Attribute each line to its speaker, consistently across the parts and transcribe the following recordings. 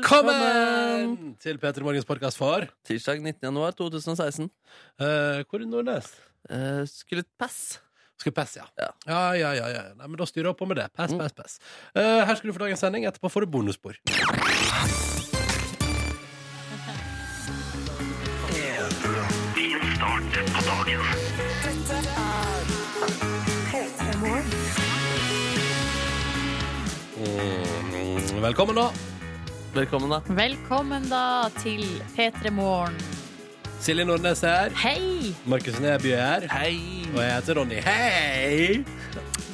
Speaker 1: Velkommen til P3 Morgens podkast for
Speaker 2: Tirsdag 19. januar 2016.
Speaker 1: eh, Hvor er Nordnes?
Speaker 2: Eh, skulle pass.
Speaker 1: Skal pass, ja. Mm.
Speaker 2: Ja.
Speaker 1: Ja, ja, ja, ja. Nei, men da styrer jeg på med det. Pass, pass, pass. Eh, her skal du få dagens sending. Etterpå får du bonusspor. Mm, Velkommen, da.
Speaker 2: Velkommen, da.
Speaker 3: Velkommen da til P3 Morgen.
Speaker 1: Silje Nordnes er her.
Speaker 3: Hei!
Speaker 1: Markus Neby er her.
Speaker 2: Hei!
Speaker 1: Og jeg heter Ronny. Hei!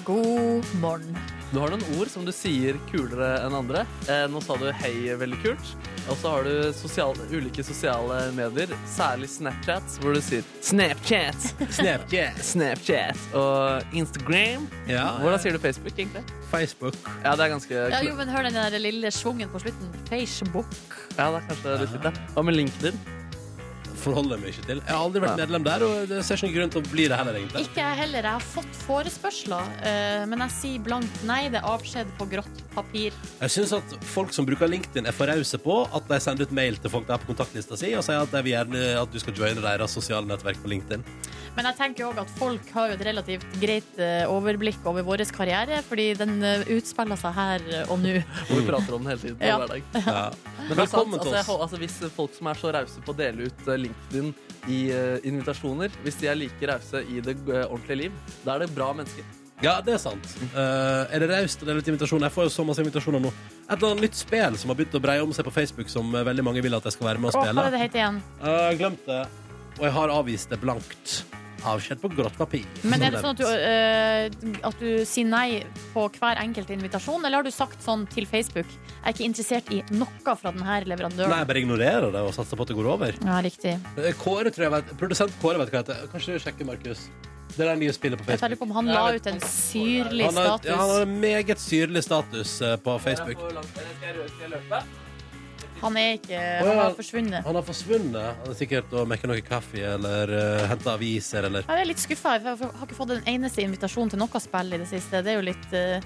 Speaker 3: God morgen.
Speaker 2: Du har noen ord som du sier kulere enn andre. Eh, nå sa du 'hei' veldig kult. Og så har du sosial- ulike sosiale medier, særlig Snapchat, hvor du sier 'Snapchat',
Speaker 1: Snapchat.
Speaker 2: 'Snapchat' og Instagram.
Speaker 1: Ja,
Speaker 2: Hvordan sier du Facebook, egentlig?
Speaker 1: Facebook.
Speaker 2: Ja, det er ganske
Speaker 3: Ja, jo,
Speaker 2: kult.
Speaker 3: men hør den der lille svungen på slutten. Facebook.
Speaker 2: Ja, det er kanskje litt fint, da. Hva med LinkedIn?
Speaker 1: Forholder jeg meg ikke til. Jeg har aldri vært medlem der, og det ser ikke noen grunn til å bli det heller, egentlig.
Speaker 3: Ikke jeg heller. Jeg har fått forespørsler, eh, men jeg sier blankt nei. Det er avskjed på grått papir.
Speaker 1: Jeg syns at folk som bruker LinkedIn, er for rause på at de sender ut mail til folk der på kontaktlista si og sier at de vil gjerne at du skal joine deres sosiale nettverk på LinkedIn.
Speaker 3: Men jeg tenker jo også at folk har jo et relativt greit eh, overblikk over vår karriere, fordi den eh, utspiller seg her eh, og nå.
Speaker 2: Hvor
Speaker 1: Mm.
Speaker 2: vi prater om den hele tiden. på
Speaker 3: Ja.
Speaker 2: hver dag.
Speaker 1: Ja. Men
Speaker 2: Men sant,
Speaker 1: velkommen til
Speaker 2: altså,
Speaker 1: oss.
Speaker 2: jeg, hå- altså, hvis folk som er så rause på å dele ut eh, LinkedIn i eh, invitasjoner, hvis de er like rause i det eh, ordentlige liv, da er det bra mennesker.
Speaker 1: Ja, det er sant. Eh, er det raust å dele ut invitasjoner? Jeg får jo så masse invitasjoner nå. Et eller annet nytt spill som har begynt å breie om seg på Facebook, som eh, veldig mange vil at jeg skal være med og
Speaker 3: Å, hva
Speaker 1: spille.
Speaker 3: er det det heter igjen?
Speaker 1: Eh, Jeg glemte det. Og jeg har avvist det blankt. Avskjed på grått papir.
Speaker 3: Men er det
Speaker 1: Som
Speaker 3: sånn at du, eh, at du sier nei på hver enkelt invitasjon, eller har du sagt sånn til Facebook? Jeg er ikke interessert i noe fra denne
Speaker 1: nevnt. Nei,
Speaker 3: leverandøren.
Speaker 1: jeg bare ignorerer det og satser på at det går over.
Speaker 3: Ja, riktig.
Speaker 1: Eh, Kåre, tror jeg vet, Produsent Kåre vet hva det heter. Kanskje du sjekker, Markus. Det er det nye spillet på
Speaker 3: Jeg tar
Speaker 1: Facebook.
Speaker 3: litt på om han
Speaker 2: Jeg
Speaker 3: la
Speaker 2: vet
Speaker 3: ut en
Speaker 2: ikke om-
Speaker 3: syrlig
Speaker 1: Han har, ja, han har
Speaker 3: status.
Speaker 1: en meget syrlig status eh, på Facebook.
Speaker 2: Skal jeg løpe?
Speaker 3: Han er ikke
Speaker 1: Å,
Speaker 3: Han
Speaker 1: ja.
Speaker 3: har forsvunnet.
Speaker 1: Han har forsvunnet. Han er sikkert og mekker noe kaffe eller uh, henter aviser eller
Speaker 3: Jeg er litt skuffa. Jeg har ikke fått en eneste invitasjon til noe spill i det siste. Det er jo litt eh,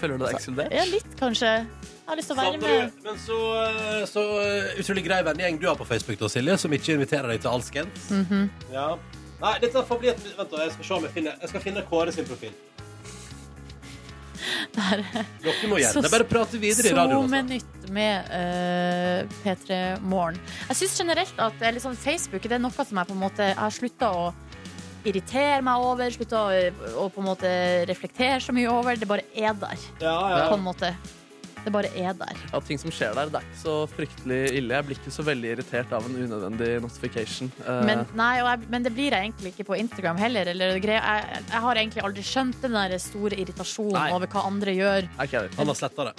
Speaker 2: føler du deg ekskludert?
Speaker 3: Ja, litt, kanskje. Jeg har lyst til å være
Speaker 1: Savner
Speaker 3: med.
Speaker 1: du- Men så, eh, så eh, utrolig grei vennegjeng du har på Facebook, da, Silje, som ikke inviterer deg til alskens. ja. Nei, dette får bli et Vent, da. Jeg skal se om jeg finner Jeg skal finne Kåre sin profil. Dere må gjerne
Speaker 3: Så-
Speaker 1: bare prate videre i radioen. altså.
Speaker 3: SoMe-nytt med eh, P3 Morgen. Jeg syns generelt at eller sånn, Facebook det er noe som jeg på en måte jeg har slutta å irritere meg over, slutta å, å på en måte reflektere så mye over. Det bare er der, på en måte. Det bare er der.
Speaker 2: At ting som skjer der, det er ikke så fryktelig ille. Jeg blir ikke så veldig irritert av en unødvendig notification. Eh,
Speaker 3: Men, nei, og jeg, men det blir jeg egentlig ikke på Instagram heller. Eller greier. jeg, jeg har egentlig aldri skjønt den der store irritasjonen
Speaker 2: Nei.
Speaker 3: over hva andre gjør.
Speaker 2: er ikke jeg det.
Speaker 1: Han har sletta det.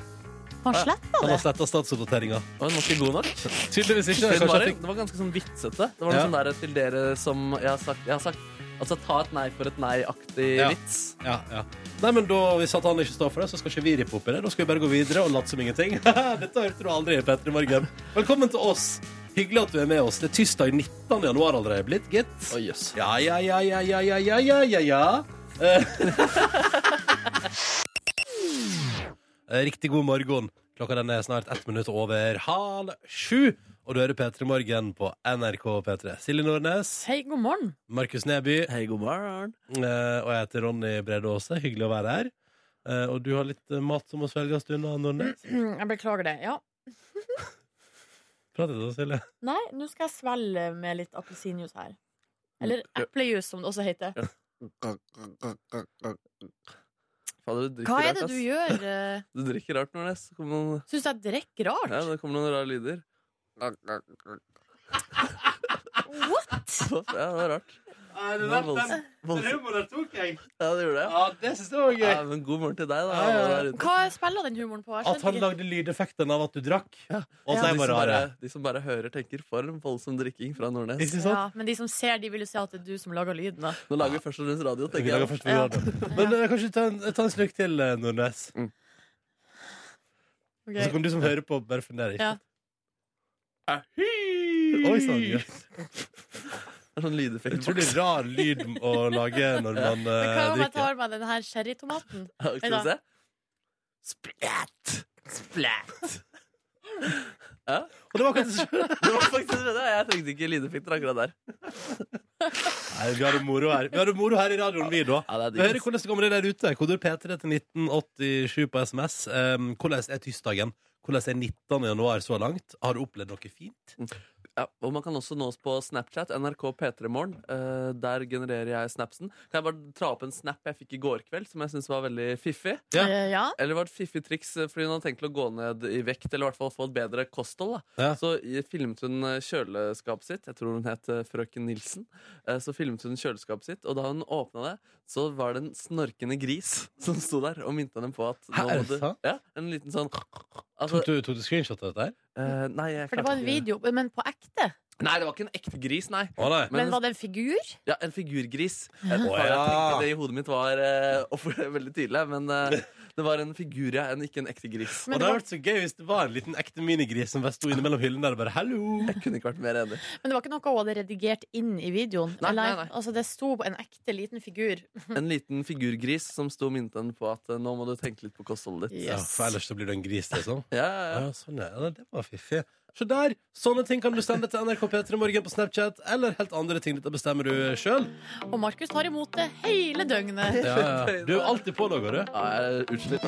Speaker 3: Han sletta
Speaker 1: Han
Speaker 3: det.
Speaker 1: har sletta statsoppdateringa.
Speaker 2: Å, Den var ikke god nok.
Speaker 1: Tydeligvis ikke.
Speaker 2: Den
Speaker 1: Kanskje
Speaker 2: var,
Speaker 1: jeg fikk
Speaker 2: den var ganske sånn vitsete. Det var noe
Speaker 1: Ja.
Speaker 2: sånn der til dere som jeg har sagt, jeg har sagt Altså ta et nei for et nei-aktig
Speaker 1: Ja.
Speaker 2: vits.
Speaker 1: ja, ja. Nei, men da, Hvis at han ikke står for det, så skal ikke vi rippe opp i det. Da skal vi bare gå videre og late som ingenting. Dette hørte du aldri, Petter i morgen. Velkommen til oss. Hyggelig at du er med oss. Det er tirsdag 19. januar allerede blitt, gitt.
Speaker 2: Å, jøss.
Speaker 1: Ja, ja, ja, ja, ja, ja, ja, ja, ja, ja. Eh, Riktig god morgen. Klokka den er snart ett minutt over halv sju. Og du hører P3 Morgen på NRK P3. Silje Nordnes,
Speaker 3: Hei, god morgen.
Speaker 1: Markus Neby
Speaker 2: Hei, god morgen.
Speaker 1: eh, og jeg heter Ronny Brede Aase. Hyggelig å være her. Eh, Og du har litt eh, mat som må svelges unna, Nordnes.
Speaker 3: Jeg beklager det. Ja.
Speaker 1: Prat til oss, Silje.
Speaker 3: Nei, nå skal jeg svelge med litt appelsinjuice her. Eller eplejus, som det også heter.
Speaker 2: Fader, du drikker
Speaker 3: Hva er
Speaker 2: rart,
Speaker 3: det
Speaker 2: ass.
Speaker 3: du gjør? eh?
Speaker 2: Du drikker rart, Nordnes. Det kommer noen-
Speaker 3: Syns jeg drikker
Speaker 2: Ja,
Speaker 3: rart?
Speaker 2: det kommer noen rare lyder.
Speaker 3: What?
Speaker 2: Ja, det var rart. Det var volds- volds-
Speaker 1: humoren tok jeg.
Speaker 2: Ja, det gjorde jeg.
Speaker 1: det syns jeg var
Speaker 2: Ja, men god morgen til deg, da.
Speaker 1: Ja, ja, ja.
Speaker 2: alle der ute.
Speaker 3: Hva spiller den humoren på? Jeg
Speaker 1: At han
Speaker 3: skjønte ikke.
Speaker 1: lagde lydeffekten av at du drakk. Og at
Speaker 2: De
Speaker 1: de
Speaker 2: som
Speaker 1: var rare.
Speaker 2: bare- De som bare hører, tenker for en voldsom drikking fra Nordnes.
Speaker 1: Ikke sant?
Speaker 3: Ja, men de som ser, de vil jo se at det er du som lager lyden. da.
Speaker 2: Nå lager vi først og fremst radio,
Speaker 1: Vi
Speaker 2: tenker
Speaker 1: lager
Speaker 2: jeg.
Speaker 1: først video. Men eh, kanskje ta en, ta en slurk til, eh, Nordnes.
Speaker 3: Ok.
Speaker 1: Så kan du som hører på, bare fundere. Ikke?
Speaker 3: Ja.
Speaker 1: sant? Oi sann. jøss.
Speaker 2: En sånn lydeffekt.
Speaker 1: sånn, Utrolig rar lyd å lage når man eh,
Speaker 3: Men hva om jeg
Speaker 1: drikker.
Speaker 3: tar meg den her sherrytomaten?
Speaker 2: Skal vi se?
Speaker 1: Splat!
Speaker 2: Splat!
Speaker 1: Og det var kanskje
Speaker 2: Det var faktisk det. Jeg trengte ikke lydeffekter akkurat der.
Speaker 1: Nei, vi har det moro her. Vi har det moro her i radioen, vi, da.
Speaker 2: Ja, det
Speaker 1: Vi
Speaker 2: er
Speaker 1: hører
Speaker 2: digg.
Speaker 1: hvordan det går med det der ute. Koder P3 til 1987 på SMS. Um, hvordan er tirsdagen? Hvordan er 19. januar så langt? Har du opplevd noe fint?
Speaker 2: Ja, og man kan også nås på Snapchat, NRK P3morgen. Eh, der genererer jeg snapsen. Kan jeg bare dra opp en snap jeg fikk i går kveld, som jeg syns var veldig fiffig?
Speaker 1: Ja.
Speaker 3: Eh, ja.
Speaker 2: Eller det var et fiffig triks eh, fordi hun hadde tenkt til å gå ned i vekt, eller i hvert fall få et bedre kosthold. Da.
Speaker 1: Ja.
Speaker 2: Så i- filmet hun eh, kjøleskapet sitt, jeg tror hun het eh, frøken Nilsen. Eh, Så filmet hun kjøleskapet sitt, og da hun åpna det, så var det en snorkende gris som sto der og minte henne på at
Speaker 1: Hæ, er det
Speaker 2: må du-
Speaker 1: sant?
Speaker 2: Ja, en liten sånn altså,
Speaker 1: Tok du, tok du screenshot av dette her?
Speaker 2: eh, Nei, jeg
Speaker 3: For det var en
Speaker 2: klarte ikke-
Speaker 3: video, men på ekte.
Speaker 2: Nei, det var ikke en ekte gris, nei.
Speaker 1: Å nei.
Speaker 2: Men-
Speaker 3: Men var det en figur?
Speaker 2: Ja, en figurgris.
Speaker 3: Ja.
Speaker 2: Jeg,
Speaker 1: Å,
Speaker 2: jeg
Speaker 1: ja.
Speaker 2: tenkte det i hodet mitt var eh, og for- veldig tydelig, men eh, det var en figur, ja, en, ikke en ekte gris.
Speaker 1: Og
Speaker 3: Men
Speaker 1: det hadde
Speaker 3: det, var,
Speaker 1: vært så gøy hvis det var en liten ekte minigris som bare sto innimellom hyllene der og bare 'hallo'.
Speaker 2: Jeg kunne ikke vært mer enig.
Speaker 3: men det var ikke noe hun hadde redigert inn i videoen.
Speaker 2: Nei,
Speaker 3: eller,
Speaker 2: nei, nei.
Speaker 3: Altså, det sto en ekte liten figur.
Speaker 2: En liten figurgris som sto og minte henne på at eh, nå må du tenke litt på kostholdet ditt.
Speaker 1: Ja,
Speaker 3: Yes.
Speaker 1: for ellers så blir du en gris, liksom.
Speaker 2: Ja,
Speaker 1: Ja,
Speaker 2: ja, ja.
Speaker 1: sånn er det. Det var fiffig. Se der! Sånne ting kan du sende til NRK P3 Morgen på Snapchat, eller helt andre ting. Dette bestemmer du sjøl.
Speaker 3: Og Markus tar imot det hele døgnet.
Speaker 1: Ja, ja. Du er alltid på noe, du.
Speaker 2: ja jeg er utslitt.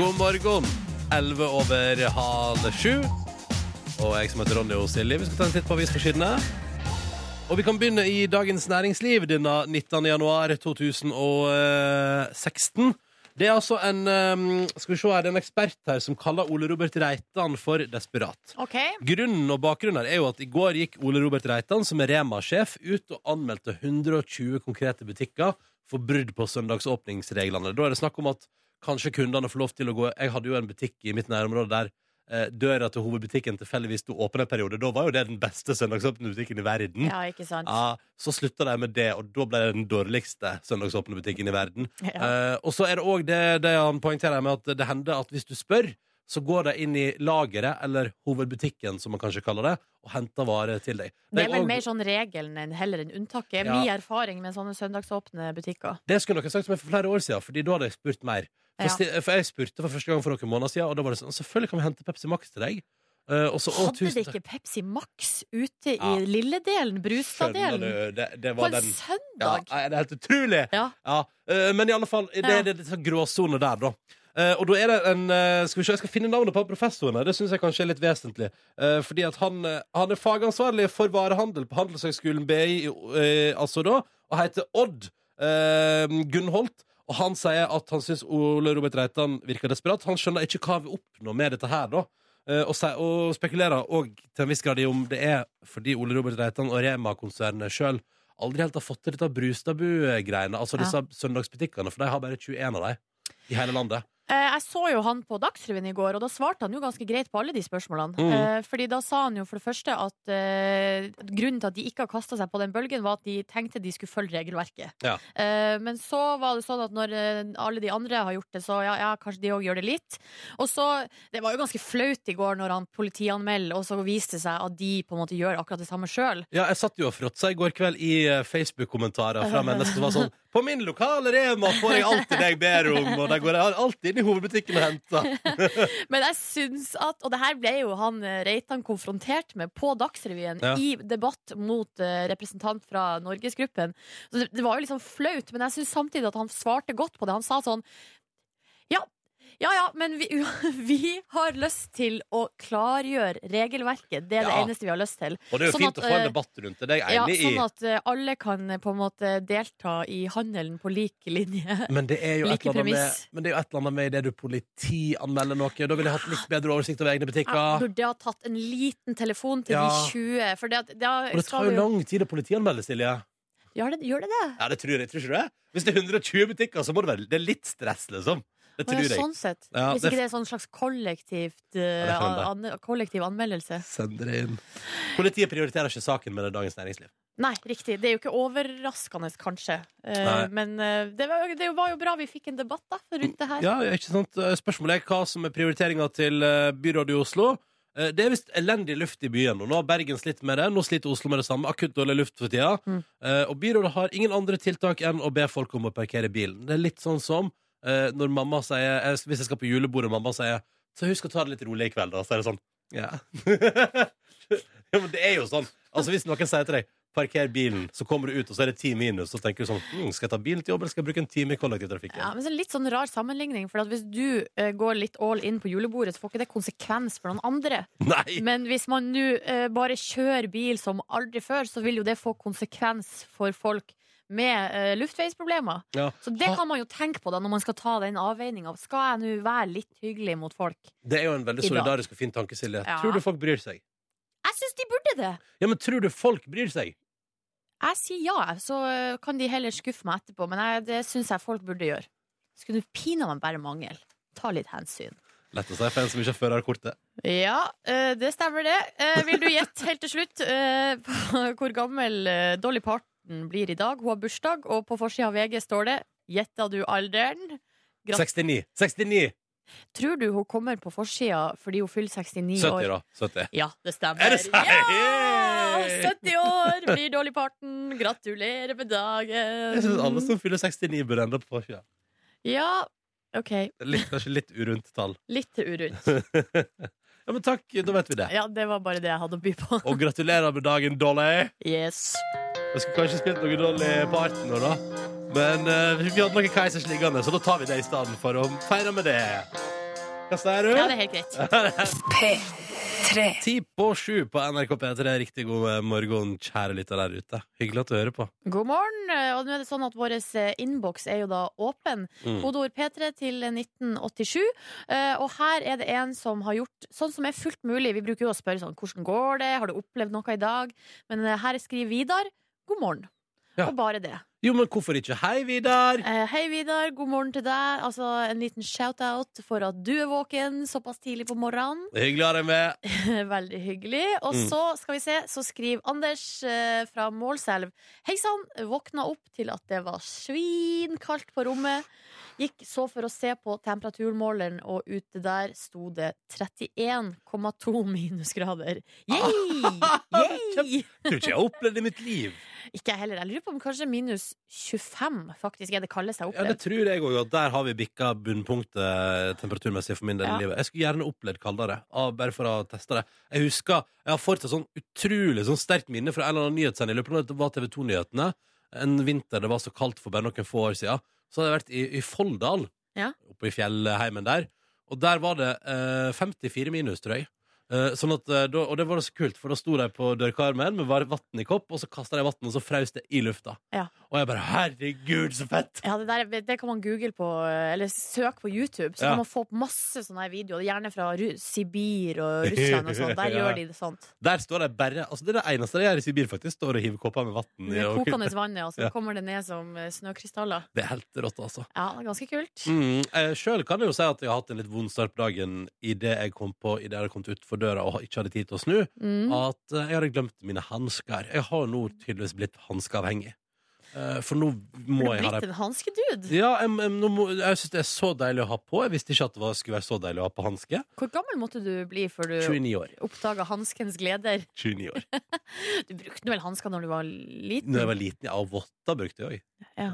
Speaker 1: God morgen. 11 over halv sju. Og jeg som heter Ronny og Silje, vi skal ta en titt på avisforsidene. Og vi kan begynne i Dagens Næringsliv denne 19. januar 2016. eh, Det er altså en, eh, skal vi se her, det er en ekspert her som kaller Ole Robert Reitan for desperat.
Speaker 3: OK.
Speaker 1: Grunnen og bakgrunnen her er jo at i går gikk Ole Robert Reitan, som er Rema-sjef, ut og anmeldte 120 konkrete butikker for brudd på søndagsåpningsreglene. Da er det snakk om at kanskje kundene får lov til å gå Jeg hadde jo en butikk i mitt nærområde der eh, døra til hovedbutikken tilfeldigvis sto åpen en periode. Da var jo det den beste søndagsåpne butikken i verden.
Speaker 3: Ja, ikke sant?
Speaker 1: Ja, så slutta de med det, og da ble det den dårligste søndagsåpne butikken i verden.
Speaker 3: Ja.
Speaker 1: Eh, og så er det òg det, det han poengterer med at det hender at hvis du spør, så går de inn i lageret, eller hovedbutikken, som man kanskje kaller det, og henter varer til deg.
Speaker 3: Det er vel
Speaker 1: og-
Speaker 3: mer sånn regelen enn heller enn unntaket.
Speaker 1: Ja.
Speaker 3: Min erfaring med sånne søndagsåpne butikker.
Speaker 1: det skulle dere sagt som er for flere år siden, Fordi da hadde jeg spurt mer. For,
Speaker 3: Ja.
Speaker 1: sti- for jeg spurte for første gang for noen måneder siden, og da var det sånn Selvfølgelig kan vi hente Pepsi Max til deg. Eh, og så, å,
Speaker 3: Hadde
Speaker 1: tusen
Speaker 3: det
Speaker 1: takk.
Speaker 3: ikke Pepsi Max ute
Speaker 1: Ja.
Speaker 3: i lilledelen,
Speaker 1: Skjønner
Speaker 3: Brustad-delen?
Speaker 1: du, det, det
Speaker 3: På
Speaker 1: var
Speaker 3: en
Speaker 1: den Ja,
Speaker 3: søndag?
Speaker 1: nei, det er helt utrolig!
Speaker 3: Ja.
Speaker 1: Ja, eh, men i alle fall, det
Speaker 3: Ja.
Speaker 1: er disse gråsoner der, da. Eh, og da er det en eh, Skal vi se, jeg skal finne navnet på han professoren her. Det syns jeg kanskje er litt vesentlig. Eh, fordi at han, eh, han er fagansvarlig for varehandel på Handelshøgskolen BI, eh, altså da, og heter Odd eh, Gunnholt. Og han sier at han syns Ole Robert Reitan virker desperat. Han skjønner ikke hva vi oppnår med dette her, da. Eh, og, sier- og spekulerer òg til en viss grad i om det er fordi Ole Robert Reitan og Rema-konsernet sjøl aldri helt har fått til dette Brustadbu-greiene. Altså
Speaker 3: Ja.
Speaker 1: disse søndagsbutikkene, for de har bare 21 av dem i hele landet.
Speaker 3: Eh, Jeg så jo han på Dagsrevyen i går, og da svarte han jo ganske greit på alle de spørsmålene.
Speaker 1: Mhm.
Speaker 3: Eh, Fordi da sa han jo for det første at eh, grunnen til at de ikke har kasta seg på den bølgen, var at de tenkte de skulle følge regelverket.
Speaker 1: Ja.
Speaker 3: Eh, Men så var det sånn at når eh, alle de andre har gjort det, så ja, ja kanskje de òg gjør det litt. Og så Det var jo ganske flaut i går når han politianmelder, og så viste det seg at de på en måte gjør akkurat det samme sjøl.
Speaker 1: Ja, jeg satt jo og fråtsa i går kveld i eh, Facebook-kommentarer fra mennesker som var sånn På min lokale Rema får jeg alltid det jeg ber om, og der går jeg alltid inn i hovedbutikken og henter.
Speaker 3: Men jeg syns at Og det her ble jo han eh, Reitan konfrontert med på Dagsrevyen
Speaker 1: Ja.
Speaker 3: i debatt mot eh, representant fra Norgesgruppen. Så det, det var jo liksom flaut, men jeg syns samtidig at han svarte godt på det. Han sa sånn Ja, ja, ja men vi, vi har lyst til å klargjøre regelverket. Det er det
Speaker 1: Ja.
Speaker 3: eneste vi har lyst til.
Speaker 1: Og det er jo
Speaker 3: Sånn
Speaker 1: fint
Speaker 3: at,
Speaker 1: å få
Speaker 3: eh,
Speaker 1: en debatt rundt det, det er
Speaker 3: Ja,
Speaker 1: jeg enig
Speaker 3: sånn
Speaker 1: i.
Speaker 3: at eh, alle kan eh, på en måte delta i handelen på lik linje.
Speaker 1: Men det er jo et
Speaker 3: Like
Speaker 1: eller annet med,
Speaker 3: premiss.
Speaker 1: men det er jo et eller annet med i det du politianmelder noe. Da ville jeg hatt litt bedre oversikt over egne
Speaker 3: Jeg
Speaker 1: butikker.
Speaker 3: burde ha tatt en liten telefon til
Speaker 1: Ja.
Speaker 3: de 20, for det, at- da
Speaker 1: Og det
Speaker 3: skal
Speaker 1: tar jo
Speaker 3: vi
Speaker 1: lang tid å politianmelde, Silje.
Speaker 3: Gjør det, gjør det det?
Speaker 1: Ja, det tror jeg, tror ikke du det? Hvis det er 120 butikker, så må det være Det er litt stress, liksom. Det
Speaker 3: Å,
Speaker 1: tror
Speaker 3: ja,
Speaker 1: jeg.
Speaker 3: Sånn sett.
Speaker 1: Ja,
Speaker 3: Hvis
Speaker 1: det-
Speaker 3: ikke det er sånn slags kollektivt, eh,
Speaker 1: det kan
Speaker 3: an, kollektiv anmeldelse.
Speaker 1: Send dere inn. Politiet prioriterer ikke saken med det Dagens Næringsliv.
Speaker 3: Nei, riktig. Det er jo ikke overraskende, kanskje. Eh,
Speaker 1: Nei.
Speaker 3: men eh, det, var, jo- det var jo bra vi fikk en debatt da, rundt det her.
Speaker 1: Ja, ikke sant? Spørsmålet er hva som er prioriteringa til eh, byrådet i Oslo. Eh, Det er visst elendig luft i byen, og nå har Bergen slitt med det. Nå sliter Oslo med det samme. Akutt dårlig luft for tida.
Speaker 3: Mm.
Speaker 1: Eh, Og byrådet har ingen andre tiltak enn å be folk om å parkere bilen. Det er litt sånn som eh, når mamma sier eh, Hvis jeg skal på julebord, og mamma sier Så husk å ta det litt rolig i kveld, da. Så er det sånn. Ja. ja, men det er jo sånn. Altså, hvis noen sier til deg Parker bilen, så kommer du ut, og så er det ti minus. Så tenker du sånn hm, Skal jeg ta bilen til jobb, eller skal jeg bruke en time i kollektivtrafikken?
Speaker 3: Ja, men så Litt sånn rar sammenligning. For at hvis du eh, går litt all in på julebordet, så får ikke det konsekvens for noen andre.
Speaker 1: Nei!
Speaker 3: Men hvis man nå eh, bare kjører bil som aldri før, så vil jo det få konsekvens for folk med eh, luftveisproblemer.
Speaker 1: Ja.
Speaker 3: Så det
Speaker 1: Ha-
Speaker 3: kan man jo tenke på da når man skal ta den avveininga. Skal jeg nå være litt hyggelig mot folk?
Speaker 1: Det er jo en veldig
Speaker 3: I dag.
Speaker 1: solidarisk og fin tanke, Silje.
Speaker 3: Ja.
Speaker 1: Tror du folk bryr seg?
Speaker 3: Jeg syns de burde det!
Speaker 1: Ja, men tror du folk bryr seg?
Speaker 3: Jeg sier ja, jeg, så eh, kan de heller skuffe meg etterpå. Men jeg, det syns jeg folk burde gjøre. Skulle pinadø bare mangle. Ta litt hensyn.
Speaker 1: Lett å si for en som ikke har førerkortet.
Speaker 3: Ja, eh, det stemmer det. Eh, Vil du gjette helt til slutt eh, på hvor gammel eh, Dolly Parton blir i dag? Hun har bursdag, og på forsida av VG står det 'Gjetta du alderen'? Gratt-
Speaker 1: 69. 69!
Speaker 3: Tror du hun kommer på forsida fordi hun fyller 69
Speaker 1: 70,
Speaker 3: år?
Speaker 1: da. 70.
Speaker 3: Ja, det stemmer.
Speaker 1: Er det sant?
Speaker 3: Ja!
Speaker 1: Yay!
Speaker 3: 70 år blir Dolly Parton. Gratulerer med
Speaker 1: Jeg syns alle
Speaker 3: dagen.
Speaker 1: som fyller 69, burde ende opp på forsida.
Speaker 3: Ja, OK.
Speaker 1: Litt- Kanskje litt urundt tall.
Speaker 3: Litt urundt.
Speaker 1: Ja, men takk, da vet vi det.
Speaker 3: Ja, det var bare det jeg hadde å by på.
Speaker 1: Og gratulerer med dagen, Dolly!
Speaker 3: Yes.
Speaker 1: Jeg skulle kanskje spilt noe Dolly Parton nå, da. Men eh, vi hadde noe Keisers liggende, så da tar vi det i stedet for å feire med det. Hva sier du?
Speaker 3: Ja, det er helt greit.
Speaker 1: Ti på sju på NRK P3. Riktig god eh, morgen, kjære lytter der ute. Hyggelig at du hører på.
Speaker 3: God morgen. Og nå er det sånn at vår innboks er jo da åpen. Kodeord P3 til 1987. Eh, Og her er det en som har gjort sånn som er fullt mulig. Vi bruker jo å spørre sånn hvordan går det, har du opplevd noe i dag? Men eh, her skriver Vidar god morgen.
Speaker 1: Ja.
Speaker 3: Og bare det.
Speaker 1: Jo, men hvorfor ikke? Hei, Vidar!
Speaker 3: Eh, hei, Vidar. God morgen til deg. Altså en liten shout-out for at du er våken såpass tidlig på morgenen.
Speaker 1: Det er Hyggelig å ha deg med.
Speaker 3: Veldig hyggelig. Og
Speaker 1: Mm.
Speaker 3: så skal vi se, så skriver Anders eh, fra Målselv. Hei sann, våkna opp til at det var svinkaldt på rommet. Gikk så for å se på temperaturmåleren, og ute der sto det 31,2 minusgrader. Yay! Yay!
Speaker 1: Tror ikke jeg har opplevd det i mitt liv.
Speaker 3: Ikke jeg heller. Jeg lurer på om kanskje minus 25 faktisk er det kaldeste jeg har
Speaker 1: Ja, Det
Speaker 3: opplevd.
Speaker 1: tror jeg òg, at der har vi bikka bunnpunktet temperaturmessig for min del
Speaker 3: Ja.
Speaker 1: i livet. Jeg skulle gjerne opplevd kaldere, av- bare for å teste det. Jeg husker, jeg har fortsatt sånn utrolig sånn sterkt minne fra en eller annen nyhetssending. Jeg lurer på når Det var TV 2-nyhetene. En vinter det var så kaldt for bare noen få år siden. Så hadde jeg vært i, i Folldal,
Speaker 3: Ja.
Speaker 1: oppe i fjellheimen der. Og der var det eh, 54 minus, tror jeg. Eh, sånn at, eh, da, og det var så kult, for da sto de på dørkarmen med vann i kopp, og så kasta de vann, og så frøs det i lufta.
Speaker 3: Ja.
Speaker 1: Og jeg bare 'herregud, så fett'!
Speaker 3: Ja, det, der, det kan man google på, eh, eller søke på YouTube. Så
Speaker 1: Ja.
Speaker 3: kan man få opp masse sånne her videoer, gjerne fra Ru Sibir og Russland og sånn. Der
Speaker 1: Ja.
Speaker 3: gjør de det sånt.
Speaker 1: Der står de bare altså Det er det eneste de gjør i Sibir, faktisk. Står og hiver kopper med vann.
Speaker 3: Med kokende vann, ja, og så
Speaker 1: Ja.
Speaker 3: kommer det ned som eh, snøkrystaller.
Speaker 1: Det er helt rått, altså.
Speaker 3: Ja, det er ganske kult.
Speaker 1: Mm, eh, Sjøl kan jeg jo si at jeg har hatt en litt vond start på dagen idet jeg kom på i det jeg hadde kommet utfor døra og ikke hadde tid til å snu.
Speaker 3: Mm.
Speaker 1: At eh, jeg hadde glemt mine hansker. Jeg har nå tydeligvis blitt hanskeavhengig. Eh, for nå
Speaker 3: Du
Speaker 1: må
Speaker 3: er
Speaker 1: jeg ha
Speaker 3: blitt
Speaker 1: dem.
Speaker 3: en hanskedude.
Speaker 1: Ja, jeg, jeg, nå må, jeg syns det er så deilig å ha på. Jeg visste ikke at det var, skulle være så deilig å ha på hanske.
Speaker 3: Hvor gammel måtte du bli før du
Speaker 1: 29 år.
Speaker 3: oppdaga hanskens gleder?
Speaker 1: 29 år.
Speaker 3: Du brukte vel hansker når du var liten?
Speaker 1: Når jeg var liten, ja, og votter brukte jeg òg.
Speaker 3: Ja.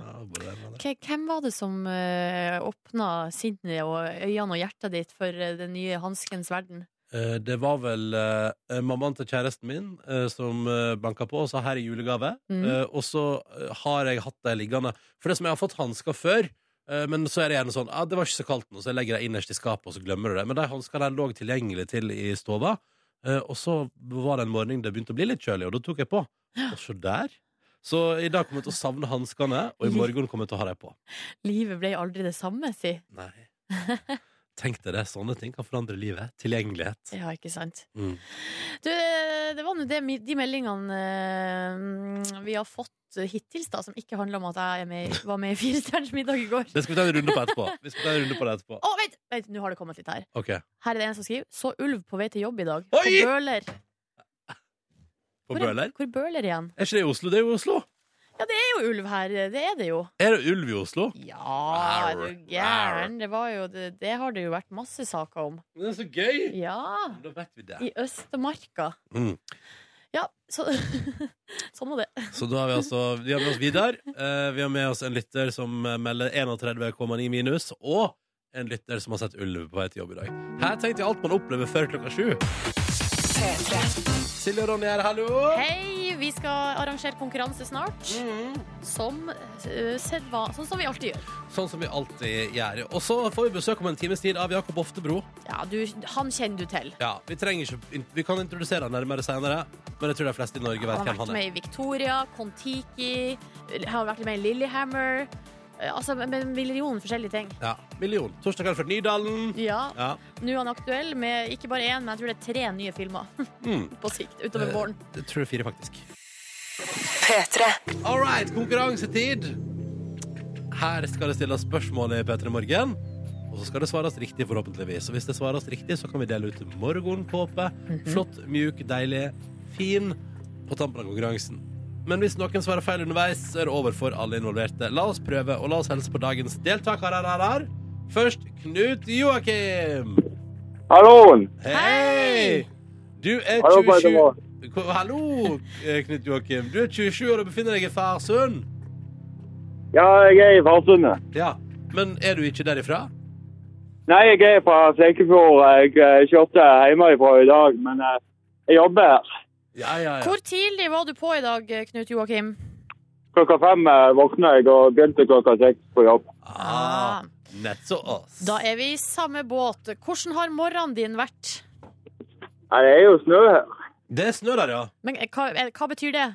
Speaker 3: K- Hvem var det som uh, åpna sinnet og øynene og hjertet ditt for eh, den nye hanskens verden?
Speaker 1: Eh, Det var vel eh, mammaen til kjæresten min eh, som eh, banka på og sa 'her er julegave'.
Speaker 3: Mm.
Speaker 1: Eh, og så eh, har jeg hatt det liggende. For det som jeg har fått hansker før, eh, men så er det gjerne sånn ah, 'det var ikke så kaldt nå', så jeg legger det innerst i skapet, og så glemmer du det. Men de hanskene der lå tilgjengelig til i stova. Eh, og så var det en morgen det begynte å bli litt kjølig, og da tok jeg på. Og så der. Så i dag kommer jeg til å savne hanskene, og i morgen kommer jeg til å ha dem på.
Speaker 3: Livet ble aldri det samme, si.
Speaker 1: Nei. Tenk deg det. Sånne ting kan forandre livet. Tilgjengelighet.
Speaker 3: Ja, ikke sant?
Speaker 1: Mm.
Speaker 3: Du, eh, det var nå det, de meldingene eh, vi har fått hittils, da, som ikke handler om at jeg er med, var med i Firestjerners middag i går.
Speaker 1: Det skal vi ta en runde på etterpå. Vi skal ta en runde på det etterpå.
Speaker 3: Å, vent! Vent, Nå har det kommet litt her.
Speaker 1: Ok,
Speaker 3: Her er det en som skriver Så ulv på vei til jobb i dag.
Speaker 1: Oi!
Speaker 3: På Bøler.
Speaker 1: På
Speaker 3: Hvor er-
Speaker 1: Bøler?
Speaker 3: Hvor er Bøler igjen?
Speaker 1: Er ikke det i Oslo? Det er jo Oslo!
Speaker 3: Ja, det er jo ulv her. Det er det jo.
Speaker 1: Er det ulv i Oslo?
Speaker 3: Ja, er
Speaker 1: Arr,
Speaker 3: du gæren? Det, var jo, det, det har det jo vært masse saker om.
Speaker 1: Det er så gøy!
Speaker 3: Ja,
Speaker 1: Da vet vi det.
Speaker 3: i Østmarka.
Speaker 1: Mm.
Speaker 3: Ja, så, sånn var det.
Speaker 1: Så da har vi altså Vi har med oss Vidar. eh, vi har med oss en lytter som eh, melder 31,9 minus. Og en lytter som har sett ulv på vei til jobb i dag. Her tenkte jeg alt man opplever før klokka sju. Silje og Ronny her, hallo!
Speaker 3: Hei, vi skal arrangere konkurranse snart.
Speaker 1: Mm.
Speaker 3: Som eh, sedva- Sånn som vi alltid gjør.
Speaker 1: Sånn som vi alltid gjør. Og så får vi besøk om en times tid av Jakob Oftebro.
Speaker 3: Ja, du, han kjenner du til.
Speaker 1: Ja, Vi trenger ikke Vi kan introdusere han nærmere senere, men jeg tror de fleste i Norge vet
Speaker 3: Han har
Speaker 1: hvem
Speaker 3: vært
Speaker 1: han er.
Speaker 3: med i Victoria, Kon-Tiki, har vært med i Lillehammer. Eh, Altså, med en million forskjellige ting.
Speaker 1: Ja, Million. Torsdag kveld fra Nydalen.
Speaker 3: Ja,
Speaker 1: Ja.
Speaker 3: nå er han aktuell med ikke bare én, men jeg tror det er tre nye filmer
Speaker 1: Mm.
Speaker 3: på sikt utover våren.
Speaker 1: Jeg tror Eh, det er fire, faktisk. All right, konkurransetid. Her skal det stilles spørsmål i P3 Morgen. Og så skal det svares riktig, forhåpentligvis. Og hvis det svares riktig, så kan vi dele ut morgenkåpe. Flott, mjuk, deilig, fin på tampen av konkurransen. Men hvis noen svarer feil underveis, så er det over for alle involverte. La oss prøve, og la oss hilse på dagens deltakere. her, her, her. Først Knut Joakim.
Speaker 4: Halloen!
Speaker 1: Hei! Du er
Speaker 4: Hallo, by the
Speaker 1: 27 Ko- Hallo, eh, Knut Joakim. Du er 27 år og befinner deg i Farsund.
Speaker 4: Ja, jeg er fra Sundet.
Speaker 1: Ja, men er du ikke derifra?
Speaker 4: Nei, jeg er fra Flekkefjord. Jeg eh, kjørte hjemmefra i dag, men eh, jeg jobber her.
Speaker 1: Ja, ja, ja.
Speaker 3: Hvor tidlig var du på i dag, Knut Joakim?
Speaker 4: Klokka fem eh, våkna jeg og begynte klokka seks på jobb.
Speaker 1: Ah, nett så oss.
Speaker 3: Da er vi i samme båt. Hvordan har morgenen din vært?
Speaker 4: Nei, det er jo snø her.
Speaker 1: Det er snø der, ja.
Speaker 3: Men eh, hva, eh, hva betyr det?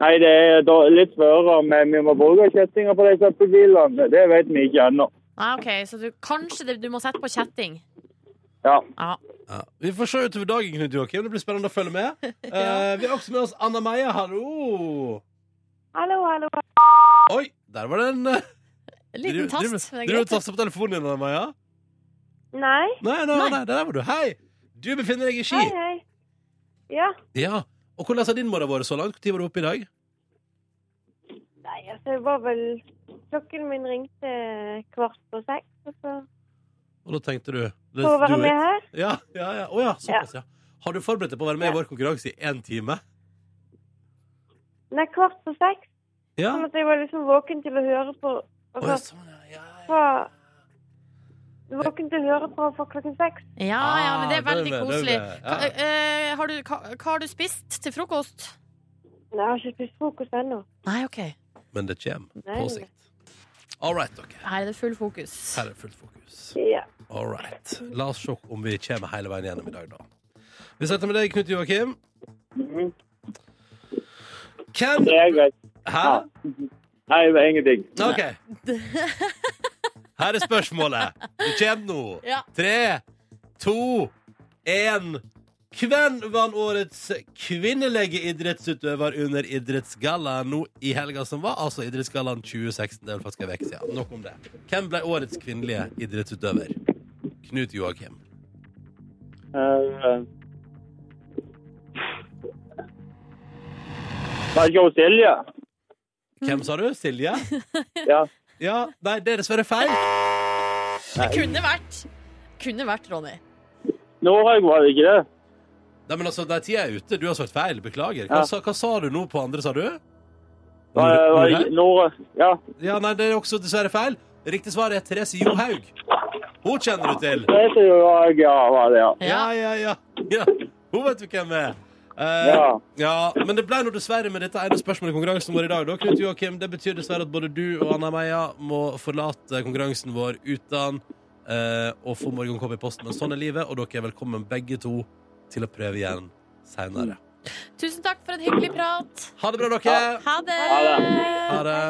Speaker 4: Nei, det er da litt føre, men vi må bruke kjettinger på de søppelbilene. Det vet vi ikke ennå.
Speaker 3: Nei, OK, så du, kanskje det, du må sette på kjetting.
Speaker 4: Ja.
Speaker 3: Ja.
Speaker 1: ja. Vi får se utover dagen, Knut Joakim. Det blir spennende å følge med. Eh, vi har også med oss Anna Meia. Hallo!
Speaker 5: Hallo, hallo.
Speaker 1: Oi, der var det en eh,
Speaker 3: En Liten
Speaker 1: driver-
Speaker 3: tast.
Speaker 1: driver-
Speaker 3: men det
Speaker 1: Driver du og
Speaker 3: er greit.
Speaker 1: taster på telefonen din, Anna Meia?
Speaker 5: Nei,
Speaker 1: Nei, nei, nei, der var du. Hei! Du befinner deg i Ski.
Speaker 5: hei, hei. Ja,
Speaker 1: Ja. Og hvordan har din morgen vært så langt? Når var du oppe i dag?
Speaker 5: nei, altså, det var vel Klokken min ringte kvart på seks, og så
Speaker 1: Og da tenkte du
Speaker 5: for å
Speaker 1: let's
Speaker 5: være
Speaker 1: do
Speaker 5: med
Speaker 1: it.
Speaker 5: her.
Speaker 1: Ja, ja, ja. Å ja, såpass, ja. Har du forberedt deg på å være med i vår konkurranse i én time?
Speaker 5: Nei, kvart på seks.
Speaker 1: Ja.
Speaker 5: Sånn at jeg var liksom våken til å høre på
Speaker 1: Å, ja,
Speaker 5: altså,
Speaker 1: sånn, ja, ja, ja.
Speaker 5: fra, Våken til å høre på fra klokken seks.
Speaker 3: Ja, ja, men det er
Speaker 1: Ah,
Speaker 3: veldig
Speaker 1: det er det,
Speaker 3: koselig.
Speaker 1: det er det. Ja.
Speaker 3: Ka- eh, har du, hva, hva har du spist til frokost?
Speaker 5: Nei, jeg har ikke spist frokost ennå.
Speaker 3: Nei, OK.
Speaker 1: Men det kommer
Speaker 5: Nei.
Speaker 1: på sikt. All right, dere.
Speaker 3: Her er det full fokus.
Speaker 1: Her er fullt fokus.
Speaker 5: Ja.
Speaker 1: All right. La oss se om vi kommer hele veien gjennom i dag, da. Vi setter med deg, Knut Joakim.
Speaker 4: Mhm.
Speaker 1: Hvem
Speaker 4: Det er greit.
Speaker 1: Hæ?
Speaker 4: Ja. Nei, det er ingenting.
Speaker 1: OK. Her er spørsmålet. Det kommer nå.
Speaker 3: Ja.
Speaker 1: Tre, to, én. Hvem vant årets kvinnelige idrettsutøver under Idrettsgallaen nå i helga som var? Altså Idrettsgallaen 2016. Det er vel faktisk en uke siden. Nok om det. Hvem ble årets kvinnelige idrettsutøver? Knut Joakim.
Speaker 4: Eh, Var det ikke hos Silje?
Speaker 1: Hvem sa du? Silje?
Speaker 4: Ja.
Speaker 1: Ja, nei, det er dessverre feil.
Speaker 3: Det kunne vært. Kunne vært, Ronny.
Speaker 4: Noreg var det ikke det?
Speaker 1: Nei, men altså, Nei, tida er ute. Du har svart feil. Beklager.
Speaker 4: Ja.
Speaker 1: Hva, sa, hva sa du nå på andre, sa du?
Speaker 4: Var det, var det ikke Noreg? Ja.
Speaker 1: Ja, nei, det er også dessverre feil. Riktig svar er Therese Johaug. Hun kjenner du til.
Speaker 4: Det heter jo Noreg, ja, var det, ja.
Speaker 1: Ja, ja,
Speaker 3: Ja.
Speaker 1: ja. ja. Hun vet du hvem er. Eh, ja.
Speaker 4: Ja.
Speaker 1: Men det ble nå dessverre med dette ene spørsmålet i konkurransen vår i dag. Da, Knut Joakim, Det betyr dessverre at både du og Anna Meia må forlate konkurransen vår uten eh, å få morgenkopp i posten. Men sånn er livet, og dere er velkommen begge to til å prøve igjen seinere.
Speaker 3: Tusen takk for en hyggelig prat.
Speaker 1: Ha det bra, dere.
Speaker 3: Ha det!
Speaker 1: Ha det.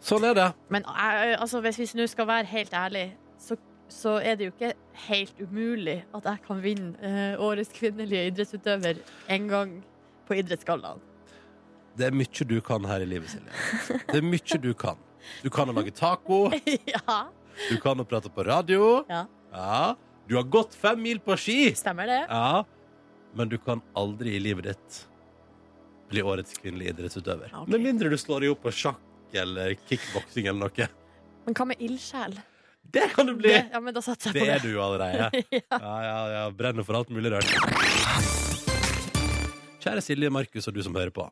Speaker 1: Sånn er det.
Speaker 3: Men eh, altså, hvis vi nå skal være helt ærlig, så, så er det jo ikke helt umulig at jeg kan vinne eh, årets kvinnelige idrettsutøver en gang på Idrettsgallaen.
Speaker 1: Det er mye du kan her i livet, Silje. Det er mye du kan. Du kan å lage taco.
Speaker 3: ja,
Speaker 1: Du kan å prate på radio.
Speaker 3: Ja.
Speaker 1: Ja. Du har gått fem mil på ski.
Speaker 3: stemmer det?
Speaker 1: Ja. Men du kan aldri i livet ditt bli årets kvinnelige idrettsutøver.
Speaker 6: Ok.
Speaker 1: Med mindre du slår deg opp på sjakk eller kickboksing eller noe.
Speaker 6: Men hva med ildsjel?
Speaker 1: Det kan du bli!
Speaker 6: Det- Ja, men da satser jeg
Speaker 1: Det
Speaker 6: på
Speaker 1: er
Speaker 6: det.
Speaker 1: du jo allerede.
Speaker 6: Ja.
Speaker 1: Ja, ja, ja. Brenner for alt mulig rørt. Kjære Silje, Markus og du som hører på.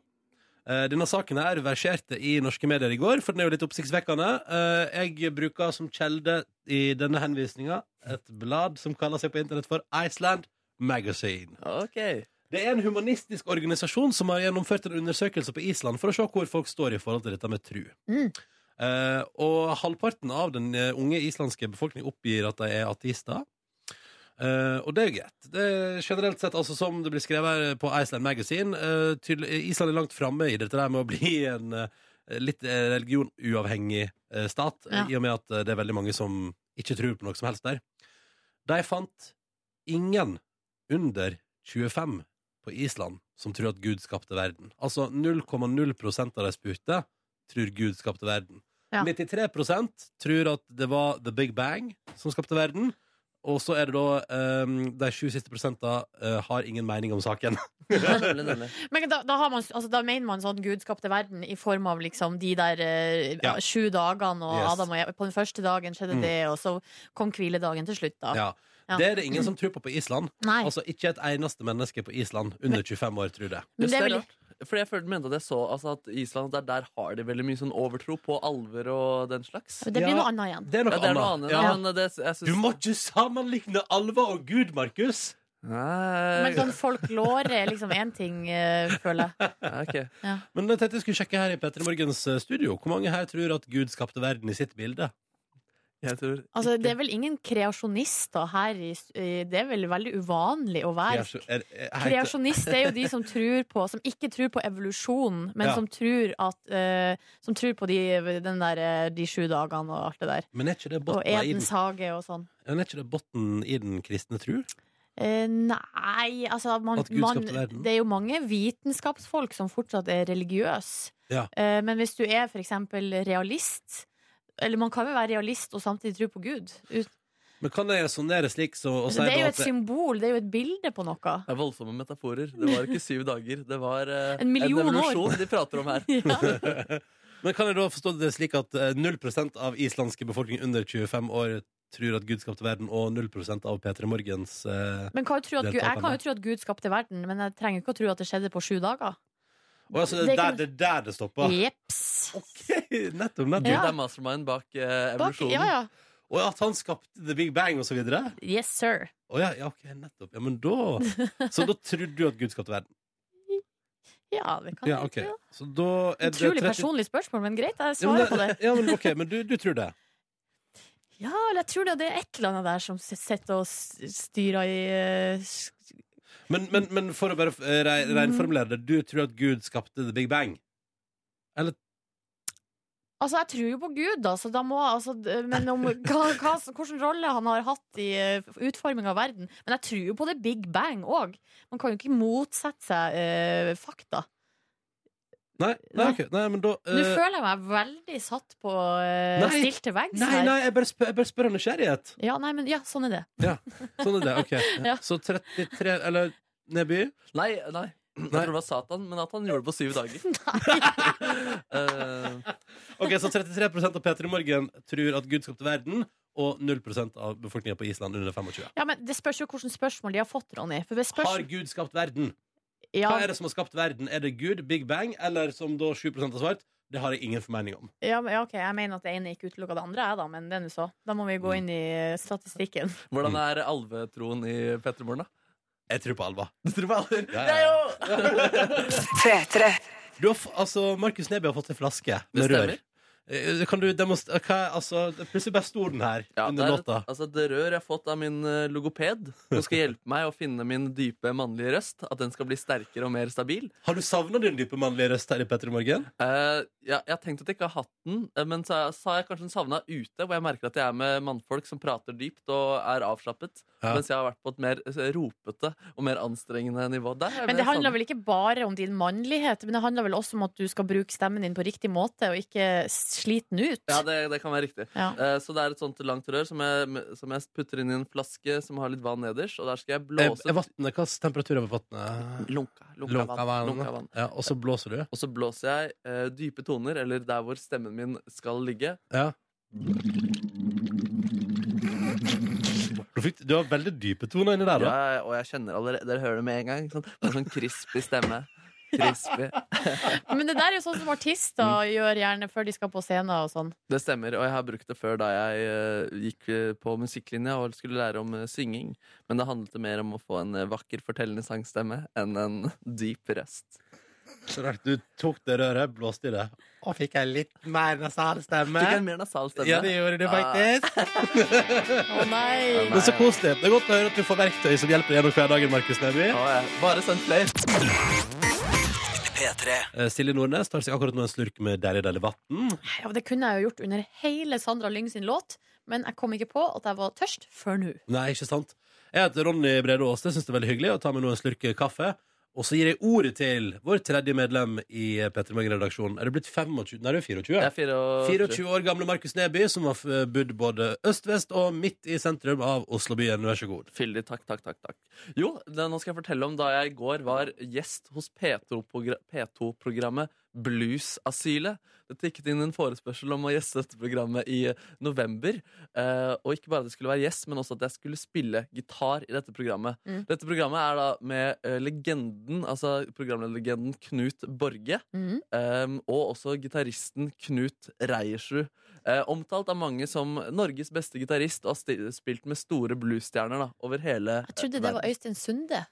Speaker 1: Eh, Denne saken her verserte i norske medier i går, for den er jo litt oppsiktsvekkende. Eh, Jeg bruker som kjelde i denne henvisninga et blad som kaller seg på internett for Iceland Magazine.
Speaker 2: OK.
Speaker 1: Det er en humanistisk organisasjon som har gjennomført en undersøkelse på Island for å se hvor folk står i forhold til dette med tru.
Speaker 3: Mm.
Speaker 1: Eh, og halvparten av den eh, unge islandske befolkningen oppgir at de er ateister. Eh, og det er jo greit. Det er generelt sett, altså som det blir skrevet her på Iceland Magazine, eh, tydelig, Island er langt framme i dette der med å bli en eh, litt eh, religionuavhengig eh, stat, eh,
Speaker 3: Ja.
Speaker 1: i og med at eh, det er veldig mange som ikke tror på noe som helst der. De fant ingen under 25 på Island som tror at Gud skapte verden. Altså 0,0 prosent av de spurte tror Gud skapte verden.
Speaker 3: Ja.
Speaker 1: 93 prosent tror at det var The Big Bang som skapte verden. Og så er det da ehm, de sju siste prosenta eh, har ingen mening om saken.
Speaker 2: Nemlig, nemlig.
Speaker 3: Men da, da, har man, altså, da mener man sånn Gud skapte verden i form av liksom de der eh,
Speaker 1: Ja.
Speaker 3: sju dagene og
Speaker 1: Yes.
Speaker 3: Adam og Eva. På den første dagen skjedde
Speaker 1: Mm.
Speaker 3: det, og så kom hviledagen til slutt, da.
Speaker 1: Ja.
Speaker 3: Ja.
Speaker 1: Det er det ingen som tror på på Island.
Speaker 3: Nei,
Speaker 1: Altså Ikke et eneste menneske på Island under 25 år tror det.
Speaker 3: men det er vel
Speaker 2: rart. Fordi jeg følte mente at jeg så altså, at Island der, der har de veldig mye sånn overtro på alver og den slags.
Speaker 3: Det blir
Speaker 1: Ja.
Speaker 3: noe annet igjen.
Speaker 1: Det er noe
Speaker 2: Ja, det er noe
Speaker 1: annet.
Speaker 2: annet.
Speaker 1: Ja.
Speaker 2: Ja, men eh, det, jeg synes,
Speaker 1: Du må ikke sammenligne alver og Gud, Markus!
Speaker 3: Men
Speaker 2: Nei,
Speaker 3: sånn folklore er liksom én ting, eh, føler jeg.
Speaker 2: ok.
Speaker 1: Men jeg tenkte jeg skulle sjekke her i Petter Morgens eh, studio. Hvor mange her tror at Gud skapte verden i sitt bilde?
Speaker 2: Jeg tror
Speaker 3: Altså, det er vel ingen kreasjonister her i, s- i Det er vel veldig uvanlig å være
Speaker 1: Kreasjon- er- er- heter-
Speaker 3: Kreasjonist er jo de som tror på Som ikke tror på evolusjon, men
Speaker 1: Ja.
Speaker 3: som tror at eh, Som tror på de, den der, eh, de sju dagene og alt det der.
Speaker 1: Men er ikke det
Speaker 3: Og
Speaker 1: botten i den-
Speaker 3: Edens hage og sånn.
Speaker 1: Men er ikke det botten i den kristne tru?
Speaker 3: Eh, nei, altså man,
Speaker 1: At Gud
Speaker 3: man,
Speaker 1: skapte verden?
Speaker 3: Det er jo mange vitenskapsfolk som fortsatt er religiøse.
Speaker 1: Ja.
Speaker 3: Eh, men hvis du er for eksempel realist Eller man kan jo være realist og samtidig tro på Gud. Ut,
Speaker 1: Men kan jeg resonnere slik så, og si
Speaker 3: det er
Speaker 1: da
Speaker 3: jo
Speaker 1: at
Speaker 3: et symbol, det er jo et bilde på noe.
Speaker 2: Det er voldsomme metaforer. Det var ikke syv dager. Det var eh,
Speaker 3: En million
Speaker 2: en evolusjon de prater om her.
Speaker 3: Ja.
Speaker 1: Men kan jeg da forstå det slik at eh, 0 av islandske befolkning under 25 år tror at Gud skapte verden, og 0 av P3 Morgens eh,
Speaker 3: Men kan jo tro at Gud, jeg kan
Speaker 1: Deltakerne.
Speaker 3: jo tro at Gud skapte verden, men jeg trenger ikke å tro at det skjedde på sju dager.
Speaker 1: Og altså, det
Speaker 3: Det
Speaker 1: er der
Speaker 3: kan-
Speaker 1: det, er der det stopper.
Speaker 3: Jeps.
Speaker 1: Ok, nettopp, nettopp.
Speaker 2: Gud
Speaker 3: Ja.
Speaker 2: er mastermind bak eh,
Speaker 3: Bak,
Speaker 2: evolusjonen.
Speaker 3: ja, ja.
Speaker 1: Og at han skapte The Big Bang, og så videre.
Speaker 3: Yes, sir.
Speaker 1: Å ja, ja, ok, nettopp. Ja, men da Så da trodde du at Gud skapte verden?
Speaker 3: Ja, det kan
Speaker 1: Ja,
Speaker 3: jeg
Speaker 1: ok.
Speaker 3: tro.
Speaker 1: Så da er det
Speaker 3: Utrolig
Speaker 1: 30
Speaker 3: personlig spørsmål, men greit, jeg
Speaker 1: Ja, men
Speaker 3: svarer på det.
Speaker 1: Ja, men ok, men du, du tror det.
Speaker 3: Ja, eller jeg tror det det er et eller annet der som s- sitter og s- styrer i eh, s-
Speaker 1: Men, men, men for å bare eh, re- reinformulere det, du tror at Gud skapte The Big Bang?
Speaker 3: Altså, jeg tror jo på Gud, da, så da må altså d- Men om hva, hva, hvilken rolle han har hatt i uh, utforminga av verden. Men jeg tror jo på det Big Bang òg. Man kan jo ikke motsette seg eh, fakta.
Speaker 1: Nei, nei,
Speaker 3: Nei.
Speaker 1: ok. nei men da
Speaker 3: Nå
Speaker 1: eh,
Speaker 3: føler jeg meg veldig satt på eh,
Speaker 1: Nei.
Speaker 3: stilt til veggs
Speaker 1: Nei,
Speaker 3: her.
Speaker 1: nei, jeg bare spør, jeg bare spør av nysgjerrighet.
Speaker 3: Ja, nei, men ja, sånn er det.
Speaker 1: Sånn er det, ok.
Speaker 3: Ja.
Speaker 1: Så 33 Eller Neby?
Speaker 2: Nei, nei. Jeg tror det var Satan, men at han gjorde det på syv dager. Eh,
Speaker 1: Ok, Så 33 av P3 Morgen tror at Gud skapte verden, og 0 av befolkningen på Island under 25.
Speaker 3: Ja, men Det spørs jo hvilke spørsmål de har fått, Ronny. For det spørs,
Speaker 1: Har Gud skapt verden?
Speaker 3: ja,
Speaker 1: Hva er det som har skapt verden? Er det Gud, Big Bang, eller som da 7 har svart? Det har jeg ingen formening om.
Speaker 3: ja, men- ja, ok, Jeg mener at det ene ikke utelukka det andre, jeg, da, men det er nå så. Da må vi
Speaker 1: Mm.
Speaker 3: gå inn i eh, statistikken.
Speaker 2: hvordan er alvetroen i Petremorgen, da?
Speaker 1: Jeg tror på Alva.
Speaker 2: Du tror på alver?
Speaker 1: Ja,
Speaker 2: Jeg
Speaker 1: ja,
Speaker 2: òg!
Speaker 1: Du har, f- altså, Markus Neby har fått en flaske med
Speaker 2: Det
Speaker 1: rør.
Speaker 2: stemmer.
Speaker 1: Eh, Kan du demonstrere Hva er altså, det er Plutselig bare sto den her
Speaker 2: Ja, det
Speaker 1: under
Speaker 2: er et,
Speaker 1: låta.
Speaker 2: altså et rør jeg har fått av min eh, logoped, som skal hjelpe meg å finne min dype mannlige røst. At den skal bli sterkere og mer stabil.
Speaker 1: Har du savna din dype mannlige røst her i Petter Morgen?
Speaker 2: Eh, ja, jeg har tenkt at jeg ikke har hatt den, eh, men så så har jeg kanskje den savna ute, hvor jeg merker at jeg er med mannfolk som prater dypt og er avslappet.
Speaker 1: Ja.
Speaker 2: Mens jeg har vært på et mer eh, ropete og mer anstrengende nivå. Der,
Speaker 3: Men det handler vel ikke bare om din mannlighet, men det handler vel også om at du skal bruke stemmen din på riktig måte, og ikke s- sliten ut.
Speaker 2: Ja, det, det kan være riktig.
Speaker 3: Ja.
Speaker 2: Eh, Så det er et sånt langt rør som jeg, som jeg putter inn i en flaske som har litt vann nederst, og der skal
Speaker 1: Eh,
Speaker 2: jeg blåse
Speaker 1: Er vannet, Hva slags temperatur er på vannet?
Speaker 2: Lunka, lunka,
Speaker 1: eh, Lunka
Speaker 2: vann,
Speaker 1: vann.
Speaker 2: lunka vann.
Speaker 1: Ja, og så blåser du?
Speaker 2: Og så blåser jeg eh, dype toner, eller der hvor stemmen min skal ligge.
Speaker 1: Ja. Du, fikk, du har veldig dype toner inni der, da.
Speaker 2: Ja, og jeg kjenner allerede Dere hører det med en gang. Ikke sant? Det er en sånn crispy stemme. Crispy.
Speaker 3: Men det der er jo sånn som artister
Speaker 1: Mm.
Speaker 3: gjør gjerne før de skal på scenen og sånn.
Speaker 2: Det stemmer, og jeg har brukt det før da jeg eh, gikk eh, på musikklinja og skulle lære om eh, synging. Men det handlet mer om å få en eh, vakker, fortellende sangstemme enn en dyp røst.
Speaker 1: Så rart, Du tok det røret, blåste i det, og fikk jeg litt mer nasal stemme.
Speaker 2: Fikk en mer nasal stemme.
Speaker 1: Ja, det gjorde du faktisk.
Speaker 3: Å nei!
Speaker 1: Men så koselig. Det er godt å høre at du får verktøy som hjelper deg gjennom hverdagen, Markus Neby.
Speaker 2: Å, ja. Bare send flere.
Speaker 1: Eh, Silje Nordnes tar seg akkurat nå en slurk med deilig, deilig vann.
Speaker 3: Ja, men det kunne jeg jo gjort under hele Sandra Lyng sin låt, men jeg kom ikke på at jeg var tørst før nå.
Speaker 1: Nei, ikke sant? Jeg heter Ronny Brede Aas. Jeg syns det er veldig hyggelig å ta med nå en slurk kaffe. Og så gir jeg ordet til vår tredje medlem i P3 Morgen-redaksjonen. Er du blitt 25? Nei, du er 24.
Speaker 2: Jeg er 24.
Speaker 1: 24 år gamle Markus Neby, som har eh, bodd både øst, vest og midt i sentrum av Oslobyen. Vær så god.
Speaker 2: Fyldig. Takk, takk, takk. takk Jo, det, nå skal jeg fortelle om da jeg i går var gjest hos P2-progra- P2-programmet Bluesasylet. Det tikket inn en forespørsel om å gjeste dette programmet i eh, november. Eh, og ikke bare at jeg skulle være gjest, men også at jeg skulle spille gitar i dette programmet.
Speaker 3: Mm.
Speaker 2: Dette programmet er da med eh, legenden, altså programlederlegenden Knut Borge.
Speaker 3: Mhm.
Speaker 2: Um, og også gitaristen Knut Reiersrud. Eh, omtalt av mange som Norges beste gitarist og har sti- spilt med store bluesstjerner da, over hele eh,
Speaker 3: Jeg trodde det var Øystein Sunde.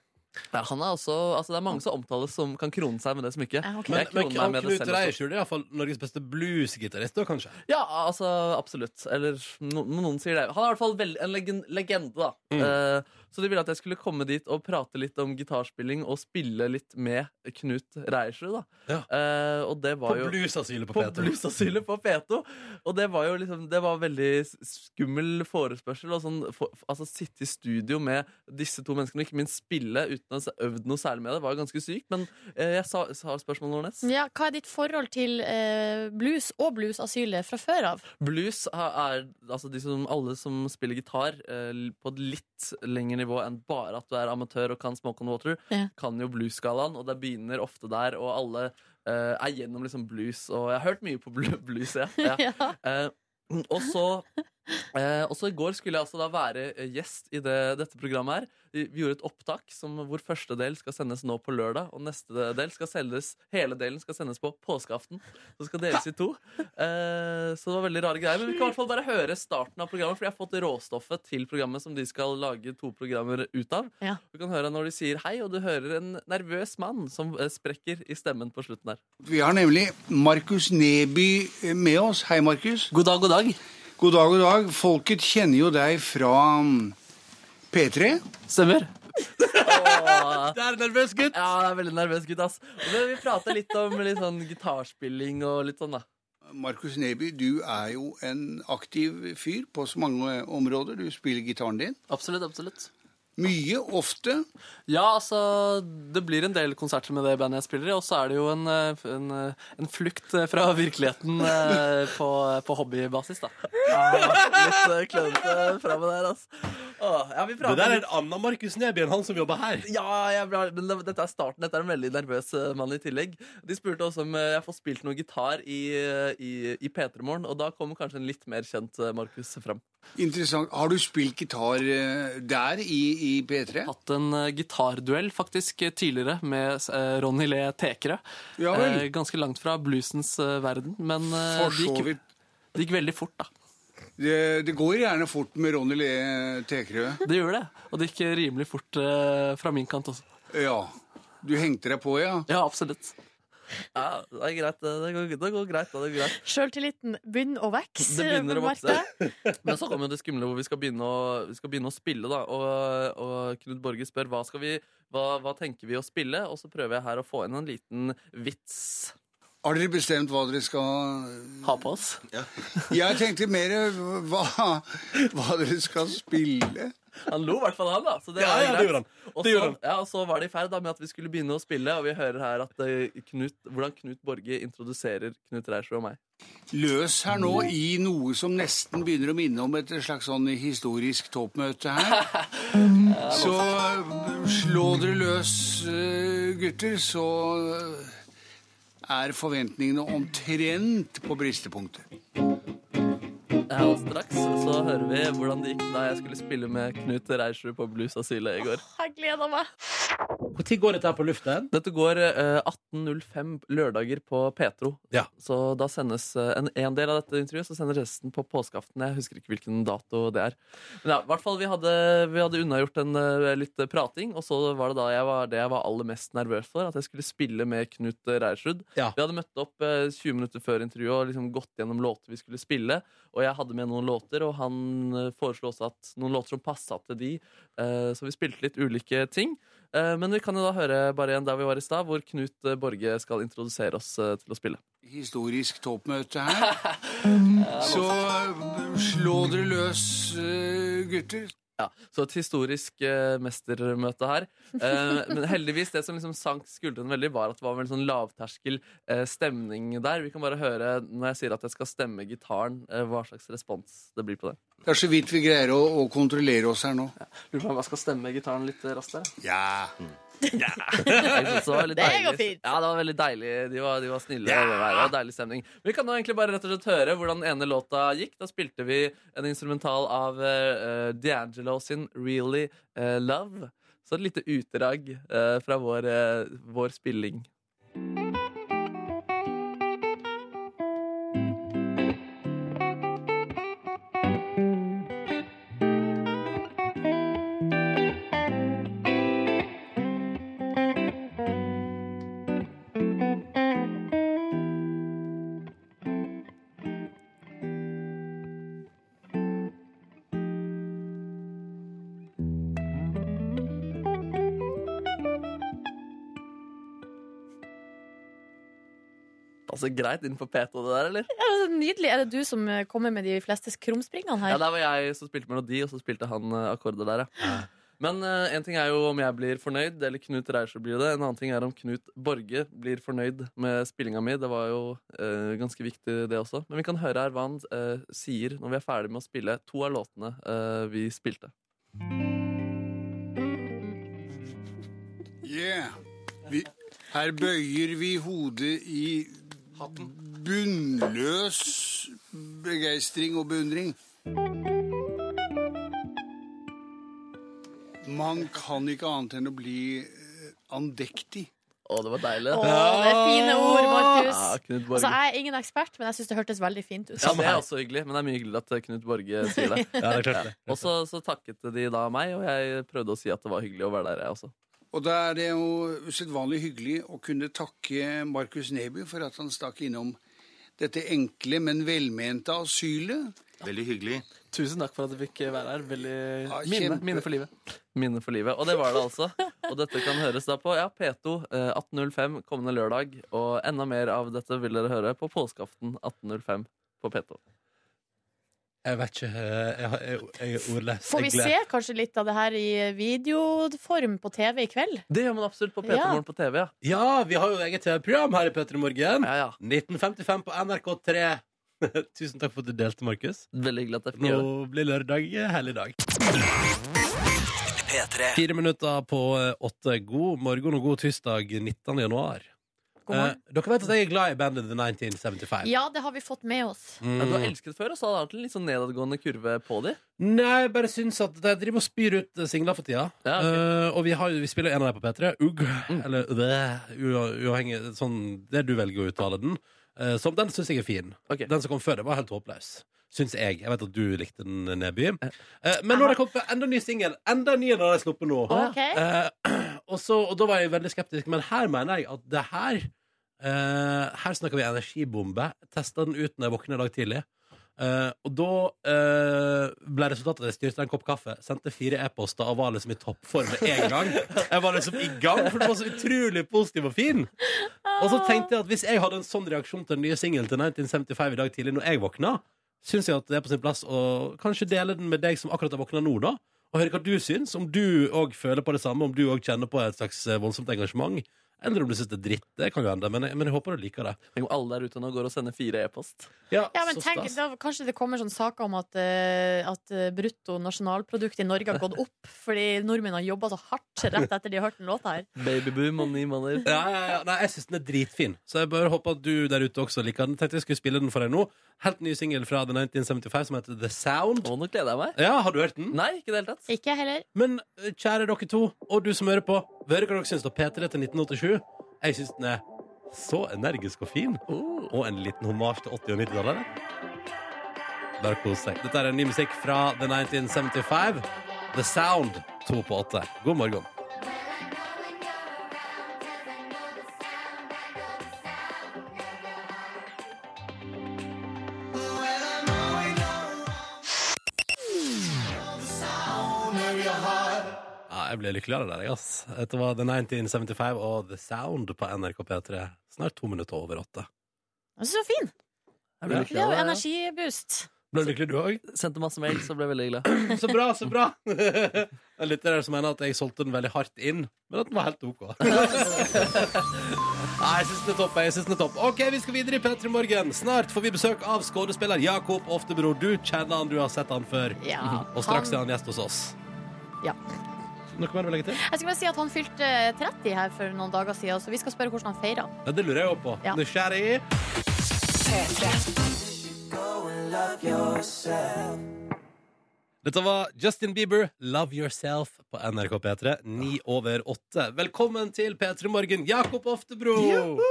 Speaker 2: Ja, han er også, altså, det er mange som omtales som kan krone seg med det smykket.
Speaker 3: Ja, Eh, ok.
Speaker 1: Men,
Speaker 2: Jeg
Speaker 1: men
Speaker 2: kroner meg
Speaker 1: han
Speaker 2: med det
Speaker 1: Knut
Speaker 2: selv altså. også.
Speaker 1: Reierskjul er iallfall Norges beste bluesgitarist, da, kanskje?
Speaker 2: Ja, altså, absolutt. Eller no, noen sier det. Han er i hvert fall vel, en legen- legende, da.
Speaker 1: Mm.
Speaker 2: Eh, så de ville at jeg skulle komme dit og prate litt om gitarspilling og spille litt med Knut Reiersrud, da.
Speaker 1: Ja.
Speaker 2: Eh, og det
Speaker 1: På
Speaker 2: var jo
Speaker 1: bluesasylet på
Speaker 2: på
Speaker 1: P2.
Speaker 2: bluesasylet på P2. Og det var jo liksom Det var veldig s- skummel forespørsel. Og sånn, for, altså Sitte i studio med disse to menneskene, og ikke minst spille uten å ha øvd noe særlig med det, var jo ganske sykt. Men eh, jeg sa, sa spørsmålet, Nordnes.
Speaker 3: Ja, hva er ditt forhold til eh, blues og bluesasylet fra før av?
Speaker 2: Blues ha- er altså de som, alle som spiller gitar eh, l- på et litt lengre nivå enn bare at du er amatør og kan Smoke on Water,
Speaker 3: Ja.
Speaker 2: kan jo blues-skalaen, og det begynner ofte der, og alle eh, er gjennom liksom blues, og jeg har hørt mye på blu- blues, jeg. Ja.
Speaker 3: Ja.
Speaker 2: Eh, og så eh, Og så i går skulle jeg altså da være eh, gjest i det, dette programmet her. Vi vi gjorde et opptak som, hvor første del skal sendes nå på lørdag, og neste del skal sendes hele delen skal sendes på påskeaften. Så skal deles i to. Eh, så det var veldig rare greier. Men vi kan i hvert fall bare høre starten av programmet, for jeg har fått råstoffet til programmet som de skal lage to programmer ut av.
Speaker 3: Ja.
Speaker 2: Du kan høre når de sier hei, og du hører en nervøs mann som eh, sprekker i stemmen på slutten der.
Speaker 7: Vi har nemlig Markus Neby eh, med oss. Hei, Markus.
Speaker 2: God dag, god dag.
Speaker 7: God dag, god dag. Folket kjenner jo deg fra mm, P3.
Speaker 2: Stemmer. Åh.
Speaker 1: Det er en nervøs gutt!
Speaker 2: Ja, jeg er veldig nervøs gutt, ass. Men vi prater litt om litt sånn gitarspilling og litt sånn, da.
Speaker 7: Markus Neby, du er jo en aktiv fyr på så mange områder. Du spiller gitaren din.
Speaker 2: Absolutt, absolutt.
Speaker 7: Mye, ofte.
Speaker 2: Ja, altså, det blir en del konserter med det bandet jeg spiller i, og så er det jo en, eh, en, eh, en flukt eh, fra virkeligheten eh, på, på hobbybasis, da. Litt eh, klønete framme der, ass. Åh, ja, vi
Speaker 1: Det der
Speaker 2: prater
Speaker 1: er en annen Markus Neby enn han som jobber her.
Speaker 2: Ja, jeg ble, men det- dette er starten. Dette er en veldig nervøs eh, mann i tillegg. De spurte også om eh, jeg får spilt noe gitar i, eh, i, i P3 Morgen, og da kommer kanskje en litt mer kjent eh, Markus fram.
Speaker 7: Interessant. Har du spilt gitar eh, der i, i P3?
Speaker 2: hatt en eh, gitarduell faktisk eh, tidligere med eh, Ronny Le Tekerø.
Speaker 7: Ja vel.
Speaker 2: Eh, ganske langt fra bluesens eh, verden, men eh,
Speaker 7: For
Speaker 2: det,
Speaker 7: så
Speaker 2: gikk,
Speaker 7: vidt.
Speaker 2: det gikk veldig fort, da.
Speaker 7: Det, det går gjerne fort med Ronny Le Tekerø.
Speaker 2: Det gjør det. Og det gikk eh, rimelig fort eh, fra min kant også.
Speaker 7: Ja. Du hengte deg på, ja?
Speaker 2: Ja, absolutt. Ja, det er greit. Det det går, det går greit, da. Det går greit.
Speaker 3: Sjøltilliten begynner å vokse.
Speaker 2: Det begynner å
Speaker 3: merker
Speaker 2: vokse.
Speaker 3: jeg.
Speaker 2: Men så kommer jo det skumle hvor vi skal begynne å, vi skal begynne å spille, da. Og, og Knut Borge spør hva skal vi hva, hva tenker vi å spille, og så prøver jeg her å få inn en liten vits.
Speaker 7: Har dere bestemt hva dere skal
Speaker 2: Ha på oss.
Speaker 7: Jeg tenkte mer hva, hva dere skal spille.
Speaker 2: Han lo i hvert fall, han, da. Så det
Speaker 1: Ja,
Speaker 2: er
Speaker 1: ja, det
Speaker 2: greit.
Speaker 1: gjorde han.
Speaker 2: Og
Speaker 1: Det
Speaker 2: så-
Speaker 1: gjorde han.
Speaker 2: Ja, og så var det i ferd da, med at vi skulle begynne å spille, og vi hører her at eh, Knut, hvordan Knut Borge introduserer Knut Reiersrud og meg.
Speaker 7: Løs her nå i noe som nesten begynner å minne om et slags sånn historisk toppmøte her. Så slå dere løs, eh, gutter, så er forventningene omtrent på bristepunktet.
Speaker 2: Ja, og straks så hører vi hvordan det gikk da jeg skulle spille med Knut Reiersrud på Bluesasylet i går.
Speaker 6: Jeg gleder meg.
Speaker 1: Når går dette her på lufta? igjen?
Speaker 2: Dette går eh, 18.05 lørdager på Petro.
Speaker 1: Ja.
Speaker 2: Så da sendes eh, en, en del av dette intervjuet, så sendes resten på påskeaften. Jeg husker ikke hvilken dato det er. Men ja, i hvert fall vi hadde, vi hadde unnagjort en eh, litt prating, og så var det da jeg var, det jeg var aller mest nervøs for, at jeg skulle spille med Knut Reiersrud.
Speaker 1: Ja.
Speaker 2: Vi hadde møtt opp eh, 20 minutter før intervjuet og liksom gått gjennom låter vi skulle spille, og jeg hadde med noen låter, og han eh, foreslo også at noen låter som passa til de, eh, så vi spilte litt ulike ting. Eh, Men vi kan jo da høre bare igjen der vi var i stad, hvor Knut eh, Borge skal introdusere oss eh, til å spille.
Speaker 7: Historisk toppmøte her. Så slå dere løs, eh, gutter.
Speaker 2: Ja, Så et historisk eh, mestermøte her. Eh, men heldigvis, det som liksom sank skuldrene veldig, var at det var en veldig sånn lavterskel eh, stemning der. Vi kan bare høre når jeg sier at jeg skal stemme gitaren, eh, hva slags respons det blir på det.
Speaker 7: Det er så vidt vi greier å, å kontrollere oss her nå.
Speaker 2: Lurer på om jeg skal stemme gitaren litt eh, raskt der.
Speaker 7: Ja.
Speaker 2: Jeg synes det var veldig
Speaker 3: Det går
Speaker 2: deilig.
Speaker 3: fint.
Speaker 2: Ja, det var veldig deilig. De var, de var snille. og det var- det var deilig stemning. Vi kan da egentlig bare rett og slett høre hvordan den ene låta gikk. Da spilte vi en instrumental av eh, D'Angelo sin 'Really eh, Love'. Så et lite utdrag eh, fra vår, eh, vår spilling. Altså greit innenfor P2, det der, eller?
Speaker 6: Ja, det er nydelig. Er det du som eh, kommer med de fleste krumspringene
Speaker 2: Ja,
Speaker 6: her?
Speaker 2: der var jeg som spilte melodi, og så spilte han eh, akkorder der, ja. Men eh, en ting er jo om jeg blir fornøyd, eller Knut Reiersrud blir det. En annen ting er om Knut Borge blir fornøyd med spillinga mi. Det var jo eh, ganske viktig, det også. Men vi kan høre her hva han eh, sier når vi er ferdig med å spille to av låtene eh, vi spilte.
Speaker 7: Yeah. Vi, her bøyer vi hodet i bunnløs begeistring og beundring. Man kan ikke annet enn å bli eh, andektig.
Speaker 2: Å, det var deilig.
Speaker 6: Å, det er fine ord, Markus.
Speaker 2: Ja, Knut
Speaker 6: Altså,
Speaker 2: Borge.
Speaker 6: jeg er ingen ekspert, men jeg syns det hørtes veldig fint ut.
Speaker 2: Ja, det er også hyggelig, men det er mye hyggelig at eh, Knut Borge sier det.
Speaker 1: Ja, det er klart det.
Speaker 2: Og så så takket de da meg, og jeg prøvde å si at det var hyggelig å være der, jeg også.
Speaker 7: Og da er det jo usedvanlig hyggelig å kunne takke Markus Neby for at han stakk innom dette enkle, men velmente asylet.
Speaker 8: Veldig hyggelig.
Speaker 2: Tusen takk for at du fikk være her. Veldig
Speaker 7: Ja, Minne- kjempe. minne
Speaker 2: for livet. Minne for livet, Og det var det altså. Og dette kan høres da på ja, P2 eh, 1805 kommende lørdag. Og enda mer av dette vil dere høre på påskeaften 1805 på P2.
Speaker 1: Jeg vet ikke. eh, Jeg, har- jeg, jeg er ordløs.
Speaker 2: altså
Speaker 3: Får vi
Speaker 1: Jeg gleder-
Speaker 3: se kanskje litt av det her i videoform på TV i kveld?
Speaker 2: Det gjør man absolutt på P2
Speaker 3: Ja.
Speaker 2: Morgen på TV. ja.
Speaker 1: Ja, vi har jo eget TV-program her i P3 Morgen.
Speaker 2: Ja, ja.
Speaker 1: 1955 på NRK3. Tusen takk for at du delte, Markus.
Speaker 2: Veldig hyggelig at jeg fikk gjøre det.
Speaker 1: Nå blir lørdag hellig dag. Fire minutter på eh, åtte. God morgen og god tirsdag 19. januar.
Speaker 3: God morgen.
Speaker 1: Eh, dere vet at jeg er glad i bandet The 1975.
Speaker 3: Ja, det har vi fått med oss.
Speaker 2: Ja, du har
Speaker 1: Mm.
Speaker 2: elsket før, og så har det vært en litt sånn nedadgående kurve på de.
Speaker 1: Nei, jeg bare syns at de driver og spyr ut eh, singler for tida.
Speaker 2: Ja, ok. Mm.
Speaker 1: Eh, og vi, har, jo- vi spiller en av dem på P3, Ugg, eller The, ua- uavhengig sånn, Det du velger å uttale den. Eh, som den syns jeg er fin.
Speaker 2: Ok.
Speaker 1: Den som kom før det, var helt håpløs. Syns jeg. Jeg vet at du likte den, Neby. Eh, men nå har det kommet med enda en ny singel. Enda en ny enn den de har sluppet nå.
Speaker 3: Ok?
Speaker 1: Eh, og, så, og da var jeg veldig skeptisk, men her mener jeg at det her eh, Her snakker vi energibombe. Testa den ut når jeg våkna i dag tidlig. Eh, og da eh, ble resultatet at jeg styrte en kopp kaffe, sendte fire e-poster og var liksom i toppform med en gang. Jeg var liksom i gang, for det var så utrolig positiv og fin. Og så tenkte jeg at hvis jeg hadde en sånn reaksjon til den nye singelen til 1975 i dag tidlig når jeg våkna, syns jeg at det er på sin plass å kanskje dele den med deg som akkurat har våkna nå, da. Og høre hva du syns, om du òg føler på det samme, om du òg kjenner på et slags eh, voldsomt engasjement. Eller om du syns det er dritt. Det kan jo hende, men jeg, men jeg håper du liker det.
Speaker 2: Tenk om alle der ute nå går og sender fire e-post.
Speaker 6: Ja, men
Speaker 1: så
Speaker 6: tenk,
Speaker 1: stas.
Speaker 6: da, Kanskje det kommer
Speaker 3: sånn
Speaker 6: sånne saker om at, eh, at eh, brutto nasjonalprodukt i Norge har gått opp fordi nordmenn har jobba så hardt rett etter de har hørt den låta her.
Speaker 2: Babyboom om ni måneder.
Speaker 1: Ja, ja, ja. Nei, jeg syns den er dritfin, så jeg bare håper at du der ute også liker den. Tenkte jeg skulle spille den for deg nå. Helt ny singel fra The 1975 som heter The Sound.
Speaker 2: Å, nå gleder jeg meg.
Speaker 1: Ja, har du hørt den?
Speaker 2: Nei, ikke i det hele tatt.
Speaker 3: Ikke jeg heller.
Speaker 1: Men eh, kjære dere to, og du som hører på, hør hva dere syns om P3 til 1987. Jeg syns den er så energisk og fin, og en liten hommage til 80- og 90-tallet. Bare kos deg. Dette er ny musikk fra The 1975. The Sound, to på åtte. God morgen. Ja, jeg ble lykkelig av det der, jeg, ass. Dette var The 1975 og The Sound på NRK P3. Snart to minutter over åtte.
Speaker 3: Jeg synes det var fin.
Speaker 2: Jeg ble
Speaker 3: Det er
Speaker 2: lykkelig av
Speaker 3: jo
Speaker 2: det, ja.
Speaker 3: energiboost.
Speaker 1: Ble du lykkelig, du òg?
Speaker 2: Sendte masse mail, så ble jeg veldig glad.
Speaker 1: Så bra, så bra! Det er litt der som mener at jeg solgte den veldig hardt inn, men at den var helt OK. Nei, jeg syns den er topp. jeg synes den er topp OK, vi skal videre i P3 Morgen. Snart får vi besøk av skuespiller Jakob Oftebro. Du kjenner han, du har sett han før.
Speaker 3: Ja,
Speaker 1: Og straks er han gjest hos oss.
Speaker 3: Ja.
Speaker 1: Noe mer du vil legge til?
Speaker 3: Jeg skal bare si at han fylte 30 her for noen dager siden, så vi skal spørre hvordan han feira.
Speaker 1: Ja, det lurer jeg jo på.
Speaker 3: Ja.
Speaker 1: Nysgjerrig. Dette var Justin Bieber, 'Love Yourself', på NRK P3. Ni over åtte. Velkommen til P3 Morgen, Jakob Oftebro! Og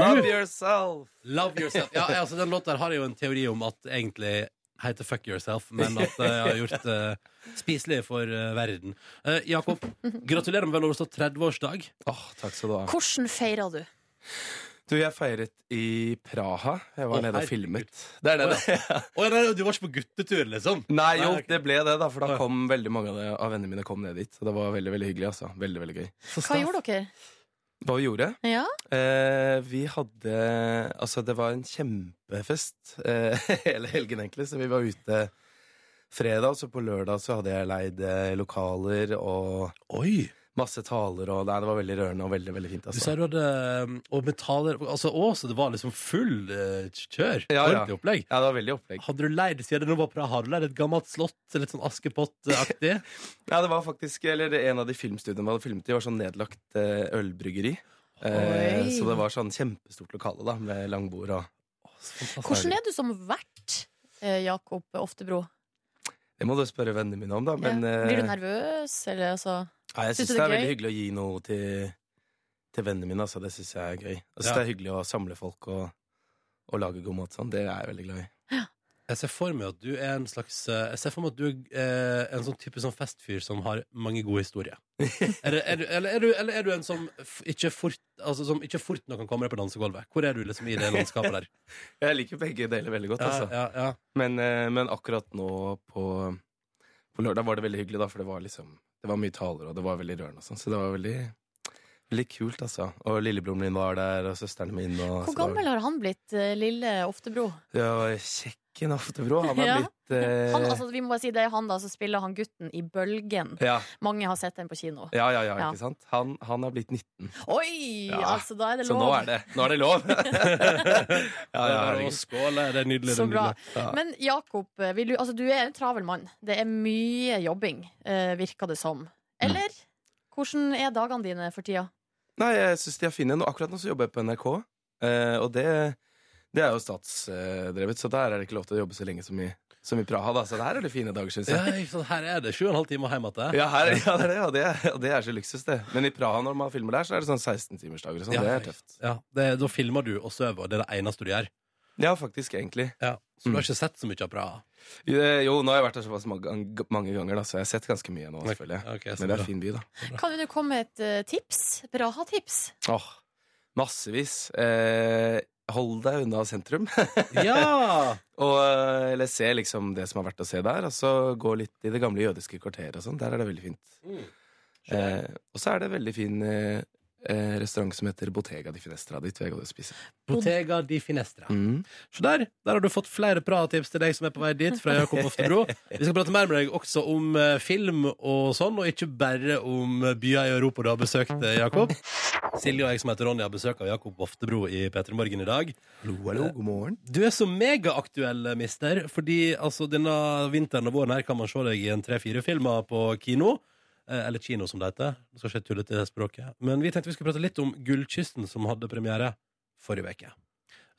Speaker 2: Love
Speaker 1: du
Speaker 2: yourself!
Speaker 1: Love Yourself. Ja, altså, den låta her har jeg jo en teori om at egentlig heter Fuck Yourself, men at jeg har gjort det spiselig for eh, verden. Eh, Jakob, gratulerer med vel overstått 30-årsdag.
Speaker 8: Åh, takk skal du ha.
Speaker 3: Hvordan feira du?
Speaker 8: Du, jeg feiret i Praha. Jeg var
Speaker 1: Å,
Speaker 8: nede
Speaker 1: herregud.
Speaker 8: og filmet. Det er det, det.
Speaker 1: Å, nei, du var ikke på guttetur, liksom?
Speaker 8: Nei, jo,
Speaker 1: Nei, ok.
Speaker 8: det ble det, da, for
Speaker 1: Ja.
Speaker 8: da kom veldig mange av, det, av vennene mine kom ned dit. Og det var veldig veldig hyggelig. altså. Veldig, veldig gøy.
Speaker 3: Hva gjorde dere?
Speaker 8: Hva vi gjorde?
Speaker 3: Ja?
Speaker 8: Eh, vi hadde Altså, det var en kjempefest eh, hele helgen, egentlig. Så vi var ute fredag, og så på lørdag så hadde jeg leid eh, lokaler og
Speaker 1: Oi!
Speaker 8: masse taler. og Nei, det var veldig rørende og veldig veldig fint.
Speaker 1: Du
Speaker 8: altså.
Speaker 1: sa du hadde um, Og metaller Altså å, så det var liksom full eh, kjør.
Speaker 8: Ja, ja.
Speaker 1: Ordentlig opplegg.
Speaker 8: Ja, det var veldig opplegg.
Speaker 1: Hadde du leid siden det nå var fra Har du leid et gammelt slott? Litt sånn Askepott-aktig?
Speaker 8: Ja, det var faktisk, eller en av de filmstudiene vi hadde filmet i, var sånn nedlagt eh, ølbryggeri. Eh,
Speaker 3: Oi.
Speaker 8: så det var sånn kjempestort lokale da, med langbord og
Speaker 3: Hvordan er du som vert, eh, Jakob Oftebro?
Speaker 8: Det må du spørre vennene mine om, da. Men
Speaker 3: ja. Blir du
Speaker 8: eh,
Speaker 3: nervøs, eller altså
Speaker 8: nei, jeg
Speaker 3: Synes
Speaker 8: syns
Speaker 3: du
Speaker 8: det
Speaker 3: det er
Speaker 8: er veldig
Speaker 3: gøy?
Speaker 8: hyggelig å gi noe til, til vennene mine. Altså, det syns jeg er gøy. Jeg synes
Speaker 1: Ja.
Speaker 8: Det er hyggelig å samle folk og, og lage god mat sånn. Det er jeg veldig glad i.
Speaker 1: Jeg ser for meg at du er en slags eh, Jeg ser for meg at du er eh, en sånn type sånn festfyr som har mange gode historier. er det, er du, eller, er du, eller er du en som f- ikke fort Altså som ikke fort nok kan komme deg på dansegulvet? Hvor er du liksom i det landskapet der?
Speaker 8: Jeg liker begge deler veldig godt,
Speaker 1: Ja,
Speaker 8: altså.
Speaker 1: ja, ja.
Speaker 8: Men, eh, men akkurat nå på, på lørdag var det veldig hyggelig, da, for det var liksom Det var mye taler, og det var veldig rørende og sånn. Så det var veldig Veldig kult, altså. Og lillebroren min var der, og søsteren min. Og,
Speaker 3: Hvor gammel har han blitt, eh, lille Oftebro?
Speaker 8: Ja, Kjekken Oftebro. Han er
Speaker 3: Ja.
Speaker 8: blitt eh,
Speaker 3: Han, altså, vi må bare si det er han da, så spiller han gutten i Bølgen.
Speaker 8: ja,
Speaker 3: Mange har sett den på kino.
Speaker 8: ja, ja, ja,
Speaker 3: Ja.
Speaker 8: ikke sant? Han, han er blitt 19.
Speaker 3: Oi!
Speaker 8: Ja.
Speaker 3: Altså, da er det
Speaker 8: Så
Speaker 3: lov.
Speaker 8: nå er det, nå er det lov! ja, ja,
Speaker 1: Å,
Speaker 8: herregud.
Speaker 1: skål, det er nydelig. det
Speaker 3: Så
Speaker 1: er
Speaker 3: bra.
Speaker 1: nydelig.
Speaker 8: Ja.
Speaker 3: Men Jakob, vil du, altså, du er en travel mann. Det er mye jobbing, eh, virker det
Speaker 8: Mm.
Speaker 3: som. Eller? Hvordan er dagene dine for tida?
Speaker 8: Nei, jeg syns de er fine. Nå, akkurat nå så jobber jeg på NRK, eh, og det, det er jo statsdrevet, så der er det ikke lov til å jobbe så lenge som i, som i Praha, da. Så der er det fine dager, syns jeg.
Speaker 1: Ja, ikke sant? Her er det sju og en halv time hjem igjen.
Speaker 8: Ja, her, ja, det er det, og det, er- og det er så luksus, det. Men i Praha, når man filmer der, så er det sånn 16-timersdager og sånn.
Speaker 1: Ja,
Speaker 8: det er
Speaker 1: ikke
Speaker 8: tøft.
Speaker 1: Ja, det, da filmer du og sover, og det er det eneste du gjør.
Speaker 8: Ja, faktisk, egentlig.
Speaker 1: Så du
Speaker 8: Mm.
Speaker 1: har ikke sett så mye av Praha?
Speaker 8: Eh, Jo, nå har jeg vært der såpass mange, gang- mange ganger, da, så jeg har sett ganske mye nå, selvfølgelig.
Speaker 1: Ok, så
Speaker 8: Men det er
Speaker 1: bra.
Speaker 8: en fin by, da.
Speaker 3: Kan du komme med et eh, tips? Braha-tips?
Speaker 8: Åh, massevis. Eh, hold deg unna sentrum,
Speaker 1: Ja!
Speaker 8: og, eh, eller se liksom det som har vært å se der, og så gå litt i det gamle jødiske kvarteret og sånn. Der er det veldig fint.
Speaker 1: Mm.
Speaker 8: Eh, og så er det veldig fin eh, eh, restaurant som heter Bottega di Finestra. Dit vil jeg gå og spise.
Speaker 1: Bottega di Finestra.
Speaker 8: Mm.
Speaker 1: Så der, der har du fått flere pratips til deg som er på vei dit fra Jakob Oftebro. Vi skal prate mer med deg også om eh, film og sånn, og ikke bare om eh, byer i Europa du har besøkt, eh, Jakob. Silje og jeg som heter Ronny har besøk av Jakob Oftebro i P3 Morgen i dag.
Speaker 8: Hallo, hallo, god morgen.
Speaker 1: Du er så megaaktuell, mister, fordi altså, denne vinteren og våren her kan man se deg i en tre-fire filmer på kino. Eh, Eller kino, som det heter. Nå skal ikke jeg tulle til det språket. Men vi tenkte vi skulle prate litt om Gullkysten, som hadde premiere forrige uke.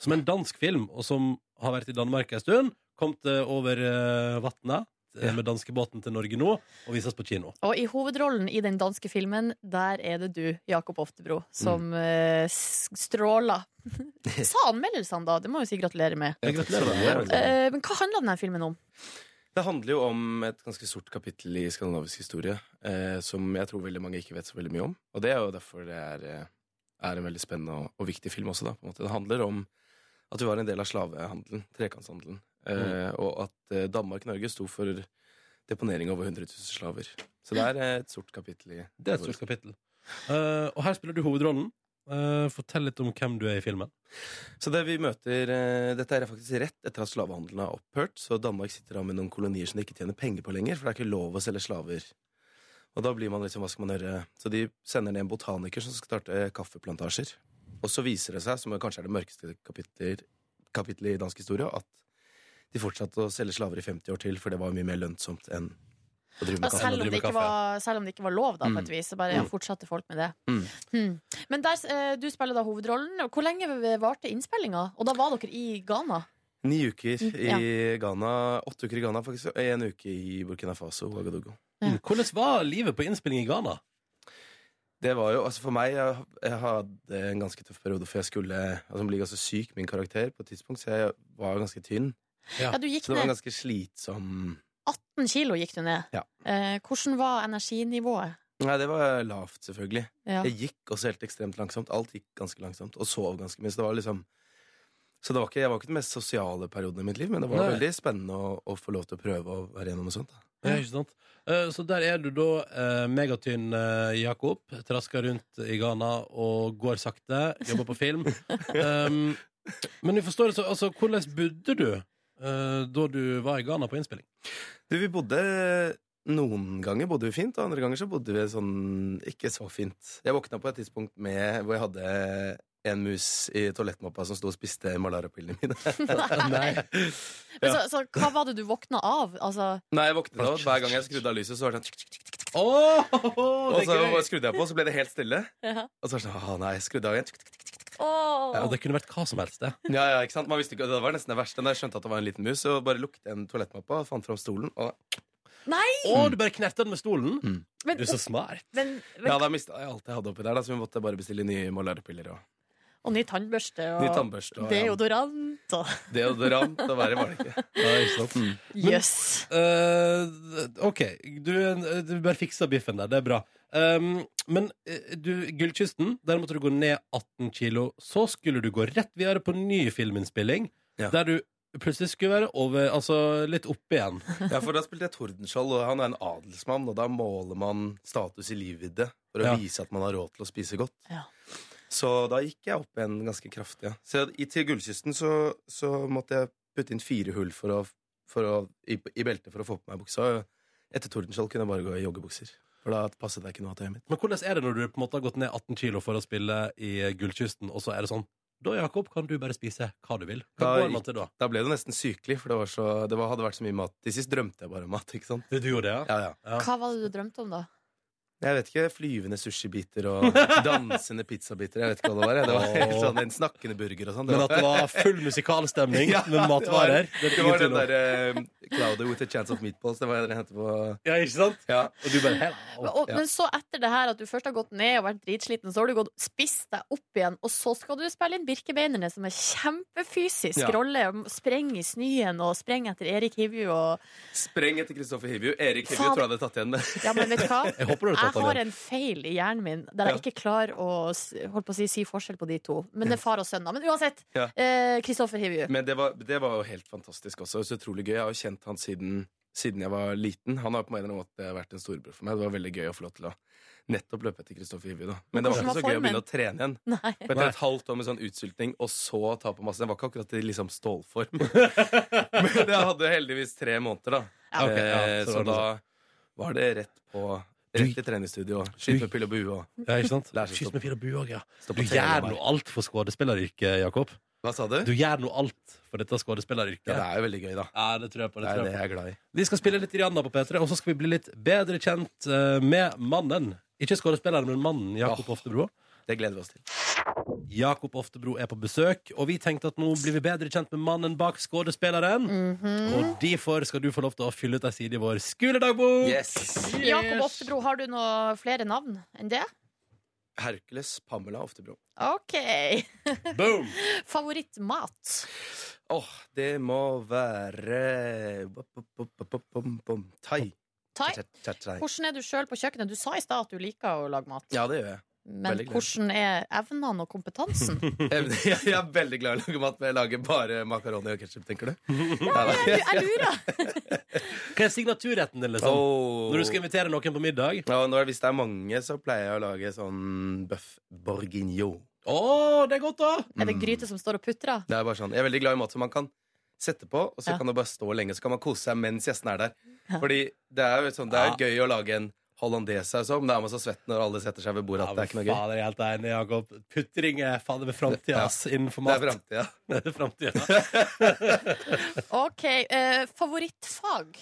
Speaker 1: Som en dansk film, og som har vært i Danmark en stund. Kommet eh, over eh, vatnet eh, med danskebåten til Norge nå, og vises på kino.
Speaker 3: Og i hovedrollen i den danske filmen, der er det du, Jakob Oftebro,
Speaker 8: Mm.
Speaker 3: som eh, s- stråler. Sa anmeldelsene, da? Det må vi si gratulerer med.
Speaker 8: Jeg gratulerer.
Speaker 3: Eh, men hva handler denne filmen om?
Speaker 8: Det handler jo om et ganske sort kapittel i skandinavisk historie eh, som jeg tror veldig mange ikke vet så veldig mye om. Og det er jo derfor det er, eh, er en veldig spennende og, og viktig film også. Da, på en måte. Det handler om at vi var en del av slavehandelen, trekantshandelen, eh,
Speaker 1: Mm.
Speaker 8: og at eh, Danmark-Norge sto for deponering av over 100 000 slaver. Så det er eh, et sort kapittel i
Speaker 1: Det er et stort kapittel. Eh, og her spiller du hovedrollen. Eh, fortell litt om hvem du er i filmen.
Speaker 8: Så det vi møter, eh, Dette er faktisk rett etter at slavehandelen har opphørt. Så Danmark sitter da med noen kolonier som de ikke tjener penger på lenger, for det er ikke lov å selge slaver. Og da blir man liksom, hva skal man gjøre? Så de sender ned en botaniker som skal starte eh, kaffeplantasjer. Og så viser det seg, som kanskje er det mørkeste kapitlet kapitlet i dansk historie, at de fortsatte å selge slaver i 50 år til, for det var mye mer lønnsomt enn å drive
Speaker 3: Ja,
Speaker 8: med kaffe.
Speaker 3: selv, om det ikke var, selv om det ikke var lov, da, på
Speaker 8: Mm.
Speaker 3: et vis. Så bare ja, fortsatte folk med det.
Speaker 8: Mm.
Speaker 3: Hmm. Men der, eh, du spiller da hovedrollen. Og Hvor lenge varte innspillinga? Og da var dere i Ghana?
Speaker 8: Ni uker i
Speaker 3: Ja.
Speaker 8: Ghana, åtte uker i Ghana faktisk, og én uke i Burkina Faso. Ouagadougou.
Speaker 3: Ja.
Speaker 1: Hvordan var livet på innspilling i Ghana?
Speaker 8: Det var jo, altså For meg jeg, jeg hadde en ganske tøff periode, for jeg skulle altså bli ganske syk, min karakter, på et tidspunkt, så jeg var ganske tynn.
Speaker 3: Ja, du gikk
Speaker 8: Så det var en
Speaker 3: ned
Speaker 8: ganske slitsom
Speaker 3: 18 kilo. gikk du ned
Speaker 8: Ja.
Speaker 3: eh, Hvordan var energinivået?
Speaker 8: Nei, det var lavt, selvfølgelig.
Speaker 3: Ja.
Speaker 8: Jeg gikk også helt ekstremt langsomt. Alt gikk ganske langsomt, og sov ganske mye. Så det var liksom Så det var ikke, jeg var ikke den mest sosiale perioden i mitt liv, men det var
Speaker 1: Nei.
Speaker 8: veldig spennende å, å få lov til å prøve å være gjennom noe sånt. Da.
Speaker 1: Ja, ikke sant? Eh, Så der er du da eh, megatynn eh, Jakob, trasker rundt i Ghana og går sakte, jobber på film. Um, men jeg forstår det så, altså, hvordan bodde du eh, da du var i Ghana på innspilling?
Speaker 8: Du, vi bodde Noen ganger bodde vi fint, og andre ganger så bodde vi sånn ikke så fint. Jeg våkna på et tidspunkt med hvor jeg hadde en mus i toalettmappa som sto og spiste malariapillene mine.
Speaker 3: Nei. Men så, så hva var det du våkna av? Altså,
Speaker 8: Nei, jeg våknet av Hver gang jeg skrudde av lyset, så var det sånn tikk, tikk, tikk, tikk.
Speaker 1: Åh,
Speaker 8: Og
Speaker 1: det
Speaker 8: så
Speaker 1: er gøy!
Speaker 8: skrudde jeg på, så ble det helt stille.
Speaker 3: Ja.
Speaker 8: Og så var det sånn Å nei, jeg skrudde av igjen. Tikk, tikk, tikk.
Speaker 3: åh.
Speaker 1: Ja, det kunne vært hva som helst, det.
Speaker 8: Ja, ja, ikke sant? Man visste ikke, Det var nesten det verste. Da jeg skjønte at det var en liten mus, så bare lukket jeg en toalettmappe og fant fram stolen. Og
Speaker 1: Å, du bare knerta den med stolen?
Speaker 8: Mm.
Speaker 3: Men-
Speaker 1: Du er så smart.
Speaker 3: Men,
Speaker 8: ja,
Speaker 3: men,
Speaker 8: da mista jeg alt jeg hadde oppi der, da, så vi måtte bare bestille nye malariapiller og
Speaker 3: og ny tannbørste
Speaker 8: ny
Speaker 3: og
Speaker 8: tannbørste. og-
Speaker 3: deodorant og
Speaker 8: Deodorant og Mm. verre var det ikke.
Speaker 1: Ja, ikke sant?
Speaker 3: Jøss.
Speaker 1: Eh, OK, du, er en- du bare fiksa biffen der. Det er bra. Um, men eh, du, Gullkysten, der måtte du gå ned 18 kilo. Så skulle du gå rett videre på ny filminnspilling,
Speaker 8: Ja.
Speaker 1: der du plutselig skulle være over, altså litt oppe igjen.
Speaker 8: Ja, for da spilte jeg Tordenskjold, og han er en adelsmann, og da måler man status i livvidde for å
Speaker 1: Ja.
Speaker 8: vise at man har råd til å spise godt.
Speaker 3: Ja.
Speaker 8: Så da gikk jeg opp igjen ganske kraftig. Ja. Så i, til gullkysten så, så måtte jeg putte inn fire hull for å, for å, i, i beltet for å få på meg buksa. Etter Tordenskjold kunne jeg bare gå i joggebukser. For da passet jeg ikke noe av tøyet mitt.
Speaker 1: Men hvordan er det når du på en måte har gått ned 18 kilo for å spille i Gullkysten, og så er det sånn Da, Jakob, kan du bare spise hva du vil. Hva
Speaker 8: Da
Speaker 1: går man til da?
Speaker 8: Da ble det nesten sykelig, for det, var så, det var, hadde vært så mye mat. Til sist drømte jeg bare om mat, ikke sant?
Speaker 1: Du gjorde det,
Speaker 8: Ja, ja.
Speaker 3: Hva var det du drømte om, da?
Speaker 8: Jeg vet ikke. Flyvende sushibiter og dansende pizzabiter. Jeg vet ikke hva det var. jeg. Det var helt sånn En snakkende burger og sånn.
Speaker 1: Men at det var full musikalstemning
Speaker 8: Ja,
Speaker 1: med matvarer? er
Speaker 8: det var, det
Speaker 1: ingen
Speaker 8: var
Speaker 1: tvil
Speaker 8: den
Speaker 1: om.
Speaker 8: derre Cloudy with a chance of meatballs. Det var det den het på
Speaker 1: Ja, ikke sant?
Speaker 8: ja.
Speaker 1: Og du bare «Hell, au».
Speaker 3: Men, og,
Speaker 8: ja.
Speaker 3: men så etter det her at du først har gått ned og vært dritsliten, så har du gått spist deg opp igjen, og så skal du spille inn Birkebeinerne, som er kjempefysisk
Speaker 8: Ja.
Speaker 3: rolle. Spreng i snøen og spreng etter Erik Hivju og
Speaker 8: Spreng etter Kristoffer Hivju. Erik Hivju
Speaker 3: Faen.
Speaker 8: tror jeg hadde tatt igjen det.
Speaker 3: Ja, men vet du hva?
Speaker 1: Jeg håper du har tatt
Speaker 3: Jeg
Speaker 1: den
Speaker 3: har
Speaker 1: igjen.
Speaker 3: en feil i hjernen min der jeg
Speaker 8: Ja.
Speaker 3: ikke klarer å s- holdt på å si, si forskjell på de to. Men det er far og sønn, da. Men uansett.
Speaker 8: Ja.
Speaker 3: eh, Kristoffer Hivju.
Speaker 8: Men det var, det var jo helt fantastisk også. Så utrolig gøy. Jeg har jo kjent han siden siden jeg var liten. Han har på en eller annen måte vært en storebror for meg. Det var veldig gøy å få lov til å nettopp løpe etter Kristoffer Ivju. da. Men det
Speaker 3: Hvordan
Speaker 8: var ikke
Speaker 3: var
Speaker 8: så gøy å
Speaker 3: formen?
Speaker 8: begynne å trene igjen.
Speaker 3: Nei.
Speaker 8: For etter et halvt år med sånn utsultning, og så ta på masse Det var ikke akkurat i liksom stålform. Men jeg hadde heldigvis tre måneder, da.
Speaker 1: Ja, ok, ja,
Speaker 8: Eh,
Speaker 1: så
Speaker 8: så
Speaker 1: var det sånn.
Speaker 8: da var det rett på Rett i treningsstudio. og Skyte med pil og bue og
Speaker 1: Ja, ikke sant?
Speaker 8: Lærer seg å
Speaker 1: Skyt
Speaker 8: stoppe.
Speaker 1: med pil og bue òg, ja.
Speaker 8: stå
Speaker 1: Du
Speaker 8: på
Speaker 1: gjør
Speaker 8: trening.
Speaker 1: nå alt for skuespilleryrket, Jakob.
Speaker 8: Hva sa du?
Speaker 1: Du gjør nå alt for dette
Speaker 8: Ja, det
Speaker 1: skuespilleryrket.
Speaker 8: er jo veldig gøy, da.
Speaker 1: Ja, det tror jeg på.
Speaker 8: Det
Speaker 1: Det
Speaker 8: er
Speaker 1: tror
Speaker 8: det
Speaker 1: jeg på.
Speaker 8: jeg er glad i.
Speaker 1: Vi skal spille litt Rihanna på P3, og så skal vi bli litt bedre kjent eh, med mannen. Ikke skuespilleren, men mannen Jakob Oftebro.
Speaker 8: Det gleder vi oss til.
Speaker 1: Jakob Oftebro er på besøk, og vi tenkte at nå blir vi bedre kjent med mannen bak skuespilleren. Og derfor skal du få lov til å fylle ut ei side i vår skoledagbok.
Speaker 8: Yes!
Speaker 3: Jakob Oftebro, har du noe flere navn enn det?
Speaker 8: Hercules Pamela Oftebro.
Speaker 3: OK.
Speaker 1: Boom!
Speaker 3: Favorittmat?
Speaker 8: Åh, det må være Bum-bum-bum-bum-bum. Thai.
Speaker 3: Thai?
Speaker 8: Cha-cha-cha-thai.
Speaker 3: Hvordan er du sjøl på kjøkkenet? Du sa i stad at du liker å lage mat.
Speaker 8: Ja, det gjør jeg.
Speaker 3: Men
Speaker 8: veldig glad.
Speaker 3: hvordan er evnene og kompetansen?
Speaker 8: Jeg, jeg er veldig glad i å lage mat, men jeg lager bare makaroni og ketsjup, tenker du?
Speaker 3: Jeg, jeg lurer!
Speaker 1: Hva er signaturretten din, liksom?
Speaker 8: Åh.
Speaker 1: Når du skal invitere noen på middag?
Speaker 8: Sånn. Ja, når, hvis det er mange, så pleier jeg å lage sånn bøff bourguignon.
Speaker 1: Å, det er godt, da!
Speaker 3: Er
Speaker 8: Mm.
Speaker 3: det gryte som står og putrer?
Speaker 8: Det er bare sånn. Jeg er veldig glad i mat som man kan sette på, og så
Speaker 3: Ja.
Speaker 8: kan det bare stå lenge. Så kan man kose seg mens gjestene er der. Fordi det er jo sånn, det er gøy å lage en hollandesaus òg, men da er man så svett når alle setter seg ved bordet at det er ikke noe gøy.
Speaker 1: Fader, jeg er helt enig, Jakob. Putring er fader med framtida,
Speaker 8: Ja.
Speaker 1: ass. Innenfor
Speaker 8: Det
Speaker 1: mat.
Speaker 8: er framtida.
Speaker 1: Det er framtida.
Speaker 3: OK. eh, favorittfag?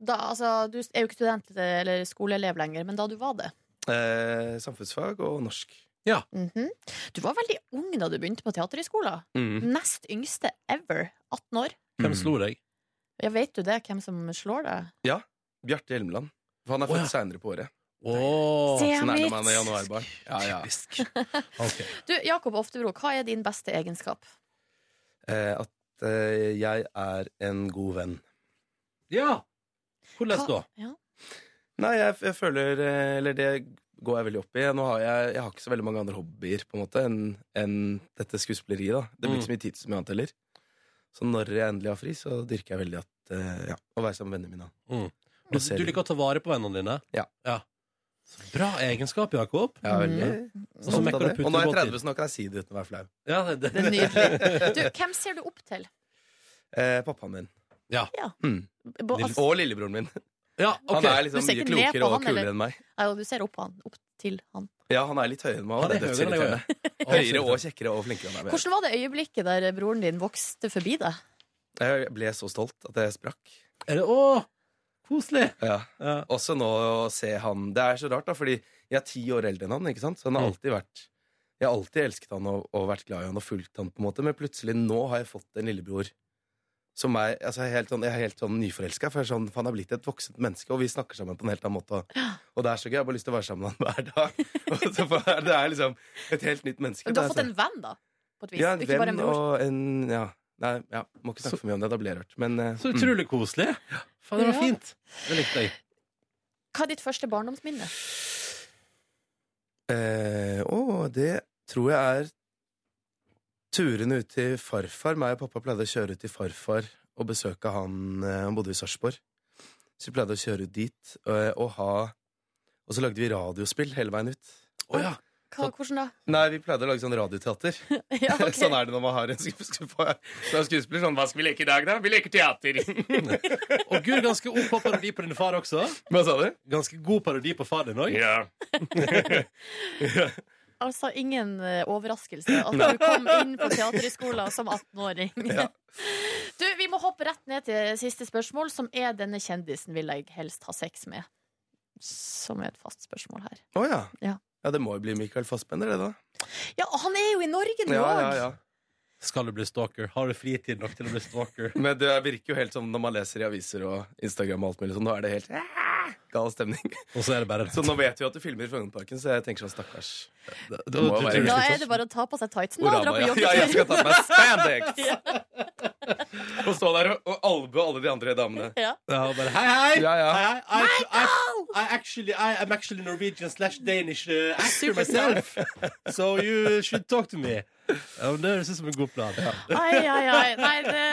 Speaker 3: Da, altså, du er jo ikke student eller skoleelev lenger, men da du var det
Speaker 8: Eh, samfunnsfag og norsk.
Speaker 3: Mhm. Du var veldig ung da du begynte på teaterhøyskolen.
Speaker 8: Mm.
Speaker 3: Nest yngste ever. 18 år.
Speaker 1: Hvem slo deg?
Speaker 3: Ja, Vet du det, hvem som slår deg?
Speaker 8: Bjarte Hjelmeland. For han er
Speaker 1: Å, ja.
Speaker 8: født seinere på året.
Speaker 1: Åh,
Speaker 3: Se.
Speaker 8: Sånn er det når man er
Speaker 3: Mitt.
Speaker 8: januarbarn. Ja, ja.
Speaker 1: Typisk. Ok.
Speaker 3: Du, Jakob Oftebro, hva er din beste egenskap?
Speaker 8: Eh, at eh, jeg er en god venn.
Speaker 1: Ja! Hvordan da?
Speaker 3: Hva- Ja.
Speaker 8: Nei, jeg, jeg føler eh, Eller det går jeg veldig opp i. Nå har jeg, jeg har ikke så veldig mange andre hobbyer på en måte enn enn dette skuespilleriet. da Det blir ikke så mye tid som annet heller. Så når jeg endelig har fri, så dyrker jeg veldig at eh, ja, å være sammen med vennene mine.
Speaker 1: Du,
Speaker 8: ser
Speaker 1: du
Speaker 8: du.
Speaker 1: liker å ta vare på vennene dine?
Speaker 8: Ja.
Speaker 1: Så bra egenskap, Jakob.
Speaker 8: Jeg er
Speaker 3: Mm.
Speaker 8: veldig
Speaker 1: Og så
Speaker 8: stolt
Speaker 1: mekker
Speaker 8: av
Speaker 1: du
Speaker 8: det.
Speaker 1: putter
Speaker 8: Og nå er jeg
Speaker 1: godt i.
Speaker 8: 30, så nå kan jeg si det uten å være flau.
Speaker 1: Ja, det,
Speaker 3: Det er nydelig. Du, hvem ser du opp til?
Speaker 8: Eh, pappaen min.
Speaker 1: Ja.
Speaker 8: Mm.
Speaker 3: Bo, altså,
Speaker 8: Og lillebroren min.
Speaker 1: ja, ok.
Speaker 8: Han er
Speaker 3: Du
Speaker 8: liksom
Speaker 3: ser
Speaker 8: mye
Speaker 3: ikke ned på
Speaker 8: klokere og
Speaker 3: han, eller?
Speaker 8: kulere enn meg.
Speaker 3: ja, jo, du ser opp, han, opp til han.
Speaker 8: Ja, han er litt høyere enn meg.
Speaker 1: Han
Speaker 8: og
Speaker 1: er
Speaker 8: det er
Speaker 1: høyere enn deg, ja.
Speaker 8: dødsinirriterende. Høyere og kjekkere og flinkere enn meg.
Speaker 3: Hvordan var det øyeblikket der broren din vokste forbi deg?
Speaker 8: Jeg ble så stolt at jeg sprakk.
Speaker 1: Er det, å, koselig!
Speaker 8: Ja.
Speaker 1: Ja.
Speaker 8: Også nå å se han Det er så rart, da, fordi jeg er ti år eldre enn han. ikke sant? Så han har
Speaker 1: Mm.
Speaker 8: alltid vært Jeg har alltid elsket han og, og vært glad i han og fulgt han på en måte, men plutselig nå har jeg fått en lillebror som er altså, jeg er helt sånn, Jeg er helt sånn nyforelska, for jeg er sånn, for han er blitt et voksent menneske, og vi snakker sammen på en helt annen måte. Og, og det er så gøy. Jeg har bare lyst til å være sammen med han hver dag. Og så bare- det er liksom et helt nytt menneske.
Speaker 3: Du har
Speaker 8: Det
Speaker 3: fått
Speaker 8: er
Speaker 3: en venn, da. På et
Speaker 8: sånn-
Speaker 3: vis.
Speaker 8: altså- ja, en
Speaker 3: ikke bare en
Speaker 8: venn
Speaker 3: bror.
Speaker 8: og en Ja. Nei, ja, må ikke snakke for mye om det. Da blir jeg rørt. Men eh,
Speaker 1: Så
Speaker 8: mm.
Speaker 1: utrolig koselig. Faen, det var
Speaker 3: Ja.
Speaker 1: fint. Det likte jeg.
Speaker 3: Hva er ditt første barndomsminne?
Speaker 8: Eh, å, det tror jeg er turene ut til farfar. Meg og pappa pleide å kjøre ut til farfar og besøke han. eh, Han bodde i Sarpsborg. Så vi pleide å kjøre ut dit eh, og ha Og så lagde vi radiospill hele veien ut.
Speaker 1: Å ja.
Speaker 3: Hva, hvordan da?
Speaker 8: Nei, vi pleide å lage sånn radioteater.
Speaker 3: Ja, ok.
Speaker 8: Sånn er det når man har en skuespiller. skuespiller sånn, Hva skal vi leke i dag, da? Vi leker teater!
Speaker 1: Og Gud, ganske ung på parodi på din far også.
Speaker 8: Hva sa du?
Speaker 1: Ganske god parodi på far din òg.
Speaker 8: Ja.
Speaker 3: Altså ingen eh, overraskelse at du kom inn på teaterhøyskolen som 18-åring.
Speaker 8: Ja.
Speaker 3: Du, vi må hoppe rett ned til siste spørsmål, som er denne kjendisen vil jeg helst ha sex med. Som er et fast spørsmål her.
Speaker 8: Å ja.
Speaker 3: Ja.
Speaker 8: Ja, det må jo bli Michael Fassbender, det, da.
Speaker 3: Ja, han er jo i Norge nå!
Speaker 8: Ja,
Speaker 3: òg!
Speaker 8: ja, ja.
Speaker 1: Skal du bli stalker? Har du fritid nok til å bli stalker?
Speaker 8: Men det virker jo helt som når man leser i aviser og Instagram og alt mulig sånn, nå er det helt "Ah!" gal stemning.
Speaker 1: Og så er det bare
Speaker 8: Så nå vet vi at du filmer i Frognerparken, så jeg tenker sånn stakkars.
Speaker 1: Da,
Speaker 8: må være
Speaker 3: Da er det bare å ta på seg tightsen og dra
Speaker 8: Orama,
Speaker 3: på
Speaker 8: ja. ja, jeg
Speaker 3: joggetur.
Speaker 8: skal ta på meg spandex! Og stå der og, og albue alle de andre damene.
Speaker 1: Ja, bare, hei, hei!
Speaker 8: Ja, ja.
Speaker 1: hei, hei. I, I, I actually, I am actually Norwegian slash Danish uh, actor myself. So you should talk to me. Ja, men det høres ut som en god plan. Ja.
Speaker 3: Ai, ai, ai. Nei, det,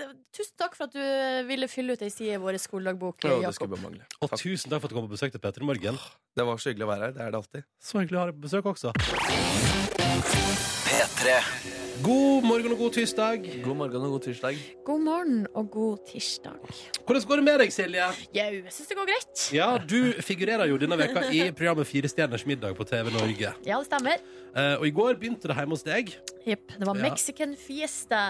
Speaker 3: det, tusen takk for at du ville fylle ut ei side i vår skoledagbok,
Speaker 8: Ja, det skulle
Speaker 3: Jakob.
Speaker 8: bare mangle.
Speaker 1: Og
Speaker 8: Takk.
Speaker 1: tusen takk for at du kom på besøk til Petter i morgen.
Speaker 8: Det var så hyggelig å være her. Det er det alltid.
Speaker 1: Så hyggelig å ha deg på besøk også. God morgen og god tirsdag.
Speaker 2: God morgen og god tirsdag.
Speaker 3: God morgen og god tirsdag.
Speaker 1: Hvordan går det med deg, Silje?
Speaker 3: Jau, jeg syns det går greit.
Speaker 1: Ja, Du figurerer jo denne veka i programmet Fire stjerners middag på TV Norge.
Speaker 3: Ja, det stemmer.
Speaker 1: Eh, og i går begynte det hjemme hos deg.
Speaker 3: Jepp. Det var
Speaker 1: Ja.
Speaker 3: Mexican fiesta.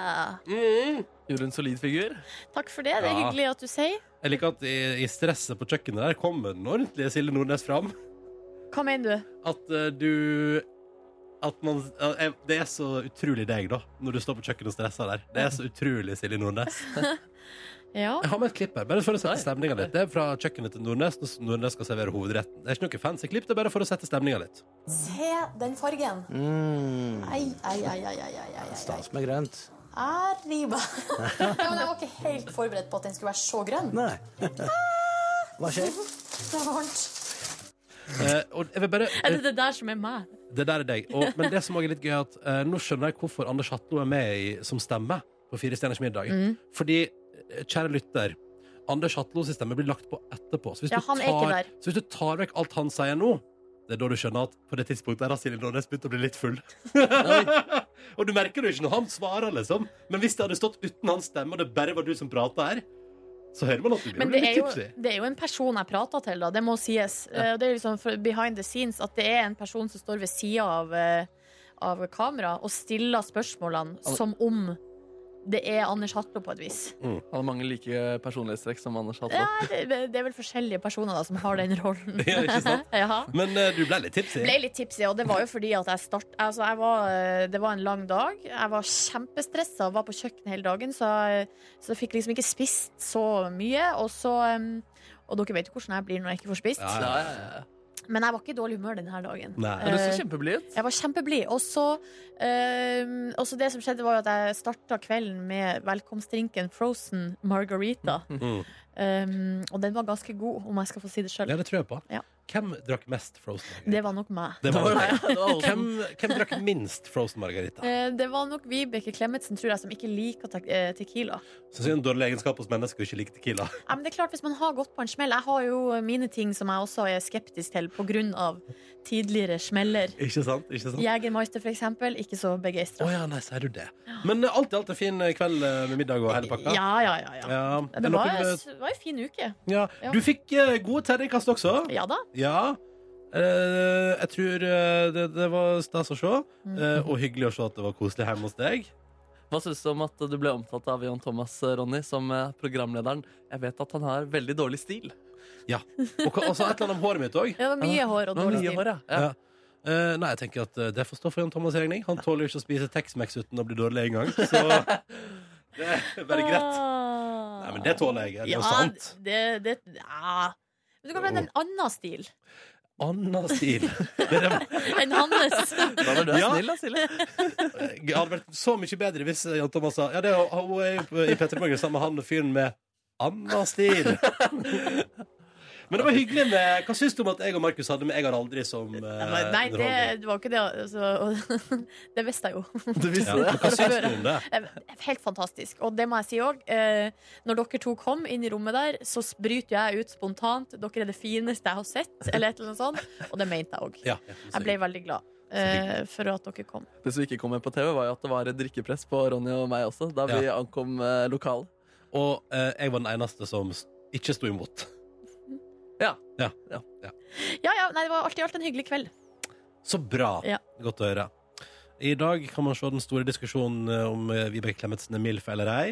Speaker 1: Mm.
Speaker 2: Gjorde en solid figur.
Speaker 3: Takk for det. Det er
Speaker 1: Ja.
Speaker 3: hyggelig at du sier.
Speaker 1: Jeg liker at i, i stresset på kjøkkenet der kommer den ordentlige Silje Nordnes fram.
Speaker 3: Hva mener du?
Speaker 1: At eh, du At man ja, jeg- Det er så utrolig deg, da, når du står på kjøkkenet og stresser der. Det er så utrolig Silje Nordnes.
Speaker 3: Ja.
Speaker 1: Jeg har med et klipp her, bare for å sette stemninga litt. Det er fra kjøkkenet til Nordnes når Nordnes skal servere hovedretten. Det er ikke noe fancy klipp, det er bare for å sette stemninga litt.
Speaker 3: Se den fargen. Ai, ai, ai, ai, ai, ai, ai, ai.
Speaker 9: Mm. Stas med grønt.
Speaker 3: Arriba. ja, men jeg var ikke helt forberedt på at den skulle være så grønn. Ah.
Speaker 9: Nei. Hva skjer?
Speaker 3: Det var varmt.
Speaker 1: Eh, og jeg vil bare
Speaker 3: Er det det der som er meg?
Speaker 1: Det der er deg. Og, men det som også er litt gøy, er at eh, nå skjønner jeg hvorfor Anders Hatlo er med i, som stemme på Fire stjerners middag.
Speaker 3: Mm.
Speaker 1: Fordi, eh, kjære lytter, Anders Hatlos stemme blir lagt på etterpå. Så hvis,
Speaker 3: Ja,
Speaker 1: du
Speaker 3: han er ikke
Speaker 1: tar,
Speaker 3: der.
Speaker 1: så hvis du tar vekk alt han sier nå, det er da du skjønner at på det tidspunktet der har Silje Nordnes begynt å bli litt full. og du merker det jo ikke når han svarer, liksom. Men hvis det hadde stått uten hans stemme, og det bare var du som prata her, så hører man at du
Speaker 3: Men
Speaker 1: blir
Speaker 3: det er,
Speaker 1: litt
Speaker 3: jo,
Speaker 1: tipsy.
Speaker 3: det er jo en person jeg prater til, da. Det må sies. Eh, og Det er liksom for- behind the scenes at det er en person som står ved sida av, eh, av kamera og stiller spørsmålene som om det er Anders Hatlo på et vis.
Speaker 2: Hadde mange like personlighetstrekk som Anders hadde.
Speaker 3: Ja, det, det er vel forskjellige personer da som har den rollen.
Speaker 1: Ja, ikke sant?
Speaker 3: ja.
Speaker 1: Men eh, du ble litt tipsy.
Speaker 3: Ble litt tipsy, og det var jo fordi at jeg start... Altså, jeg var, eh, det var en lang dag. Jeg var kjempestressa og var på kjøkkenet hele dagen, så jeg, så jeg fikk liksom ikke spist så mye. Og så em, Og dere vet jo hvordan jeg blir når jeg ikke får spist.
Speaker 1: Ja,
Speaker 2: Ja, ja, ja.
Speaker 3: Men jeg var ikke i dårlig humør denne dagen.
Speaker 1: Nei.
Speaker 2: Men du
Speaker 3: Eh,
Speaker 2: så kjempeblid ut.
Speaker 3: jeg var kjempeblid. Og så em, og så det som skjedde, var jo at jeg starta kvelden med velkomstdrinken Frozen Margarita.
Speaker 1: Mm.
Speaker 3: Em, og den var ganske god, om jeg skal få si det sjøl.
Speaker 1: Ja, det tror jeg på.
Speaker 3: Ja.
Speaker 1: Hvem drakk mest Frozen?
Speaker 3: Det var nok meg.
Speaker 1: Det var det.
Speaker 2: Det var alle
Speaker 1: Hvem, hvem drakk minst Frozen Margarita?
Speaker 3: Eh, Det var nok Vibeke Klemetsen, tror jeg, som ikke liker te eh, Tequila.
Speaker 1: Synes jeg er en dårlig egenskap hos mennesker å ikke like Tequila.
Speaker 3: Ja, men det er klart, Hvis man har gått på en smell Jeg har jo mine ting som jeg også er skeptisk til pga. tidligere smeller.
Speaker 1: Ikke sant? Ikke sant?
Speaker 3: Jegermeister, for eksempel, ikke så
Speaker 1: Å
Speaker 3: begeistra.
Speaker 1: ja, nei, sier du det. Men eh, alt i alt en fin eh, kveld eh, med middag og hele pakka.
Speaker 3: Ja, ja, ja. ja.
Speaker 1: Ja, er
Speaker 3: Det var,
Speaker 1: noen, eh,
Speaker 3: det var en fin uke.
Speaker 1: ja. Du fikk eh, gode terningkast også.
Speaker 3: Ja da.
Speaker 1: Ja. Eh, jeg tror eh, det, det var stas å se, eh, og hyggelig å se at det var koselig hjemme hos deg.
Speaker 2: Hva syns du om at du ble omtalt av Jan Thomas Ronny som eh, programlederen? Jeg vet at han har veldig dårlig stil.
Speaker 1: Og hva- også et eller annet om håret mitt òg.
Speaker 3: Det var mye hår og
Speaker 2: Men
Speaker 3: dårlig
Speaker 2: mye
Speaker 3: stil.
Speaker 2: hår, ja. ja.
Speaker 1: Ja. Eh, nei, jeg tenker at eh, det får stå for Jan Thomas Regning. Han tåler jo ikke å spise Tex-Mex uten å bli dårlig en gang. Så det er bare greit.
Speaker 3: Ah.
Speaker 1: Nei, men det tåler jeg. Det er jo
Speaker 3: ja,
Speaker 1: sant.
Speaker 3: Det, det, ja. Men du kan blande en annen stil
Speaker 1: Anna stil. Det er,
Speaker 3: enn hans.
Speaker 1: Eh,
Speaker 2: Da var du
Speaker 1: Ja.
Speaker 2: snill, da, Silje.
Speaker 1: det hadde vært så mye bedre hvis Jan Thomas sa Ja, det er jo- hun er jo på- i Petter Morgen sammen med han og fyren med Anna stil. Men det var hyggelig med Hva syns du om at jeg og Markus hadde med Jeg har aldri som eh,
Speaker 3: Nei, det,
Speaker 1: underholdning?
Speaker 3: det var ikke det. Altså, det visste jeg jo.
Speaker 1: Ja, men hva syns du om det?
Speaker 3: Eh, Helt fantastisk. Og det må jeg si òg. Eh, når dere to kom inn i rommet der, så bryter jeg ut spontant. Dere er det fineste jeg har sett, eller et eller annet sånt. Og det mente jeg òg.
Speaker 1: Ja,
Speaker 3: Jeg ble veldig glad eh, for at dere kom.
Speaker 2: Det som ikke kom med på TV, var jo at det var et drikkepress på Ronny og meg også da vi ankom eh, lokalet.
Speaker 1: Og eh, jeg var den eneste som s- ikke sto imot.
Speaker 3: Ja, ja, nei, Det var alt i alt en hyggelig kveld.
Speaker 1: Så bra.
Speaker 3: Ja.
Speaker 1: Godt å høre. I dag kan man se den store diskusjonen eh, om eh, Vibeke Klemetsen er MILF eller ei.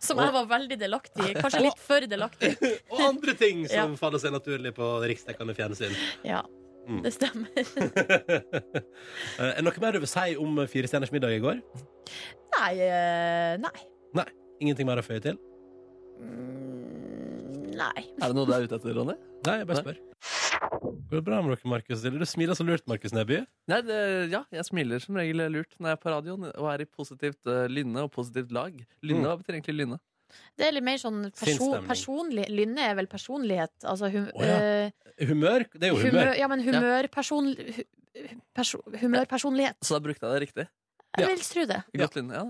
Speaker 3: Som jeg var veldig delaktig i. Kanskje litt for delaktig.
Speaker 1: Og andre ting som faller seg naturlig på riksdekkende fjernsyn.
Speaker 3: Ja,
Speaker 1: Mm.
Speaker 3: det stemmer.
Speaker 1: Eh, Er det noe mer du vil si om eh, Fire stjerners middag i går?
Speaker 3: Nei. eh, Nei.
Speaker 1: Ingenting mer å føye til?
Speaker 3: Mm, Nei.
Speaker 2: Er det noe du er ute etter, Ronny?
Speaker 1: Nei, jeg bare spør. Går det bra med dere, Markus? Eller Du smiler så lurt, Markus Neby.
Speaker 2: Nei, det, ja, jeg smiler Mm. som regel lurt når jeg er på radioen og er i positivt eh, lynne og positivt lag. Lynne, hva betyr egentlig lynne?
Speaker 3: Det er litt mer sånn perso
Speaker 1: Sinnsstemning.
Speaker 3: personlig Lynne er vel personlighet. Altså hum
Speaker 1: Å, ja.
Speaker 3: eh,
Speaker 1: Humør? Det er jo humør.
Speaker 3: humør. Ja, men humørperson... hu- perso humørpersonlighet.
Speaker 2: Så da brukte jeg det riktig.
Speaker 1: Ja.
Speaker 3: Jeg vil tro det.
Speaker 2: Godt, Linn. Ja.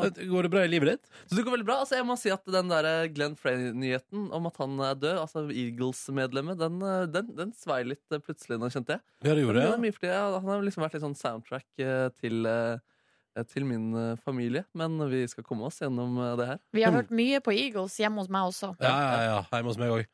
Speaker 1: Eh, Går det bra i livet ditt?
Speaker 2: Så det går veldig bra. Altså, jeg må si at Den der Glenn Frey-nyheten om at han er død, altså Eagles-medlemmet, den, eh, den, den svei litt eh, plutselig nå, kjente jeg.
Speaker 1: Ja, det gjorde
Speaker 2: Det er
Speaker 1: jeg.
Speaker 2: mye fordi jeg. Han har liksom vært litt sånn soundtrack eh, til, eh, til min eh, familie. Men vi skal komme oss gjennom eh, det her.
Speaker 3: Vi har hørt mye på Eagles hjemme hos meg også.
Speaker 1: Mm. Ja, ja, ja. Hjemme hos meg òg.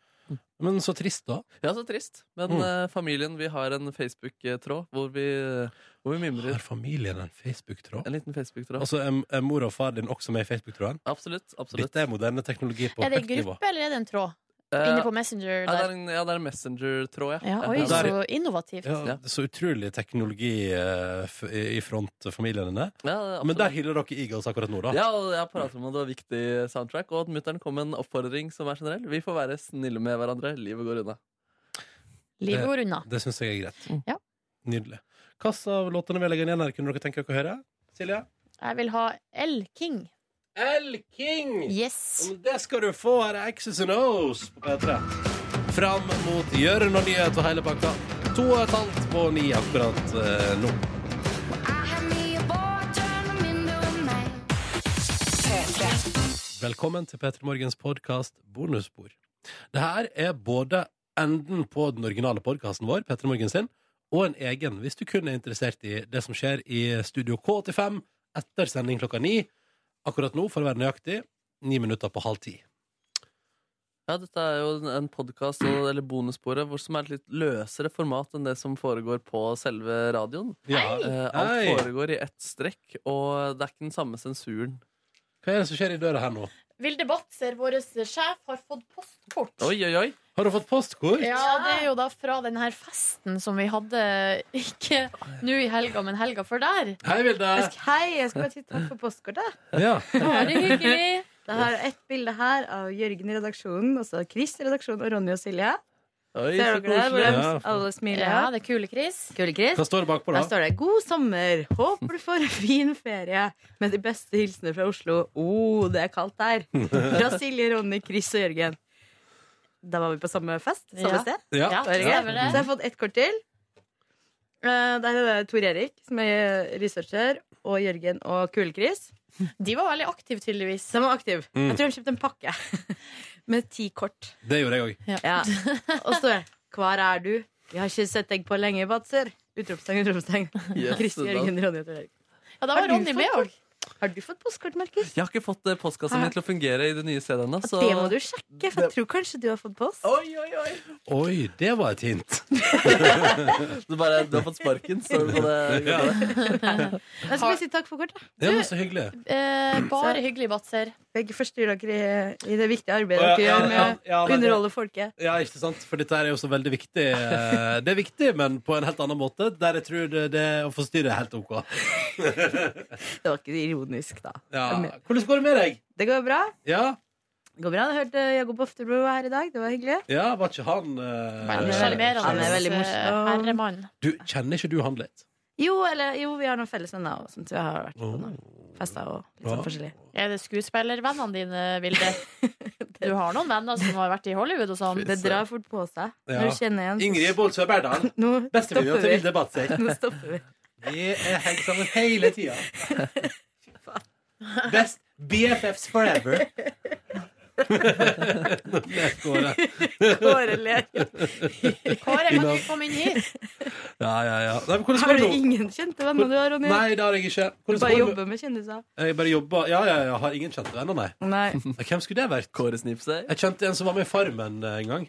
Speaker 1: Men så trist, da.
Speaker 2: Ja, så trist. Men
Speaker 1: Mm.
Speaker 2: eh, familien, vi har en Facebook-tråd hvor, vi- eh, hvor vi mimrer.
Speaker 1: Har familien en Facebook-tråd?
Speaker 2: En liten Facebook-tråd.
Speaker 1: Altså, er, er mor og far din også med i Facebook-tråden?
Speaker 2: Absolutt. absolutt.
Speaker 1: Dette er moderne teknologi på
Speaker 3: Er det
Speaker 1: høyt
Speaker 3: en
Speaker 1: nivå.
Speaker 3: gruppe, eller er det en tråd?
Speaker 2: Eh,
Speaker 3: Inne på Messenger
Speaker 2: ja, det er
Speaker 3: der.
Speaker 2: en, ja, det er en Messenger-tråd, ja.
Speaker 3: Ja, oi,
Speaker 1: Ja, der-
Speaker 3: så innovativt.
Speaker 1: Ja, det er så utrolig teknologi eh, f i i front familien din.
Speaker 2: Ja, absolutt.
Speaker 1: Men der hyller dere Eagles akkurat nå, da.
Speaker 2: Ja, og jeg pratet om at det var viktig soundtrack, og at mutter'n kom med en oppfordring som er generell. Vi får være snille med hverandre. Livet går unna.
Speaker 3: Livet går unna.
Speaker 1: Det syns jeg er greit.
Speaker 2: Mm.
Speaker 3: Ja.
Speaker 1: Nydelig. Hvilke av låtene vi legger igjen her, kunne dere tenke dere å høre? Silje?
Speaker 3: Jeg vil ha L. King.
Speaker 1: L. King!
Speaker 3: Yes.
Speaker 1: Men Det skal du få her er X's and O's på P3. Fram mot Jørn og nyhet og hele pakka. To og et halvt på ni akkurat eh, nå. Velkommen til P3 Morgens podkast Bonusspor. Det her er både enden på den originale podkasten vår, P3 Morgen sin, og en egen, hvis du kun er interessert i det som skjer i Studio K85 etter sending klokka ni. Akkurat nå, for å være nøyaktig, ni minutter på halv ti.
Speaker 2: Ja, dette er jo en- en podkast, eller bonussporet, hvor- som er et litt løsere format enn det som foregår på selve radioen.
Speaker 1: Ja.
Speaker 2: Eh,
Speaker 1: Hei.
Speaker 2: alt foregår i ett strekk, og det er ikke den samme sensuren.
Speaker 1: Hva er det som skjer i døra her nå?
Speaker 3: Vilde Batzer, vår sjef, har fått postkort.
Speaker 2: Oi, oi, oi!
Speaker 1: Har du fått postkort?
Speaker 3: Ja, det er jo da fra denne festen som vi hadde, ikke nå i helga, men helga før der.
Speaker 1: Hei, Vilde.
Speaker 10: Jeg sk- Hei, jeg skal bare si takk for postkortet.
Speaker 1: Ja.
Speaker 3: Bare hyggelig.
Speaker 10: Det er ett bilde her av Jørgen i redaksjonen, og så Chris i redaksjonen og Ronny og Silje. Ser
Speaker 2: oi så
Speaker 10: dere det?
Speaker 2: koselig.
Speaker 1: Ja,
Speaker 10: Hvordan
Speaker 1: for-
Speaker 10: alle smiler?
Speaker 3: Ja, det er kule, Chris.
Speaker 10: Kule Chris.
Speaker 1: Hva står det bakpå,
Speaker 10: Der
Speaker 1: da?
Speaker 10: står det 'God sommer. Håper du får en fin ferie'. Med de beste hilsener fra Oslo. Å, oh, det er kaldt der. Fra Silje, Ronny, Chris og Jørgen. Da var vi på samme fest. Samme
Speaker 3: Ja.
Speaker 10: sted.
Speaker 1: Ja.
Speaker 10: Det var gøy.
Speaker 3: stemmer
Speaker 10: Så jeg
Speaker 3: det.
Speaker 10: har fått ett kort til. Eh, Der er det Tor Erik, som er researcher, og Jørgen og Kule-Chris.
Speaker 3: De var veldig aktive, tydeligvis.
Speaker 10: Så jeg var aktiv.
Speaker 1: Mm.
Speaker 10: Jeg tror han kjøpte en pakke med ti kort.
Speaker 1: Det gjorde jeg òg.
Speaker 10: Ja. Og så står det 'Hvor er du?' 'Vi har ikke sett deg på lenge, Batser'. Utropstegn, utropstegn.
Speaker 2: Yes,
Speaker 10: Chris,
Speaker 2: da.
Speaker 10: Jørgen, Ronny og Tor Erik.
Speaker 3: Ja, da
Speaker 10: Har
Speaker 3: var
Speaker 10: du
Speaker 3: Ronny
Speaker 10: fått
Speaker 3: med òg.
Speaker 10: Har du fått postkort, Markus?
Speaker 2: Jeg har ikke fått eh, postkassen min til å fungere i det nye stedet ennå, så
Speaker 10: Det må du sjekke, for jeg tror kanskje du har fått post.
Speaker 2: Oi, oi, oi!
Speaker 1: Oi, det var et hint.
Speaker 2: Du, bare, du har fått sparken, så du må det
Speaker 1: Ja.
Speaker 10: Jeg skal bare si takk for kortet.
Speaker 1: Det var så hyggelig.
Speaker 3: Eh, bare hyggelig, Batzer.
Speaker 10: Begge forstyrrer dere i, i det viktige arbeidet
Speaker 1: Ja,
Speaker 10: dere
Speaker 1: ja,
Speaker 10: gjør med å
Speaker 1: ja, men det-
Speaker 10: underholde folket.
Speaker 1: Ja, ikke sant? For dette her er jo så veldig viktig. eh, Det er viktig, men på en helt annen måte, der jeg tror det, det å forstyrre er helt OK.
Speaker 10: Det var ikke ironisk, da.
Speaker 1: Ja. Hvordan går det med deg?
Speaker 10: Det går bra.
Speaker 1: Ja,
Speaker 10: Det går bra. Jeg hørte Jakob Oftebro her i dag. Det var hyggelig.
Speaker 1: ja var ikke han eh,
Speaker 10: Han er
Speaker 3: Veldig
Speaker 10: veldig- han er veldig
Speaker 3: sjarmerende Eh,
Speaker 10: morsom.
Speaker 3: herremann.
Speaker 1: Du, Kjenner ikke du han litt?
Speaker 10: Jo, eller, jo, vi har noen felles venner og sånt. Vi har vært på noen fester og litt
Speaker 1: Ja.
Speaker 10: sånn forskjellig.
Speaker 3: Er det skuespillervennene dine, Vilde? Du har noen venner som har vært i Hollywood og sånn.
Speaker 10: Det drar fort på seg
Speaker 1: Ja.
Speaker 10: når du kjenner en.
Speaker 1: Ingrid Bolsø Berdal.
Speaker 10: Nå
Speaker 1: Bestevenninna
Speaker 10: stopper
Speaker 1: til
Speaker 10: vi.
Speaker 1: Vilde Batzer.
Speaker 10: Nå stopper vi.
Speaker 1: Vi er hengt sammen hele tida. Best BFFs forever. Det går, det.
Speaker 10: Kåre ler.
Speaker 3: Kåre, kan du komme inn hit?
Speaker 1: Ja, ja, ja. Nei, men hvordan
Speaker 10: Har
Speaker 1: går
Speaker 10: du
Speaker 1: det nå?
Speaker 10: ingen kjente venner du har, Ronny?
Speaker 1: Nei, det har jeg ikke.
Speaker 10: Du bare
Speaker 1: Hvordan går det med-
Speaker 10: jobber med kjendiser?
Speaker 1: Jeg bare jobber. Ja, ja, ja. Har ingen kjente venner, nei.
Speaker 10: Nei.
Speaker 1: Ja, Hvem skulle det vært?
Speaker 2: Kåre Snipsøy.
Speaker 1: Jeg kjente en som var med i Farmen eh, en gang.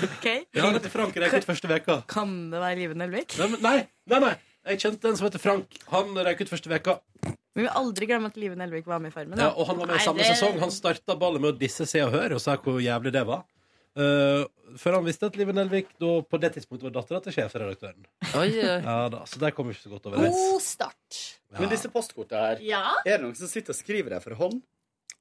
Speaker 10: Ok.
Speaker 1: Ja, det er til Frank røyk ut første veka.
Speaker 10: Kan det være Live Nelvik?
Speaker 1: Nei, men- nei, nei, nei. Jeg kjente en som heter Frank. Han røyk ut første veka.
Speaker 10: Vi vil aldri glemme at Live Nelvik var med i Farmen.
Speaker 1: Ja,
Speaker 10: Da.
Speaker 1: og han var med i
Speaker 3: Nei,
Speaker 1: samme
Speaker 3: det-
Speaker 1: sesong. Han starta ballet med å disse Se og Hør og sa hvor jævlig det var. Eh, før han visste at Live Nelvik da, på det tidspunktet var dattera til sjefredaktøren.
Speaker 2: Oi, oi.
Speaker 1: Ja, da, så der kom vi ikke så godt overens.
Speaker 3: start.
Speaker 1: Ja.
Speaker 4: Men disse postkortene her,
Speaker 3: Ja?
Speaker 4: er det noen som sitter og skriver det for hånd?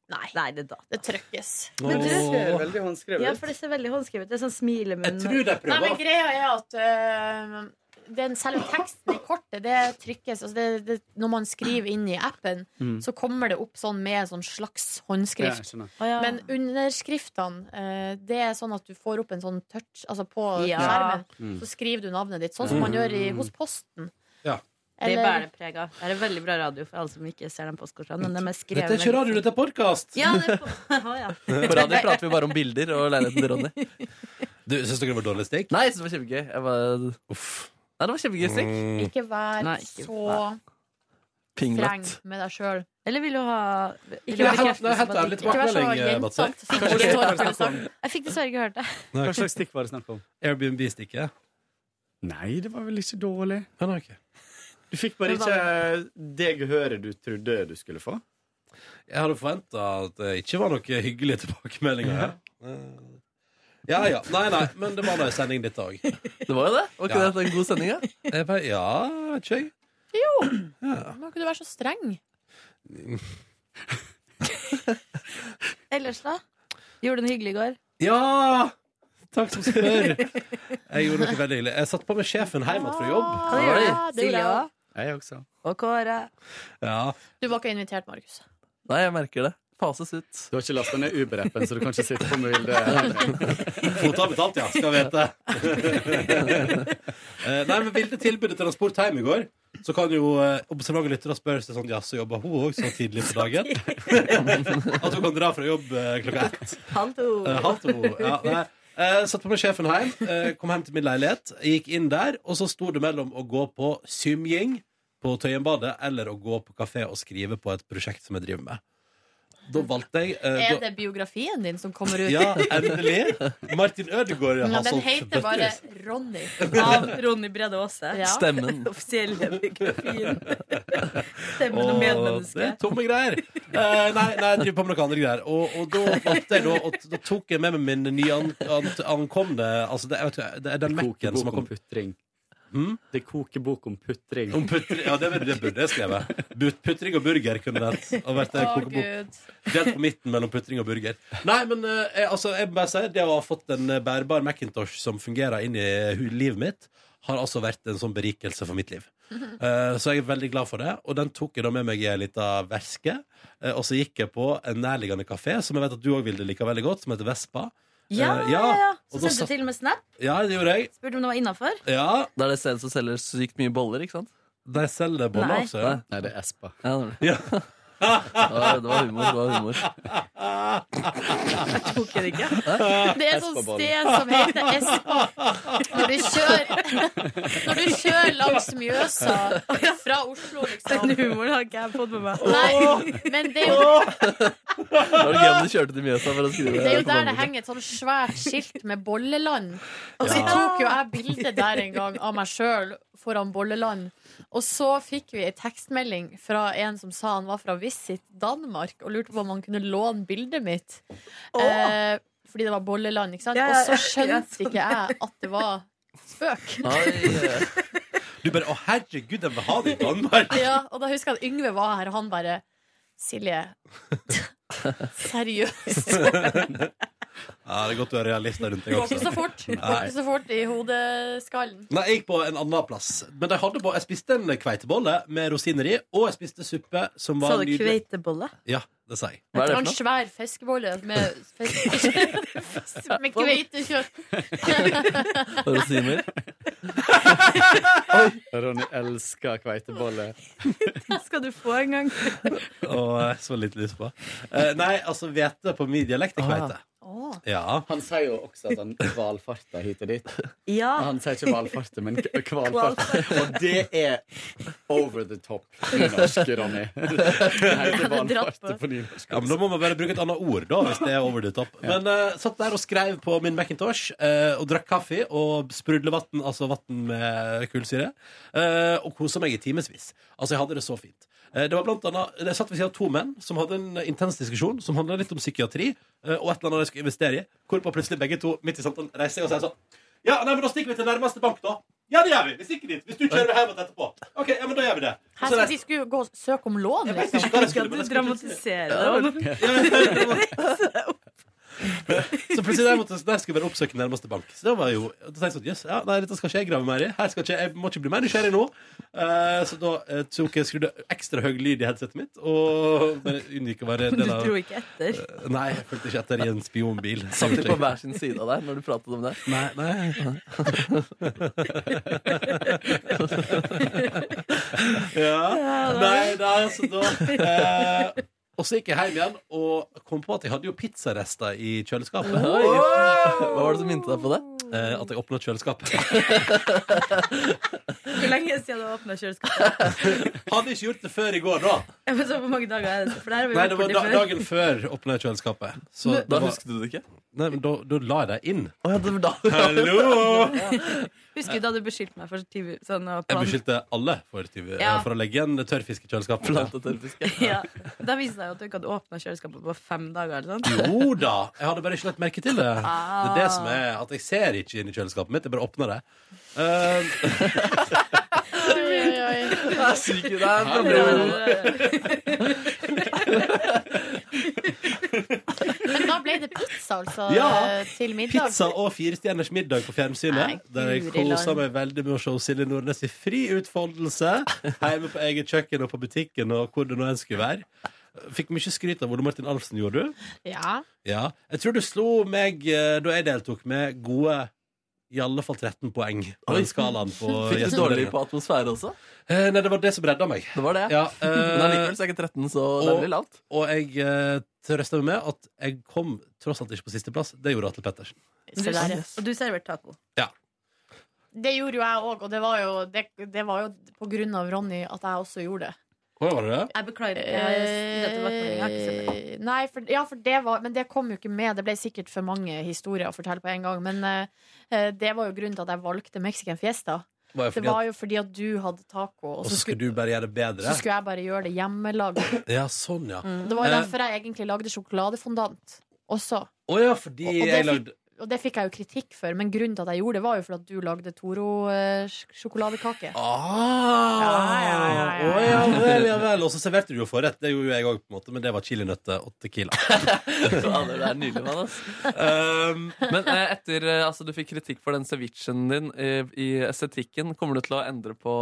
Speaker 3: Nei.
Speaker 10: Nei, det er da.
Speaker 3: Det trøkkes.
Speaker 10: Men
Speaker 4: Det
Speaker 10: du-
Speaker 4: ser
Speaker 1: Åh.
Speaker 4: veldig
Speaker 10: Ja,
Speaker 4: håndskrevet ut.
Speaker 10: for det ser veldig håndskrevet ut. Det er Sånn
Speaker 1: Jeg
Speaker 10: smilemunn.
Speaker 1: tror de
Speaker 3: Nei, men
Speaker 1: prøver.
Speaker 3: greia er at øh, den, selve teksten i kortet, det trykkes altså det, det, Når man skriver inn i appen,
Speaker 4: Mm.
Speaker 3: så kommer det opp sånn med en sånn slags håndskrift.
Speaker 4: Ja, jeg skjønner.
Speaker 3: Men underskriftene, eh, det er sånn at du får opp en sånn touch Altså på
Speaker 10: Ja.
Speaker 3: skjermen,
Speaker 10: Mm.
Speaker 3: så skriver du navnet ditt. Sånn som man gjør i, hos Posten.
Speaker 10: Det
Speaker 3: Eller-
Speaker 10: bærer det preg av. Det er en veldig bra radio for alle som ikke ser den postkortene. men De er skrevet
Speaker 1: Dette er ikke
Speaker 10: veldig
Speaker 1: radio, dette er podkast!
Speaker 10: Ja, det er på, Å, ja.
Speaker 2: På radio prater vi bare om bilder og leiligheten til Ronny.
Speaker 1: Du, Syns dere det var dårlig stikk?
Speaker 2: Nei, jeg synes det var kjempegøy. Jeg bare... Nei, det var kjempegøy stikk.
Speaker 1: Mm.
Speaker 3: Ikke vær
Speaker 2: Nei, ikke
Speaker 3: så
Speaker 2: vær
Speaker 3: streng med deg sjøl.
Speaker 10: Eller vil du ha vil du
Speaker 3: Ikke
Speaker 10: ha
Speaker 3: vær-
Speaker 10: bekreftelse
Speaker 3: nei, helt
Speaker 10: på at
Speaker 3: ærlig
Speaker 10: det ikke- Ikke vær så
Speaker 1: tilbakemelding, eh,
Speaker 10: jentete.
Speaker 1: Batser.
Speaker 10: Fikk
Speaker 1: Kanskje
Speaker 10: ikke
Speaker 1: jeg
Speaker 10: hørt det
Speaker 1: har snakket
Speaker 10: sånn.
Speaker 1: om.
Speaker 10: Jeg fikk dessverre ikke hørt det.
Speaker 1: Nei.
Speaker 8: Hva slags stikk var det snakk om?
Speaker 1: Airbnb-stikket?
Speaker 8: Nei, det var vel ikke dårlig. Du fikk bare
Speaker 1: Men hva-
Speaker 8: ikke det gehøret du trodde du skulle få.
Speaker 1: Jeg hadde forventa at det ikke var noen hyggelige tilbakemeldinger her. Eh, Ja ja. Nei, nei, men det var da en sending, dette òg.
Speaker 2: Det var jo det. Var ikke det en god sending, da?
Speaker 1: Jeg bare, ja, vet ikke jeg.
Speaker 3: Jo! Må ikke du være så streng?
Speaker 10: Ellers, da? Gjorde du noe hyggelig i går?
Speaker 1: Ja! Takk som spør. Jeg gjorde noe veldig hyggelig. Jeg satt på med sjefen hjem igjen fra jobb.
Speaker 10: Ja, det gjorde jeg. Det gjorde jeg også.
Speaker 8: Jeg også.
Speaker 10: Og Kåre.
Speaker 1: Ja.
Speaker 3: Du var ikke invitert, Markus.
Speaker 2: Nei, jeg merker det. Fases ut.
Speaker 8: Du har ikke lasta ned Uber-appen, så du kan ikke sitte på med bilde.
Speaker 1: Kvota har betalt, ja. Skal vite. Eh, Nei, men Vilde tilbudet transport hjem i går. Så kan jo eh, observante lyttere spørre seg sånn Ja, så jobber hun òg så tidlig på dagen? At hun kan dra fra jobb eh, klokka ett.
Speaker 10: Halv to.
Speaker 1: Eh, halv to. Ja, nei. Eh, satt på med sjefen hjem, eh, kom hjem til min leilighet, gikk inn der, og så sto det mellom å gå på symjing på Tøyenbadet eller å gå på kafé og skrive på et prosjekt som jeg driver med. Da valgte jeg eh,
Speaker 3: Er
Speaker 1: da,
Speaker 3: det biografien din som kommer ut?
Speaker 1: Ja, endelig. Martin Ødegaard
Speaker 3: Ja,
Speaker 1: har
Speaker 3: den
Speaker 1: solgt
Speaker 3: heter bare
Speaker 1: bøtter.
Speaker 3: Ronny.
Speaker 10: Av Ronny Brede Aase.
Speaker 3: Ja.
Speaker 1: Stemmen.
Speaker 10: Offisielle biografien. Stemmen og
Speaker 1: Og det er
Speaker 10: medmennesket.
Speaker 1: tomme greier. Eh, nei, nei, jeg driver på med noen andre greier. Og, og da valgte jeg da, og, da tok jeg med meg min nye an, an, ankomne altså det, jeg vet, ikke, det er den Mac-en som har kommet.
Speaker 8: Putring.
Speaker 1: Det
Speaker 8: koker bok om putring.
Speaker 1: Om putring, ja, det, burde- det burde jeg skrevet. But, putring og burger kunne det hett. Og vært der,
Speaker 3: Å,
Speaker 1: koke bok.
Speaker 3: Gud.
Speaker 1: Delt på midten mellom putring og burger. Nei, men eh, jeg, altså, jeg må bare sier, det å ha fått en eh, bærbar Macintosh som fungerer inn i eh, hu- livet mitt, har altså vært en sånn berikelse for mitt liv. Eh, så jeg er veldig glad for det. Og den tok jeg da med meg i ei lita veske. eh, og så gikk jeg på en nærliggende kafé som jeg vet at du òg ville like veldig godt, som heter Vespa. Eh,
Speaker 10: Ja, ja, ja.
Speaker 1: og
Speaker 10: Så
Speaker 1: da
Speaker 10: sendte du
Speaker 1: satt-
Speaker 10: til og med snap.
Speaker 1: Ja, det gjorde jeg.
Speaker 10: Spurte om det var innafor.
Speaker 1: Ja.
Speaker 2: Det er det stedet som selger sykt mye boller, ikke sant?
Speaker 1: De selger
Speaker 10: boller Nei. også, ja.
Speaker 8: Nei, det er Espa.
Speaker 2: Ja, det,
Speaker 1: ja.
Speaker 2: var, det var humor. Det var humor.
Speaker 10: Jeg tok det ikke.
Speaker 3: Det er et sånt sted som heter Espa. Når du kjører, når du kjører langs Mjøsa fra Oslo, liksom.
Speaker 10: Den humoren har ikke jeg fått med meg.
Speaker 3: Nei, men det er jo
Speaker 2: Det var gøy om du kjørte til Mjøsa for å skrive
Speaker 3: Det er jo der det henger et sånn svært skilt med Bolleland. Og så
Speaker 2: Ja.
Speaker 3: tok jo jeg bilde der en gang av meg sjøl foran Bolleland. Og så fikk vi ei tekstmelding fra en som sa han var fra Visit Danmark og lurte på om han kunne låne bildet mitt. Eh, fordi det var Bolleland, ikke sant?
Speaker 10: Ja, ja,
Speaker 3: Og så
Speaker 10: ja,
Speaker 3: skjønte
Speaker 10: sånn.
Speaker 3: ikke jeg at det var spøk.
Speaker 2: eh,
Speaker 1: Du bare 'Å, herregud, jeg vil ha det i Danmark'.
Speaker 3: Ja, og da husker jeg at Yngve var her, og han bare Silje, seriøst?
Speaker 1: Ja, det er godt du er realist der rundt deg
Speaker 3: Det går
Speaker 1: også.
Speaker 3: ikke så fort. Det går
Speaker 1: Nei.
Speaker 3: ikke så fort i hodeskallen.
Speaker 1: Nei, jeg gikk på en annen plass. Men de hadde på, jeg spiste en kveitebolle med rosiner i, og jeg spiste suppe som var
Speaker 10: Sa du
Speaker 1: nydelig.
Speaker 10: kveitebolle?
Speaker 1: Ja, det sa jeg.
Speaker 3: Hva er det for noe? En svær fiskebolle med, fisk, med kveitekjøtt.
Speaker 2: Rosiner.
Speaker 8: Ronny elsker kveitebolle.
Speaker 10: Det skal du få en gang.
Speaker 1: Og jeg så litt lyst på. Eh, nei, altså hvete på min dialekt er kveite. Ja.
Speaker 8: Han sier jo også at han hvalfarter hit og dit.
Speaker 10: Ja.
Speaker 8: Han sier ikke hvalfarter, men k- kvalfarter. Og det er over the top nynorsk, Ronny. Det heter hvalfarter på nynorsk.
Speaker 1: Ja, men Da må man bare bruke et annet ord, da, hvis det er over the top. Men eh, satt der og skrev på min Macintosh eh, og drakk kaffe og sprudlevann, altså vann med kullsyre, eh, og kosa meg i timevis. Altså, jeg hadde det så fint. Eh, det var blant annet, Jeg satt ved siden av to menn som hadde en intens diskusjon som handla litt om psykiatri eh, og et eller annet de skulle investere i, hvorpå plutselig begge to midt i samtalen reiser seg og sier sånn Ja, nei, men da stikker vi til nærmeste bank, da. Ja, det gjør vi. Vi stikker dit. Hvis du kjører hjem etterpå. OK, ja, men da gjør vi det. Og så
Speaker 3: Her skal
Speaker 1: reiser-
Speaker 3: de skulle gå og søke om lån,
Speaker 1: Jeg vet ikke hva det skulle, men
Speaker 3: liksom.
Speaker 1: det skulle-
Speaker 10: Dramatisere det.
Speaker 1: Så plutselig der, måtte, der skulle jeg bare oppsøke nærmeste bank. Så det var jo, da tenkte jeg sånn, jøss, ja, nei, dette skal ikke jeg grave mer i. Her skal ikke, jeg må ikke bli mer nysgjerrig nå. Eh, så da eh, tok jeg skrudde ekstra høy lyd i headsetet mitt, og men jeg unngikk å være
Speaker 10: Du
Speaker 1: del av
Speaker 10: dro ikke etter.
Speaker 1: Nei, jeg fulgte ikke etter i en spionbil.
Speaker 2: Satt de på hver sin side av deg når du pratet om det?
Speaker 1: Nei, nei. ja. Nei, nei, altså da eh, Og så gikk jeg hjem igjen og kom på at jeg hadde jo pizzarester i kjøleskapet.
Speaker 2: Oi. Hva var det som minte deg på det?
Speaker 1: Eh, at jeg åpna kjøleskapet.
Speaker 10: Hvor lenge siden du åpna kjøleskapet?
Speaker 1: Hadde ikke gjort det før i går, da.
Speaker 10: Jeg vet ikke Hvor mange dager er det? For der har vi
Speaker 1: Nei,
Speaker 10: vært
Speaker 1: det var
Speaker 10: borti
Speaker 1: da,
Speaker 10: før.
Speaker 1: dagen før åpna jeg kjøleskapet. Så
Speaker 2: Da husket du det ikke?
Speaker 1: Nei, men da, da la jeg det inn.
Speaker 2: da.
Speaker 1: Hallo!
Speaker 10: Husker du da du beskyldte meg for tyv, sånn og
Speaker 1: Jeg
Speaker 10: plan?
Speaker 1: beskyldte alle for, tyve-
Speaker 10: Ja.
Speaker 1: for å legge igjen tørrfisk i kjøleskapet.
Speaker 10: Ja. Da viste det seg jo at du ikke hadde åpna kjøleskapet på fem dager. eller sånn
Speaker 1: Jo da! Jeg hadde bare ikke lagt merke til det. Det
Speaker 10: Ah.
Speaker 1: er det som er at jeg ser ikke inn i kjøleskapet mitt. Jeg bare åpner det. Eh,
Speaker 2: Du er syk i deg.
Speaker 3: Men da ble det pizza, altså,
Speaker 1: Ja,
Speaker 3: til middag.
Speaker 1: pizza og firestjerners middag på fjernsynet. der jeg
Speaker 3: guri land.
Speaker 1: kosa meg veldig med å se Silje Nordnes i fri utfoldelse. Hjemme på eget kjøkken og på butikken og hvor det nå enn skulle være. Fikk mye skryt av Ole Martin Alfsen, gjorde du?
Speaker 3: Ja.
Speaker 1: Ja. Jeg tror du slo meg eh, da jeg deltok med gode i alle fall 13 poeng på den skalaen. På
Speaker 2: Fikk du dårlig på atmosfære også?
Speaker 1: Eh, Nei, det var det som redda meg.
Speaker 2: Det var det,
Speaker 1: Ja, eh,
Speaker 2: Men allikevel så er ikke 13 så det er
Speaker 1: og-
Speaker 2: veldig lavt.
Speaker 1: Og jeg eh, trøsta meg med at jeg kom tross alt ikke på sisteplass. Det gjorde Atle Pettersen.
Speaker 10: Du,
Speaker 3: Sånn
Speaker 10: og du serverte taco.
Speaker 3: Det gjorde jo jeg òg, og det var jo, det, det var jo på grunn av Ronny at jeg også gjorde det.
Speaker 1: Hva var det?
Speaker 10: Jeg beklager. Jeg, dette var ikke meningen, jeg har ikke sett det.
Speaker 3: Eh, Nei, for, ja, for det var, men det kom jo ikke med. Det ble sikkert for mange historier å fortelle på en gang. Men eh, eh, det var jo grunnen til at jeg valgte Mexican Fiesta.
Speaker 1: Var jo
Speaker 3: det
Speaker 1: fordi
Speaker 3: var jo fordi at du hadde taco, og
Speaker 1: Og
Speaker 3: så
Speaker 1: så
Speaker 3: skulle,
Speaker 1: skulle du bare gjøre det bedre?
Speaker 3: så Mm. skulle jeg bare gjøre det hjemmelaga.
Speaker 1: Ja, sånn, ja.
Speaker 3: Det var jo
Speaker 1: Eh,
Speaker 3: derfor jeg egentlig lagde sjokoladefondant også.
Speaker 1: Å ja, fordi
Speaker 3: Og- og det
Speaker 1: jeg
Speaker 3: fikk-
Speaker 1: lagde
Speaker 3: Og det fikk jeg jo kritikk for, men grunnen til at jeg gjorde det, var jo fordi at du lagde eh, Toro-sjokoladekake.
Speaker 1: Ah! Å ja vel, ja vel. Og så serverte du jo forrett. Det gjorde jo jeg òg, på en måte, men det var chilinøtter og tequila.
Speaker 2: Fader, det er nydelig, mann. ass.
Speaker 1: Um,
Speaker 2: Men eh, etter eh, altså, du fikk kritikk for den cevichen din eh, i estetikken, kommer du til å endre på,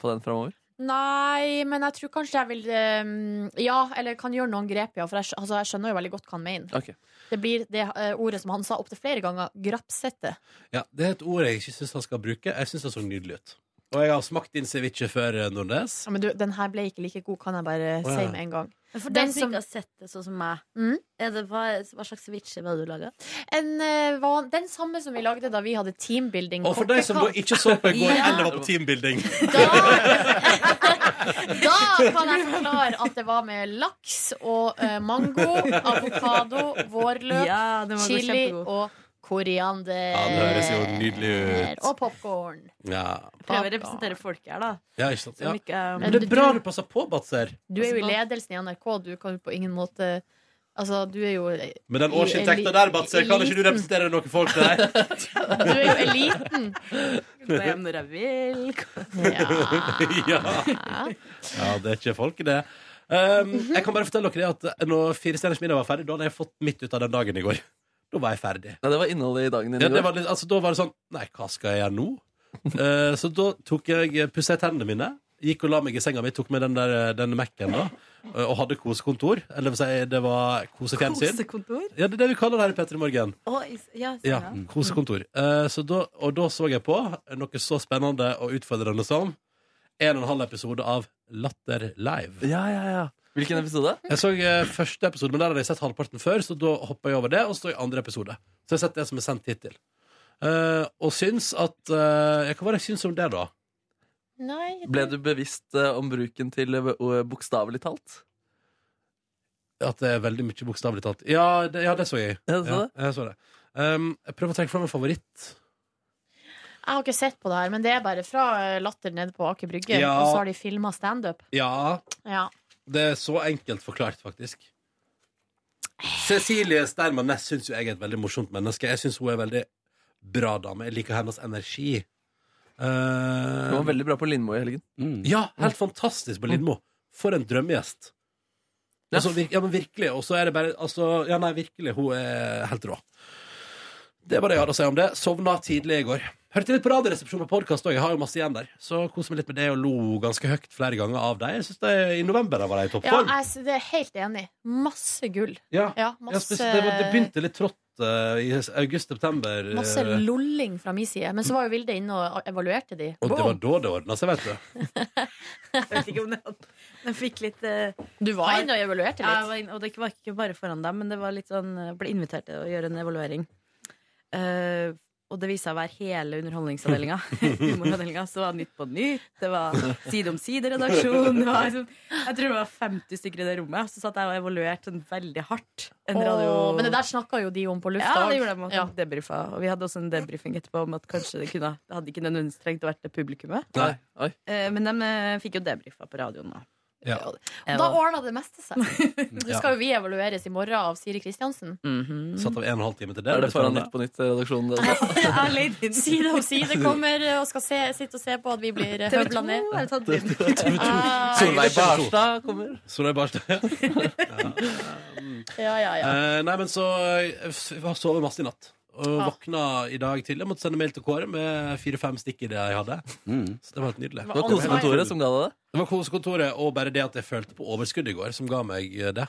Speaker 2: på den framover?
Speaker 3: Nei, men jeg tror kanskje jeg vil eh, Ja, eller kan gjøre noen grep, ja. For jeg, skj- altså, jeg skjønner jo veldig godt hva han mener.
Speaker 2: Ok.
Speaker 3: Det blir det eh, ordet som han sa opptil flere ganger. Grapsete.
Speaker 1: Ja, Det er et ord jeg ikke syns han skal bruke. Jeg syns det så nydelig ut. Og jeg har smakt din ceviche før, eh, Nordnes.
Speaker 3: Ja, men du, den her ble ikke like god, kan jeg bare
Speaker 1: Å, ja.
Speaker 3: si med en gang.
Speaker 6: For
Speaker 3: Den
Speaker 6: den som
Speaker 3: som-
Speaker 6: ikke har sett det sånn som meg,
Speaker 3: Mm.
Speaker 6: er det, hva, hva slags ceviche var det du laga?
Speaker 3: En, eh, van, den samme som vi lagde da vi hadde teambuilding.
Speaker 1: Og for deg som da
Speaker 3: kokkekamp.
Speaker 1: ikke så på i går,
Speaker 3: Mm. Ja.
Speaker 1: eller var på teambuilding
Speaker 3: Da kan jeg forklare at det var med laks og eh, mango, avokado, vårløk,
Speaker 10: Ja, den var god,
Speaker 3: chili
Speaker 10: kjempegod.
Speaker 3: og koriander.
Speaker 1: Ja, det høres jo nydelig ut.
Speaker 3: Og popkorn.
Speaker 1: Ja,
Speaker 10: Prøver å representere folket her, da.
Speaker 1: ja ikke sant?
Speaker 10: Som
Speaker 1: Ja.
Speaker 10: ikke um,
Speaker 1: Men det er bra du passer på, Batser.
Speaker 3: Du er jo i ledelsen i NRK, du kan jo på ingen måte Altså, du er jo
Speaker 1: Med den
Speaker 3: i
Speaker 1: årsinntekta
Speaker 3: eli-
Speaker 1: der, Batser, kan ikke du
Speaker 3: eliten.
Speaker 1: representere noen folk der?
Speaker 3: Du er jo eliten.
Speaker 10: Gå hjem når jeg vil.
Speaker 1: ja. ja, det er ikke folk, det. Um, jeg kan bare fortelle dere det at når Fire stjerners middag var ferdig, da hadde jeg fått midt ut av den dagen i går. Da var jeg ferdig.
Speaker 2: Nei, det var innholdet i dagen din
Speaker 1: Ja,
Speaker 2: i
Speaker 1: det
Speaker 2: går.
Speaker 1: var litt, altså, da var det sånn Nei, hva skal jeg gjøre nå? Eh, så da tok jeg pussa tennene mine, gikk og la meg i senga mi, tok med den der den Mac-en da, eh, og hadde kosekontor. Eller det vil si, det var kosefjernsyn.
Speaker 10: Kosekontor.
Speaker 1: Ja, det er det vi kaller det her i P3 Morgen.
Speaker 10: Oi, ja,
Speaker 1: Ja,
Speaker 10: sånn,
Speaker 1: kosekontor. Eh, så da, og da så jeg på noe så spennende og utfordrende som en og en halv episode av Latter Live.
Speaker 2: Ja, ja, ja. Hvilken episode?
Speaker 1: Jeg så eh, første episode, men der hadde jeg sett halvparten før, så da hoppa jeg over det, og så i andre episode. Så jeg har sett det som er sendt hittil. Eh, og syns at eh, Hva var det jeg syns om det, da?
Speaker 3: Nei,
Speaker 2: Ble du bevisst eh, om bruken til eh, bokstavelig talt?
Speaker 1: At det er veldig mye bokstavelig talt. Ja, det, ja, det så jeg.
Speaker 2: Ja, du så det?
Speaker 1: jeg så det. Um, jeg prøver å trekke fram en favoritt.
Speaker 3: Jeg har ikke sett på det her, men det er bare fra eh, Latter nede på Aker Brygge.
Speaker 1: Ja.
Speaker 3: Og så har de filma standup.
Speaker 1: Ja,
Speaker 3: Ja.
Speaker 1: det er så enkelt forklart, faktisk. Cecilie Sterman Næss syns jo jeg er et veldig morsomt menneske. Jeg syns hun er en veldig bra dame. Jeg liker hennes energi.
Speaker 2: Du var
Speaker 1: Uh,
Speaker 2: veldig bra på Lindmo i helgen.
Speaker 1: ja, helt fantastisk på Lindmo. For en drømmegjest. Altså, vir- ja, men virkelig. Og så er det bare altså, Ja, nei, virkelig. Hun er helt rå. Det var det jeg hadde å si om det. Sovna tidlig i går. Hørte litt på Radioresepsjonen og podkast òg. Jeg har jo masse igjen der. Så koser meg litt med det og lo ganske høyt flere ganger av dem. Jeg synes det I november da var de i
Speaker 3: Ja,
Speaker 1: toppform.
Speaker 3: jeg, s- det er jeg helt enig. i. Masse gull.
Speaker 1: Ja, Ja,
Speaker 3: masse,
Speaker 1: spesielt- det, var- det begynte litt trått eh, i august-september. eh,
Speaker 3: masse lolling fra min side. Men så var jo Vilde inne og evaluerte de.
Speaker 1: Og det
Speaker 3: Boom!
Speaker 1: var da det ordna seg, vet du.
Speaker 10: Jeg vet ikke om den, den fikk litt
Speaker 3: Du var inne og evaluerte eh, litt.
Speaker 10: Ja, jeg var inne, og det var ikke bare foran dem, men det var litt sånn eh, ble invitert til å gjøre en evaluering. Eh, og det viste seg å være hele underholdningsavdelinga. Humoravdelinga. Så var det Nytt på Nytt, det var Side om side-redaksjon. det var Liksom, jeg tror det var 50 stykker i det rommet. Så satt jeg og evaluerte sånn veldig hardt. En
Speaker 3: Åh,
Speaker 10: radio...
Speaker 3: men det der snakka jo de om på lufta.
Speaker 10: Ja,
Speaker 3: også.
Speaker 10: det gjorde de. Og,
Speaker 3: Ja.
Speaker 10: debriefa. og vi hadde også en debrifing etterpå om at kanskje det kunne Det hadde ikke nødvendigvis trengt å være det publikummet.
Speaker 2: Nei, oi.
Speaker 10: Eh, Men de eh, fikk jo debrifa på radioen, da.
Speaker 1: Ja.
Speaker 10: Jeg
Speaker 3: Da
Speaker 10: var-
Speaker 3: ordna det meste seg. Nå skal jo vi evalueres i morgen av Siri Kristiansen.
Speaker 1: Satt av en og en halv time til det.
Speaker 2: Er det foran
Speaker 1: spennende.
Speaker 2: Nytt eh, på Nytt-redaksjonen? det da?
Speaker 3: Side om side kommer og skal se, sitte og se på at vi blir
Speaker 10: TV2
Speaker 3: høvla ned.
Speaker 10: er tatt inn.
Speaker 3: Ah,
Speaker 2: Solveig Barstad kommer.
Speaker 1: Solveig Barstad. ja.
Speaker 3: ja, ja, ja.
Speaker 1: Eh, nei, men så eh, Jeg har sovet masse i natt. Og våkna i dag tidlig. Jeg måtte sende mail til Kåre med fire-fem stikk i det jeg hadde.
Speaker 2: Mm.
Speaker 1: Så det var helt nydelig.
Speaker 2: Det var kosekontoret som ga deg det.
Speaker 1: Det var kosekontoret og bare det at jeg følte på overskudd i går, som ga meg eh, det.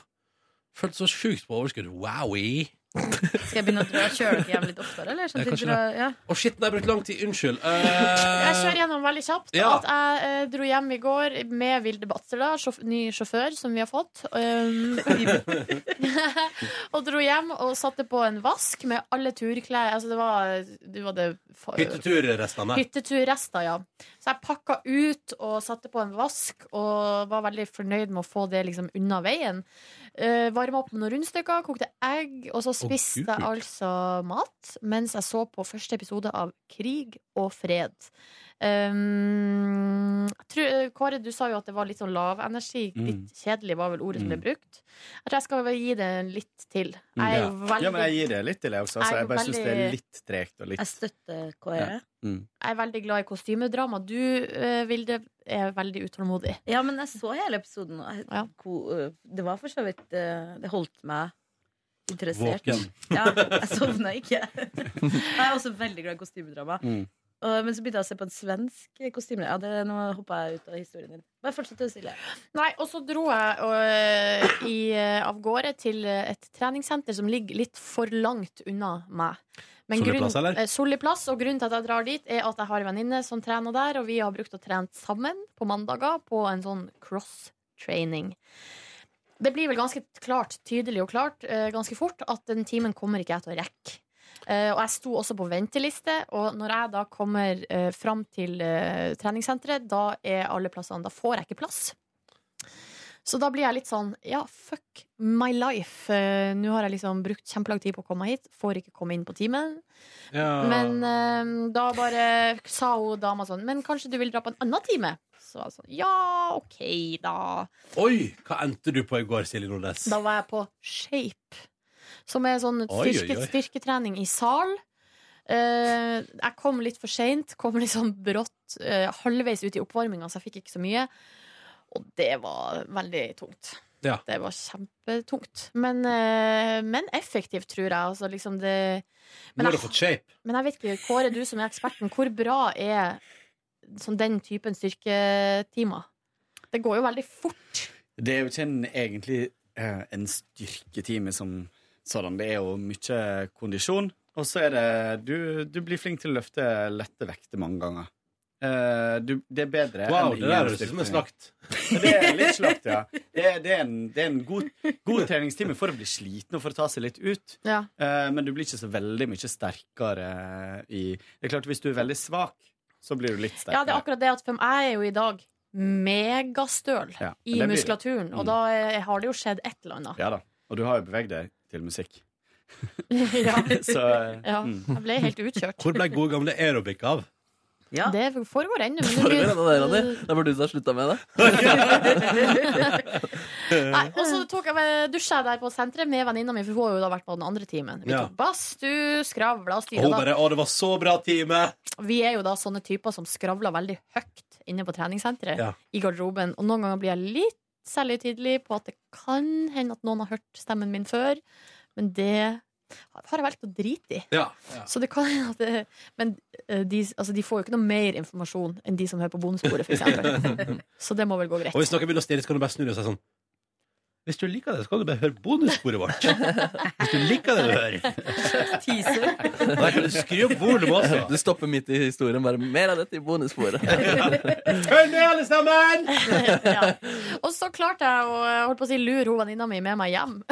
Speaker 1: Følte så sjukt på overskudd. Wowie!
Speaker 10: Skal jeg begynne å dra kjøre dere hjem litt oftere, eller? Sånn
Speaker 1: Ja,
Speaker 10: at
Speaker 1: kanskje
Speaker 10: dere- ja.
Speaker 1: Å, shit, nei, jeg brukte lang tid. Unnskyld.
Speaker 3: Jeg kjører
Speaker 1: Eh,
Speaker 3: gjennom veldig kjapt.
Speaker 1: Ja.
Speaker 3: At jeg eh, dro hjem i går med Vilde Batzela, sjåf ny sjåfør som vi har fått. Um, og dro hjem og satte på en vask med alle turklær. Altså, det var, det var det fa-
Speaker 1: Hytteturrestene.
Speaker 3: Hytteturrester, ja. Så jeg pakka ut og satte på en vask, og var veldig fornøyd med å få det liksom unna veien. Uh, Varma opp med noen rundstykker, kokte egg, og så spiste
Speaker 1: Gud.
Speaker 3: jeg altså mat mens jeg så på første episode av Krig og fred. Um, jeg tror, eh, Kåre, du sa jo at det var litt sånn lavenergi.
Speaker 8: Mm.
Speaker 3: Litt kjedelig var vel ordet som ble
Speaker 8: Mm.
Speaker 3: brukt. Jeg tror jeg skal vel gi det litt til. Jeg er
Speaker 8: Ja.
Speaker 3: jo veldig,
Speaker 8: Ja, men jeg gir det litt til, jeg også.
Speaker 3: Jeg
Speaker 8: Altså,
Speaker 3: er
Speaker 8: jeg bare syns det er
Speaker 3: veldig-
Speaker 8: litt tregt og
Speaker 10: Jeg
Speaker 8: litt
Speaker 10: støtter E. Kåre.
Speaker 3: jeg er veldig glad i kostymedrama. Du, eh, Vilde, er veldig utålmodig.
Speaker 10: Ja, men jeg så hele episoden, og jeg,
Speaker 3: Ja.
Speaker 10: ko- øh, det var for så vidt øh, Det holdt meg interessert.
Speaker 1: Våken.
Speaker 10: Ja, jeg sovna ikke. Jeg er også veldig glad i kostymedrama.
Speaker 8: Mm.
Speaker 10: Og- Men så begynte jeg å se på en svensk kostymedrama. Ja, det, nå hoppa jeg ut av historien din. Bare fortsett å stille.
Speaker 3: Nei, og så dro jeg øh, i, øh, av gårde til øh, et treningssenter som ligger litt for langt unna meg. Men
Speaker 1: Solli
Speaker 3: grunn-
Speaker 1: plass, eller?
Speaker 3: eh, Solli plass, og grunnen til at jeg drar dit, er at jeg har en venninne som trener der, og vi har brukt å trene sammen på mandager på en sånn cross-training. Det blir vel ganske klart, tydelig og klart, eh, ganske fort, at den timen kommer ikke jeg til å rekke. Eh, og jeg sto også på venteliste, og når jeg da kommer eh, fram til eh, treningssenteret, da er alle plassene Da får jeg ikke plass. Så da blir jeg litt sånn Ja, fuck my life. Eh, Nå har jeg liksom brukt kjempelang tid på å komme meg hit. Får ikke komme inn på timen.
Speaker 1: Ja.
Speaker 3: Men eh, da bare sa hun dama sånn Men kanskje du vil dra på en annen time? Så jeg sånn Ja, OK, da.
Speaker 1: Oi! Hva endte du på i går, Silje Nordnes?
Speaker 3: Da var jeg på Shape, som er sånn
Speaker 1: Oi, oi,
Speaker 3: styrke,
Speaker 1: oi.
Speaker 3: styrketrening i sal. Eh, jeg kom litt for seint, kom litt sånn brått eh, halvveis ut i oppvarminga, så jeg fikk ikke så mye. Og det var veldig tungt.
Speaker 1: Ja.
Speaker 3: Det var kjempetungt. Men, eh, men effektivt, tror jeg. Altså, liksom det,
Speaker 1: Nå har du fått shape.
Speaker 3: men jeg vet ikke, Kåre, du som er eksperten, hvor bra er sånn den typen styrketimer? Det går jo veldig fort.
Speaker 8: Det er jo ikke en, egentlig eh, en styrketime som sådan. Det er jo mye kondisjon. Og så er det du, du blir flink til å løfte lette vekter mange ganger. Eh, du, det er bedre
Speaker 1: Wow,
Speaker 8: enn
Speaker 1: det der
Speaker 8: ingen
Speaker 1: høres ut som en
Speaker 8: styrketrening.
Speaker 1: slakt.
Speaker 8: Det er litt slakt, ja. Det, er- det er en, det er en god, god treningstime for å bli sliten og for å ta seg litt ut.
Speaker 3: Ja.
Speaker 8: Eh, men du blir ikke så veldig mye sterkere i Det er klart, hvis du er veldig svak, så blir du litt sterkere.
Speaker 3: Ja, det er akkurat det at for jeg er jo i dag megastøl i
Speaker 8: Ja, det blir det.
Speaker 3: muskulaturen, og
Speaker 8: Mm.
Speaker 3: da eh, har det jo skjedd et eller annet.
Speaker 8: Ja da. Og du har jo beveget deg til musikk.
Speaker 3: Ja.
Speaker 8: Så
Speaker 3: Ja,
Speaker 8: mm.
Speaker 3: jeg ble helt utkjørt.
Speaker 1: Hvor ble gode gamle aerobic av?
Speaker 10: Ja.
Speaker 3: Det foregår ennå. men det
Speaker 2: Var det
Speaker 3: blir-
Speaker 2: det, Ronny? Det var du som slutta med det?
Speaker 3: Nei, og så tok jeg dusja jeg der på senteret med venninna mi, for hun har jo da vært på den andre timen. Vi
Speaker 1: Ja.
Speaker 3: tok badstue, skravla og
Speaker 1: Og hun
Speaker 3: styra.
Speaker 1: bare 'Å, det var så bra time'.
Speaker 3: Vi er jo da sånne typer som skravler veldig høyt inne på treningssenteret.
Speaker 1: Ja.
Speaker 3: I garderoben. Og noen ganger blir jeg litt særlig tidlig på at det kan hende at noen har hørt stemmen min før, men det har jeg valgt å drite i.
Speaker 1: Ja, ja.
Speaker 3: Så det kan hende at det, Men eh, de, altså, de får jo ikke noe mer informasjon enn de som hører på bonusbordet, f.eks. Så det må vel gå greit.
Speaker 1: Og hvis noen begynner å stirre, så kan du bare snu deg og si sånn Hvis du liker det, så kan du bare høre bonussporet vårt. Hvis du liker det du hører. Nei, kan du skru opp volumet også?
Speaker 2: Du stopper midt i historien. Bare mer av dette i bonussporet.
Speaker 1: Hør ned, alle sammen!
Speaker 3: ja. Og så klarte jeg å eh, holdt på å si, lure hun venninna mi med meg hjem.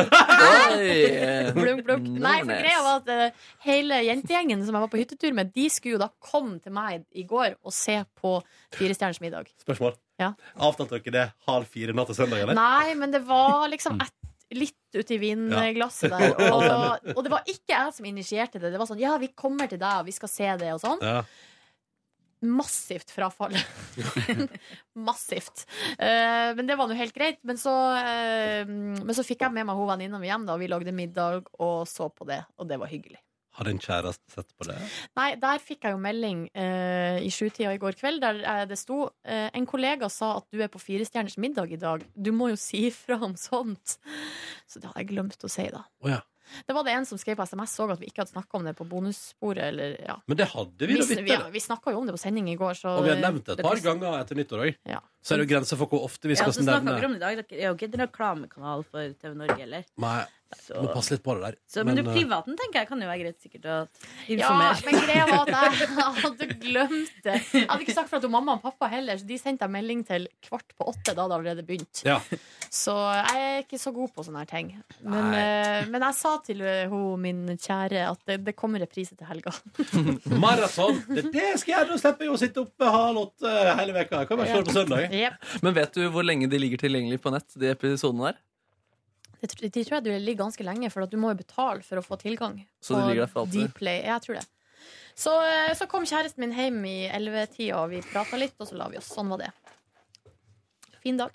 Speaker 2: Oi.
Speaker 3: blunk, blunk.
Speaker 2: Mm,
Speaker 3: Nei, for
Speaker 2: Nordnes.
Speaker 3: greia var at eh, hele jentegjengen som jeg var på hyttetur med, de skulle jo da komme til meg i går og se på Firestjerners middag.
Speaker 1: Spørsmål.
Speaker 3: Ja.
Speaker 1: Avtalte dere det halv fire natt til søndag, eller?
Speaker 3: Nei, men det var liksom et, litt uti vinglasset der. Og, og det var ikke jeg som initierte det. Det var sånn ja, vi kommer til deg, og vi skal se det, og sånn.
Speaker 1: Ja.
Speaker 3: Massivt frafall. Massivt. Eh, men det var nå helt greit. Men så, eh, men så fikk jeg med meg hun venninna mi hjem, da, og vi lagde middag og så på det, og det var hyggelig.
Speaker 1: Har din kjæreste sett på det?
Speaker 3: Nei, der fikk jeg jo melding eh, i sjutida i går kveld, der eh, det sto eh, En kollega sa at du er på Firestjerners middag i dag. Du må jo si ifra om sånt. Så det hadde jeg glemt å si, da.
Speaker 1: Å ja.
Speaker 3: Det var det en som skrev på SMS òg, at vi ikke hadde snakka om det på bonussporet. Eller, ja.
Speaker 1: Men det hadde vi
Speaker 3: Vi,
Speaker 1: da vidt.
Speaker 3: vi,
Speaker 1: eller?
Speaker 3: vi snakka jo om det på sending i går, så
Speaker 1: Og vi har nevnt det et
Speaker 3: det-
Speaker 1: par ganger etter nyttår òg.
Speaker 3: Ja.
Speaker 1: Så er det jo grenser for hvor ofte vi
Speaker 10: Ja,
Speaker 1: skal
Speaker 10: så snakker vi
Speaker 1: nevne
Speaker 10: om det i dag. Dere er jo ikke en reklamekanal for TV Norge heller.
Speaker 1: Nei, må passe litt på det der.
Speaker 10: Så, men, du,
Speaker 1: eh,
Speaker 10: privaten tenker jeg kan jo være greit sikkert å
Speaker 3: Ja,
Speaker 10: informere.
Speaker 3: men greia var at jeg hadde glemt det. Jeg hadde ikke sagt fra til mamma og pappa heller, så de sendte jeg melding til kvart på åtte. Da hadde det allerede begynt.
Speaker 1: eh, Ja.
Speaker 3: Så jeg er ikke så god på sånne her ting. Men, eh, men jeg sa til eh, hun, min kjære at det, det kommer reprise til helga.
Speaker 1: Maraton! Det, det skal jeg gjøre! Da slipper jeg å sitte oppe halv åtte hele veka. Jeg kan bare se det på søndag.
Speaker 3: Jep.
Speaker 2: Men vet du hvor lenge de ligger tilgjengelig på nett, de episodene der?
Speaker 3: Det tr- De tror jeg du ligger ganske lenge, for at du må jo betale for å få tilgang.
Speaker 2: Så det ligger der for alltid?
Speaker 3: Dplay, ja, jeg tror det. Så, eh, så kom kjæresten min hjem i 11-tida, og vi prata litt, og så la vi oss. Sånn var det. Fin dag.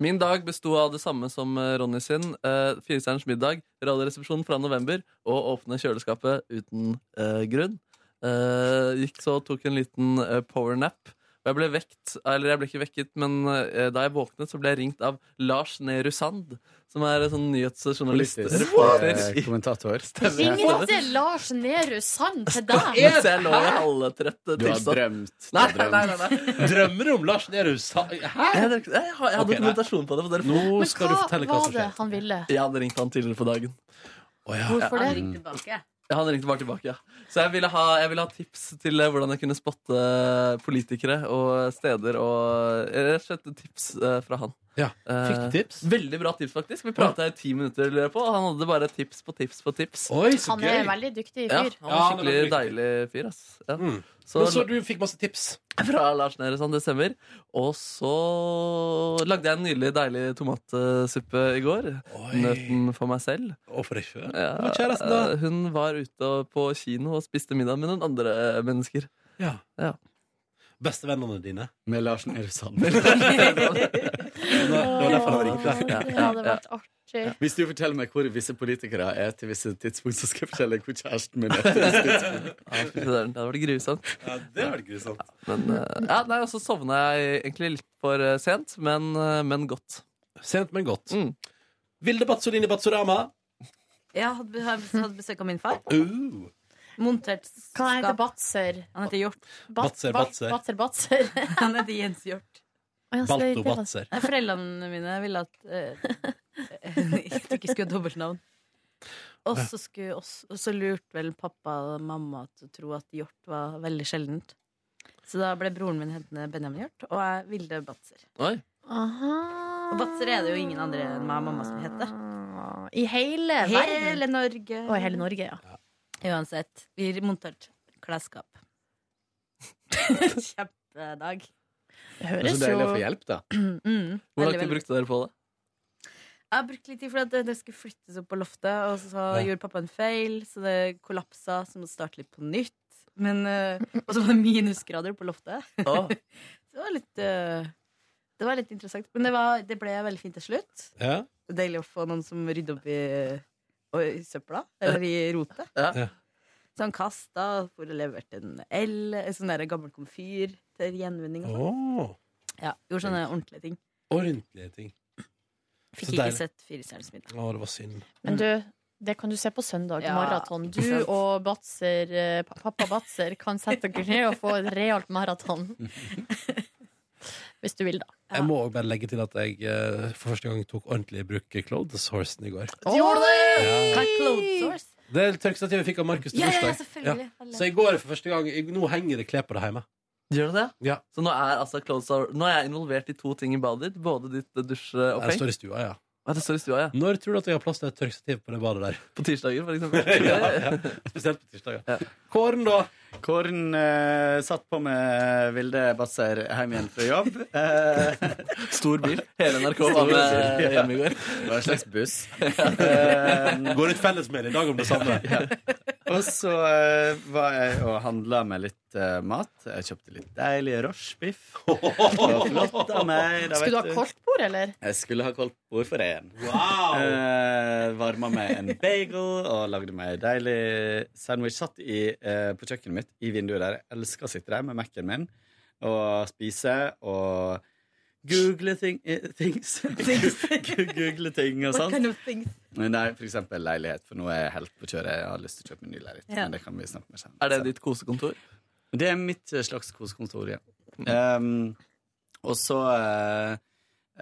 Speaker 2: Min dag besto av det samme som eh, Ronny sin. Eh, Firestjerners middag, Radioresepsjonen fra november og åpne kjøleskapet uten eh, grunn. Eh, gikk så og tok en liten eh, powernap. Og jeg ble vekt, eller jeg ble ikke vekket, men eh, da jeg våknet, så ble jeg ringt av Lars Nehru Sand, som er eh, sånn nyhetsjournalist.
Speaker 8: Politisk
Speaker 2: reporter
Speaker 8: eh,
Speaker 2: i-
Speaker 8: kommentator.
Speaker 3: Ringte Lars Nehru Sand til deg?
Speaker 2: Mens jeg lå i halvtrøtt eh,
Speaker 8: Du har
Speaker 2: tilstand.
Speaker 8: drømt. Du
Speaker 2: Nei, nei,
Speaker 8: har drømt.
Speaker 2: nei, nei, nei.
Speaker 1: Drømmer du om Lars Nehru Sa- Hæ?
Speaker 2: Jeg, har- jeg, har, jeg har
Speaker 1: Ok, nei.
Speaker 2: dokumentasjon på det. For dere.
Speaker 1: Nå
Speaker 3: Men
Speaker 1: skal du
Speaker 3: hva
Speaker 1: fortelle hva
Speaker 3: var
Speaker 1: som
Speaker 3: det
Speaker 1: skjer.
Speaker 3: han ville?
Speaker 2: Jeg hadde ringt han tidligere på dagen.
Speaker 1: Å ja. Mm,
Speaker 3: Hvorfor det?
Speaker 10: ringte tilbake.
Speaker 2: Ja, han ringte bare tilbake, ja. Så jeg ville ha, jeg ville ha tips til eh, hvordan jeg kunne spotte eh, politikere og steder og eh, Rett og slett tips eh, fra han.
Speaker 1: ja. Fikk du tips?
Speaker 2: Eh, veldig bra tips, faktisk. Vi prata i ti minutter, lurer jeg på, og han hadde bare tips på tips på tips.
Speaker 1: Oi, så
Speaker 3: Han
Speaker 1: gøy!
Speaker 3: er en veldig dyktig
Speaker 2: Ja,
Speaker 3: fyr.
Speaker 2: han
Speaker 1: Ja,
Speaker 2: var
Speaker 1: han er
Speaker 2: skikkelig
Speaker 1: veldig
Speaker 2: deilig fyr, ass. Ja.
Speaker 1: Mm.
Speaker 2: Så,
Speaker 1: Men så du fikk masse tips.
Speaker 2: fra Lars Nehru Sand, det stemmer. Og så lagde jeg en nydelig, deilig tomatsuppe i går.
Speaker 1: Oi.
Speaker 2: Nøt den for meg selv.
Speaker 1: Å, for ei sjø.
Speaker 2: Ja,
Speaker 1: Hva kjæresten, da?
Speaker 2: eh, Hun var ute og- på kino og spiste middag med noen andre eh, mennesker.
Speaker 1: Ja.
Speaker 2: Ja.
Speaker 1: Bestevennene dine.
Speaker 8: Med Lars Nehru Sand.
Speaker 1: Det var derfor han ringte.
Speaker 3: Åh, Det hadde vært artig.
Speaker 8: Hvis du forteller meg hvor visse politikere er til visse tidspunkt, så skal jeg fortelle deg hvor kjæresten min er. til visse tidspunkt.
Speaker 2: Ja, fy søren, det hadde vært grusomt.
Speaker 1: Ja, det var grusomt.
Speaker 2: Men, eh, ja, nei, og så sovna jeg egentlig litt for eh, sent, men, eh, men godt.
Speaker 1: Sent, men godt.
Speaker 2: Mm.
Speaker 1: Vilde Batzolini Batzorama.
Speaker 10: Jeg hadde, be- hadde besøk av min far.
Speaker 1: Uh.
Speaker 10: Montert
Speaker 3: Hva heter
Speaker 10: skap.
Speaker 3: Batser?
Speaker 10: Han heter Hjort.
Speaker 3: Bat-
Speaker 1: Batser,
Speaker 3: Bat-
Speaker 1: Batser.
Speaker 3: Batser, Batser.
Speaker 10: Han heter Jens Hjort.
Speaker 3: Å, ja, så det-
Speaker 1: Balto
Speaker 3: det var-
Speaker 1: Batzer.
Speaker 10: Nei, Foreldrene mine ville at eh, jeg ikke skulle ha dobbeltnavn. Og så skulle- og så- og så lurte vel pappa og mamma til å tro at hjort var veldig sjeldent. Så da ble broren min hetende Benjamin Hjort, og jeg Vilde Batzer.
Speaker 2: Oi.
Speaker 3: Aha.
Speaker 10: Og Batser er det jo ingen andre enn meg og mamma som heter.
Speaker 3: I hele, verden?
Speaker 10: Hele Norge.
Speaker 3: Og i Eh, hele Norge, ja.
Speaker 10: Uansett. Vi monterte klesskap. Kjempedag.
Speaker 3: Det
Speaker 8: Det er
Speaker 3: høres
Speaker 8: så deilig å få
Speaker 3: jo
Speaker 8: hjelp, da.
Speaker 10: Mm,
Speaker 2: Hvor
Speaker 10: veldig,
Speaker 2: lang tid
Speaker 10: veldig.
Speaker 2: brukte dere på det?
Speaker 10: Jeg har brukt litt tid, for at det- det skulle flyttes opp på loftet, og så
Speaker 1: Ja.
Speaker 10: gjorde pappa en feil, så det kollapsa, så måtte starte litt på nytt. Men, eh, og så var det minusgrader på loftet.
Speaker 2: Å,
Speaker 10: Så det var litt, eh, det var litt interessant. Men det, var, det ble veldig fint til slutt.
Speaker 1: Ja.
Speaker 10: Deilig å få noen som rydder opp i, og i søpla, eller i rotet.
Speaker 2: Ja.
Speaker 1: Ja.
Speaker 10: Så han kasta, og for og leverte en el, en sånn der gammel komfyr til gjenvinning. og sånn.
Speaker 1: Åh.
Speaker 10: Ja, gjorde sånne ordentlige ting.
Speaker 1: Ordentlige ting.
Speaker 10: Fikk
Speaker 1: Så
Speaker 10: ikke
Speaker 1: deilig.
Speaker 10: sett Firestjerners middag.
Speaker 1: Å, det var synd.
Speaker 3: Men du, det kan du se på søndag.
Speaker 10: Ja,
Speaker 3: maraton. Du
Speaker 10: ikke sant.
Speaker 3: og Batzer, eh, pa- pappa Batzer kan sette dere ned og få et realt maraton. Hvis du vil, da.
Speaker 1: Jeg må også bare legge til at jeg eh, for første gang tok ordentlig i bruk Clothes-horsen i går.
Speaker 3: Gjorde
Speaker 1: Ja.
Speaker 3: Hva er clothesårs?
Speaker 1: Det er tørkestativet jeg fikk av Markus til
Speaker 3: Ja, ja, ja,
Speaker 1: bursdag.
Speaker 3: selvfølgelig.
Speaker 1: Så i går for første gang i- Nå henger det klær på det hjemme.
Speaker 2: Gjør det det?
Speaker 1: Ja.
Speaker 2: Så nå er, altså, Clothes Are- nå er jeg involvert i to ting i badet ditt. Både ditt eh, dusjeoppheng.
Speaker 1: Det står i stua, ja.
Speaker 2: det står i stua, ja.
Speaker 1: Når tror du at jeg har plass til et tørkestativ på det badet der?
Speaker 2: På tirsdager, for eksempel.
Speaker 1: ja, ja. Spesielt på tirsdager. Kåren, da?
Speaker 8: Kåren eh, satt på med Vilde Batzer hjem igjen fra jobb. Eh,
Speaker 2: Stor bil. Hele NRK var med hjemme i går.
Speaker 8: Det var en slags buss.
Speaker 1: Går ut fellesmail i dag om det samme.
Speaker 8: Eh, Og så eh, var jeg og handla med litt eh, mat. Jeg kjøpte litt deilig rochebiff. Flott av meg. da vet
Speaker 3: Skulle
Speaker 1: eh,
Speaker 3: du ha kortbord, eller?
Speaker 8: Jeg skulle ha koldtbord for én.
Speaker 1: Wow.
Speaker 8: Eh, varma meg en bagel og lagde meg en deilig sandwich. Satt i, eh, på kjøkkenet mitt i vinduet der. Jeg elsker å sitte der med Mac-en min og spise og google ting, eh, things. Gu- google ting og
Speaker 10: What
Speaker 8: sånn. sånt.
Speaker 10: kind of things?
Speaker 8: Nei, for eksempel leilighet, for nå er jeg helt på kjøret. Jeg har lyst til å kjøpe en ny leilighet.
Speaker 10: Ja.
Speaker 8: Men det kan vi snakke om senere.
Speaker 2: Er det ditt kosekontor?
Speaker 8: Det er mitt eh, slags kosekontor, ja. Ehm, og så eh,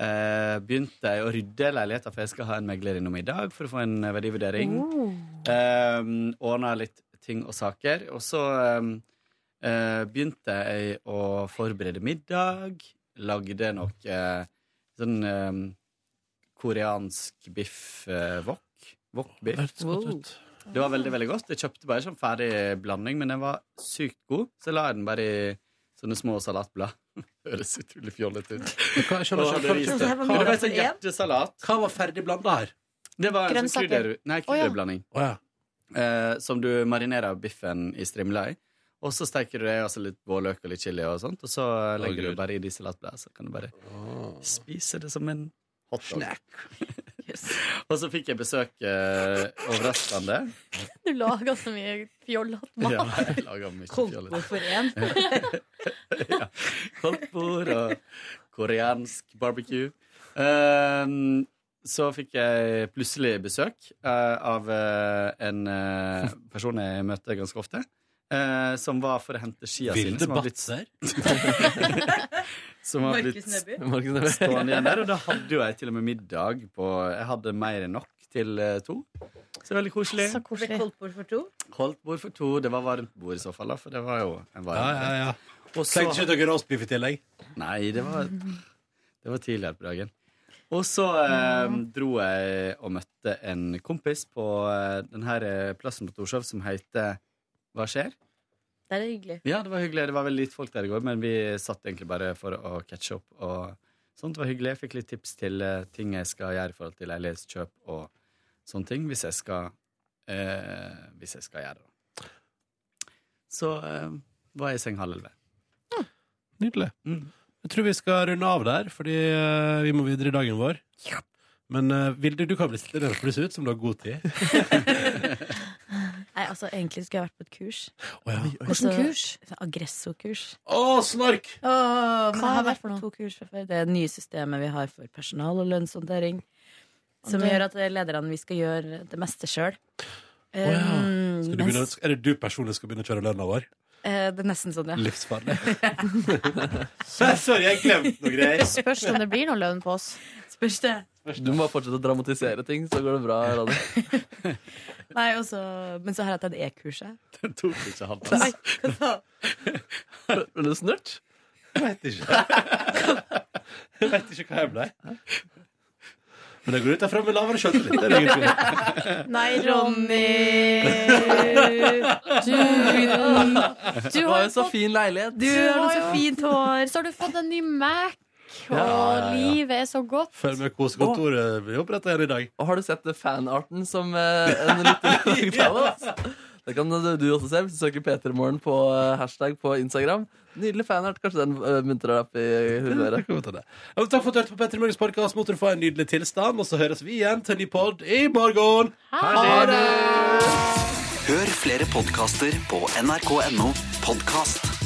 Speaker 8: eh, begynte jeg å rydde leiligheten, for jeg skal ha en megler innom i dag for å få en eh, verdivurdering. Um, Ordna litt ting og saker. Og så ehm, eh, begynte jeg å forberede middag. Lagde noe eh, sånn ehm, koreansk biff eh, wok. Wokbiff.
Speaker 1: Hørtes godt ut.
Speaker 8: Det var veldig veldig godt. Jeg kjøpte bare sånn ferdig blanding, men den var sykt god. Så la jeg den bare i sånne små salatblad. Høres utrolig fjollete ut.
Speaker 1: Hva, skjønner,
Speaker 8: Og hadde
Speaker 1: skjønner,
Speaker 8: ris
Speaker 1: skjønner.
Speaker 8: til.
Speaker 10: Det var
Speaker 8: Men det var
Speaker 10: middag
Speaker 8: en sånn
Speaker 10: for én.
Speaker 8: hjertesalat.
Speaker 1: Hva var ferdig blanda her?
Speaker 8: Det var en sånn
Speaker 3: Grønnsaker.
Speaker 8: krydder, nei,
Speaker 3: Å, ja.
Speaker 8: krydderblanding
Speaker 1: Å ja.
Speaker 8: eh, som du marinerer biffen i strimla i. Og så steker du det altså litt vårløk og litt chili og sånt, og så legger
Speaker 1: Gud.
Speaker 8: du bare i de salatbladene, så kan du bare spise det som en hotdog. og så fikk jeg besøk eh, overraskende.
Speaker 3: Du lager så mye fjollete
Speaker 8: Ja,
Speaker 3: mat.
Speaker 8: jeg lager mye fjollete.
Speaker 10: Koldtbord for én.
Speaker 8: koldtbord og koreansk barbecue. Ehm, så fikk jeg plutselig besøk eh, av eh, en eh, person jeg møter ganske ofte, eh, som var for å hente skia sine,
Speaker 1: Vilde
Speaker 8: som har blitt,
Speaker 1: Batzer?
Speaker 8: som har blitt
Speaker 10: Markus Neby.
Speaker 2: Markus Neby.
Speaker 8: stående igjen der. Og da hadde jo jeg til og med middag på Jeg hadde mer enn nok til eh, to. Så det var veldig koselig.
Speaker 3: Så koselig.
Speaker 10: Koldtbord for to.
Speaker 8: Holdt bord for to. Det var varmt bord i så fall, da, for det var jo en varm
Speaker 1: Ja, ja, ja.
Speaker 8: Og så-
Speaker 1: Tenkte ikke dere roastbiff i tillegg?
Speaker 8: Nei, det var, det var tidligere på dagen. Og så eh, dro jeg og møtte en kompis på eh, denne plassen på Torshov som heter Hva skjer?
Speaker 10: Det er hyggelig.
Speaker 8: Ja, det var hyggelig. Det var veldig lite folk der i går, men vi satt egentlig bare for å catche opp. Og sånt Det var hyggelig. Jeg fikk litt tips til eh, ting jeg skal gjøre i forhold til leilighetskjøp og sånne ting, hvis jeg skal, eh, hvis jeg skal gjøre det. Så eh, var jeg i seng halv elleve.
Speaker 1: Nydelig.
Speaker 8: Mm.
Speaker 1: Jeg tror vi skal runde av der, fordi eh, vi må videre i dagen vår. Men eh, Vilde, du kan bli stille, for det ser ut som du har god tid.
Speaker 10: Nei, altså, egentlig skulle jeg vært på et kurs.
Speaker 1: Å ja.
Speaker 10: Altså,
Speaker 3: kurs?
Speaker 10: Aggressokurs.
Speaker 1: Å, snark!
Speaker 10: Åh, men jeg
Speaker 3: Hva er
Speaker 10: har
Speaker 3: det
Speaker 10: vært
Speaker 3: for
Speaker 10: på
Speaker 3: noe?
Speaker 10: to kurs fra før. Det er det nye systemet vi har for personal og lønnshåndtering. Som
Speaker 3: det-
Speaker 10: gjør at lederne vi skal gjøre det meste sjøl.
Speaker 1: Å ja. Skal du begynne, er det du personlig skal begynne å kjøre lønna vår?
Speaker 10: det er nesten sånn, ja.
Speaker 1: Livsfarlig. Nei, Sorry, jeg glemte noe greier.
Speaker 3: Spørs om det blir noe lønn på oss.
Speaker 10: Spørs det.
Speaker 2: Du må bare fortsette å dramatisere ting, så går det bra. Radio.
Speaker 10: Nei, og så- men så har jeg tatt e-kurs. jeg.
Speaker 8: Den tok ikke halv
Speaker 10: Nei, hva da?
Speaker 2: Ble du snurt?
Speaker 1: Jeg vet ikke. Jeg vet ikke hva jeg ble. Men det går ut derfra med lavere sjøltillit. Det er det ingen tvil om.
Speaker 3: Nei,
Speaker 10: Ronny!
Speaker 3: Du, du
Speaker 2: Du
Speaker 3: har
Speaker 2: har
Speaker 3: jo
Speaker 2: jo så
Speaker 3: fått
Speaker 2: fin leilighet.
Speaker 10: Du har noe så fint hår.
Speaker 3: Så har du fått en ny Mac, og
Speaker 1: ja, ja.
Speaker 3: livet er så godt.
Speaker 1: Følg med kosekontoret. Vi oppretter igjen i dag.
Speaker 2: Og har du sett fanarten som eh, en liten av oss? Det kan du du også se hvis du søker P3morgen på eh, hashtag på Instagram. Nydelig fanart. Kanskje den eh, muntrer deg opp i humøret.
Speaker 1: Det kan vi ta det. Ja, men Takk for at du hørte på Petter Morgens podcast. Måtte du få en nydelig tilstand, og så høres vi igjen til en ny pod i morgen. Ha det!
Speaker 11: Hør flere podkaster på nrk.no podkast.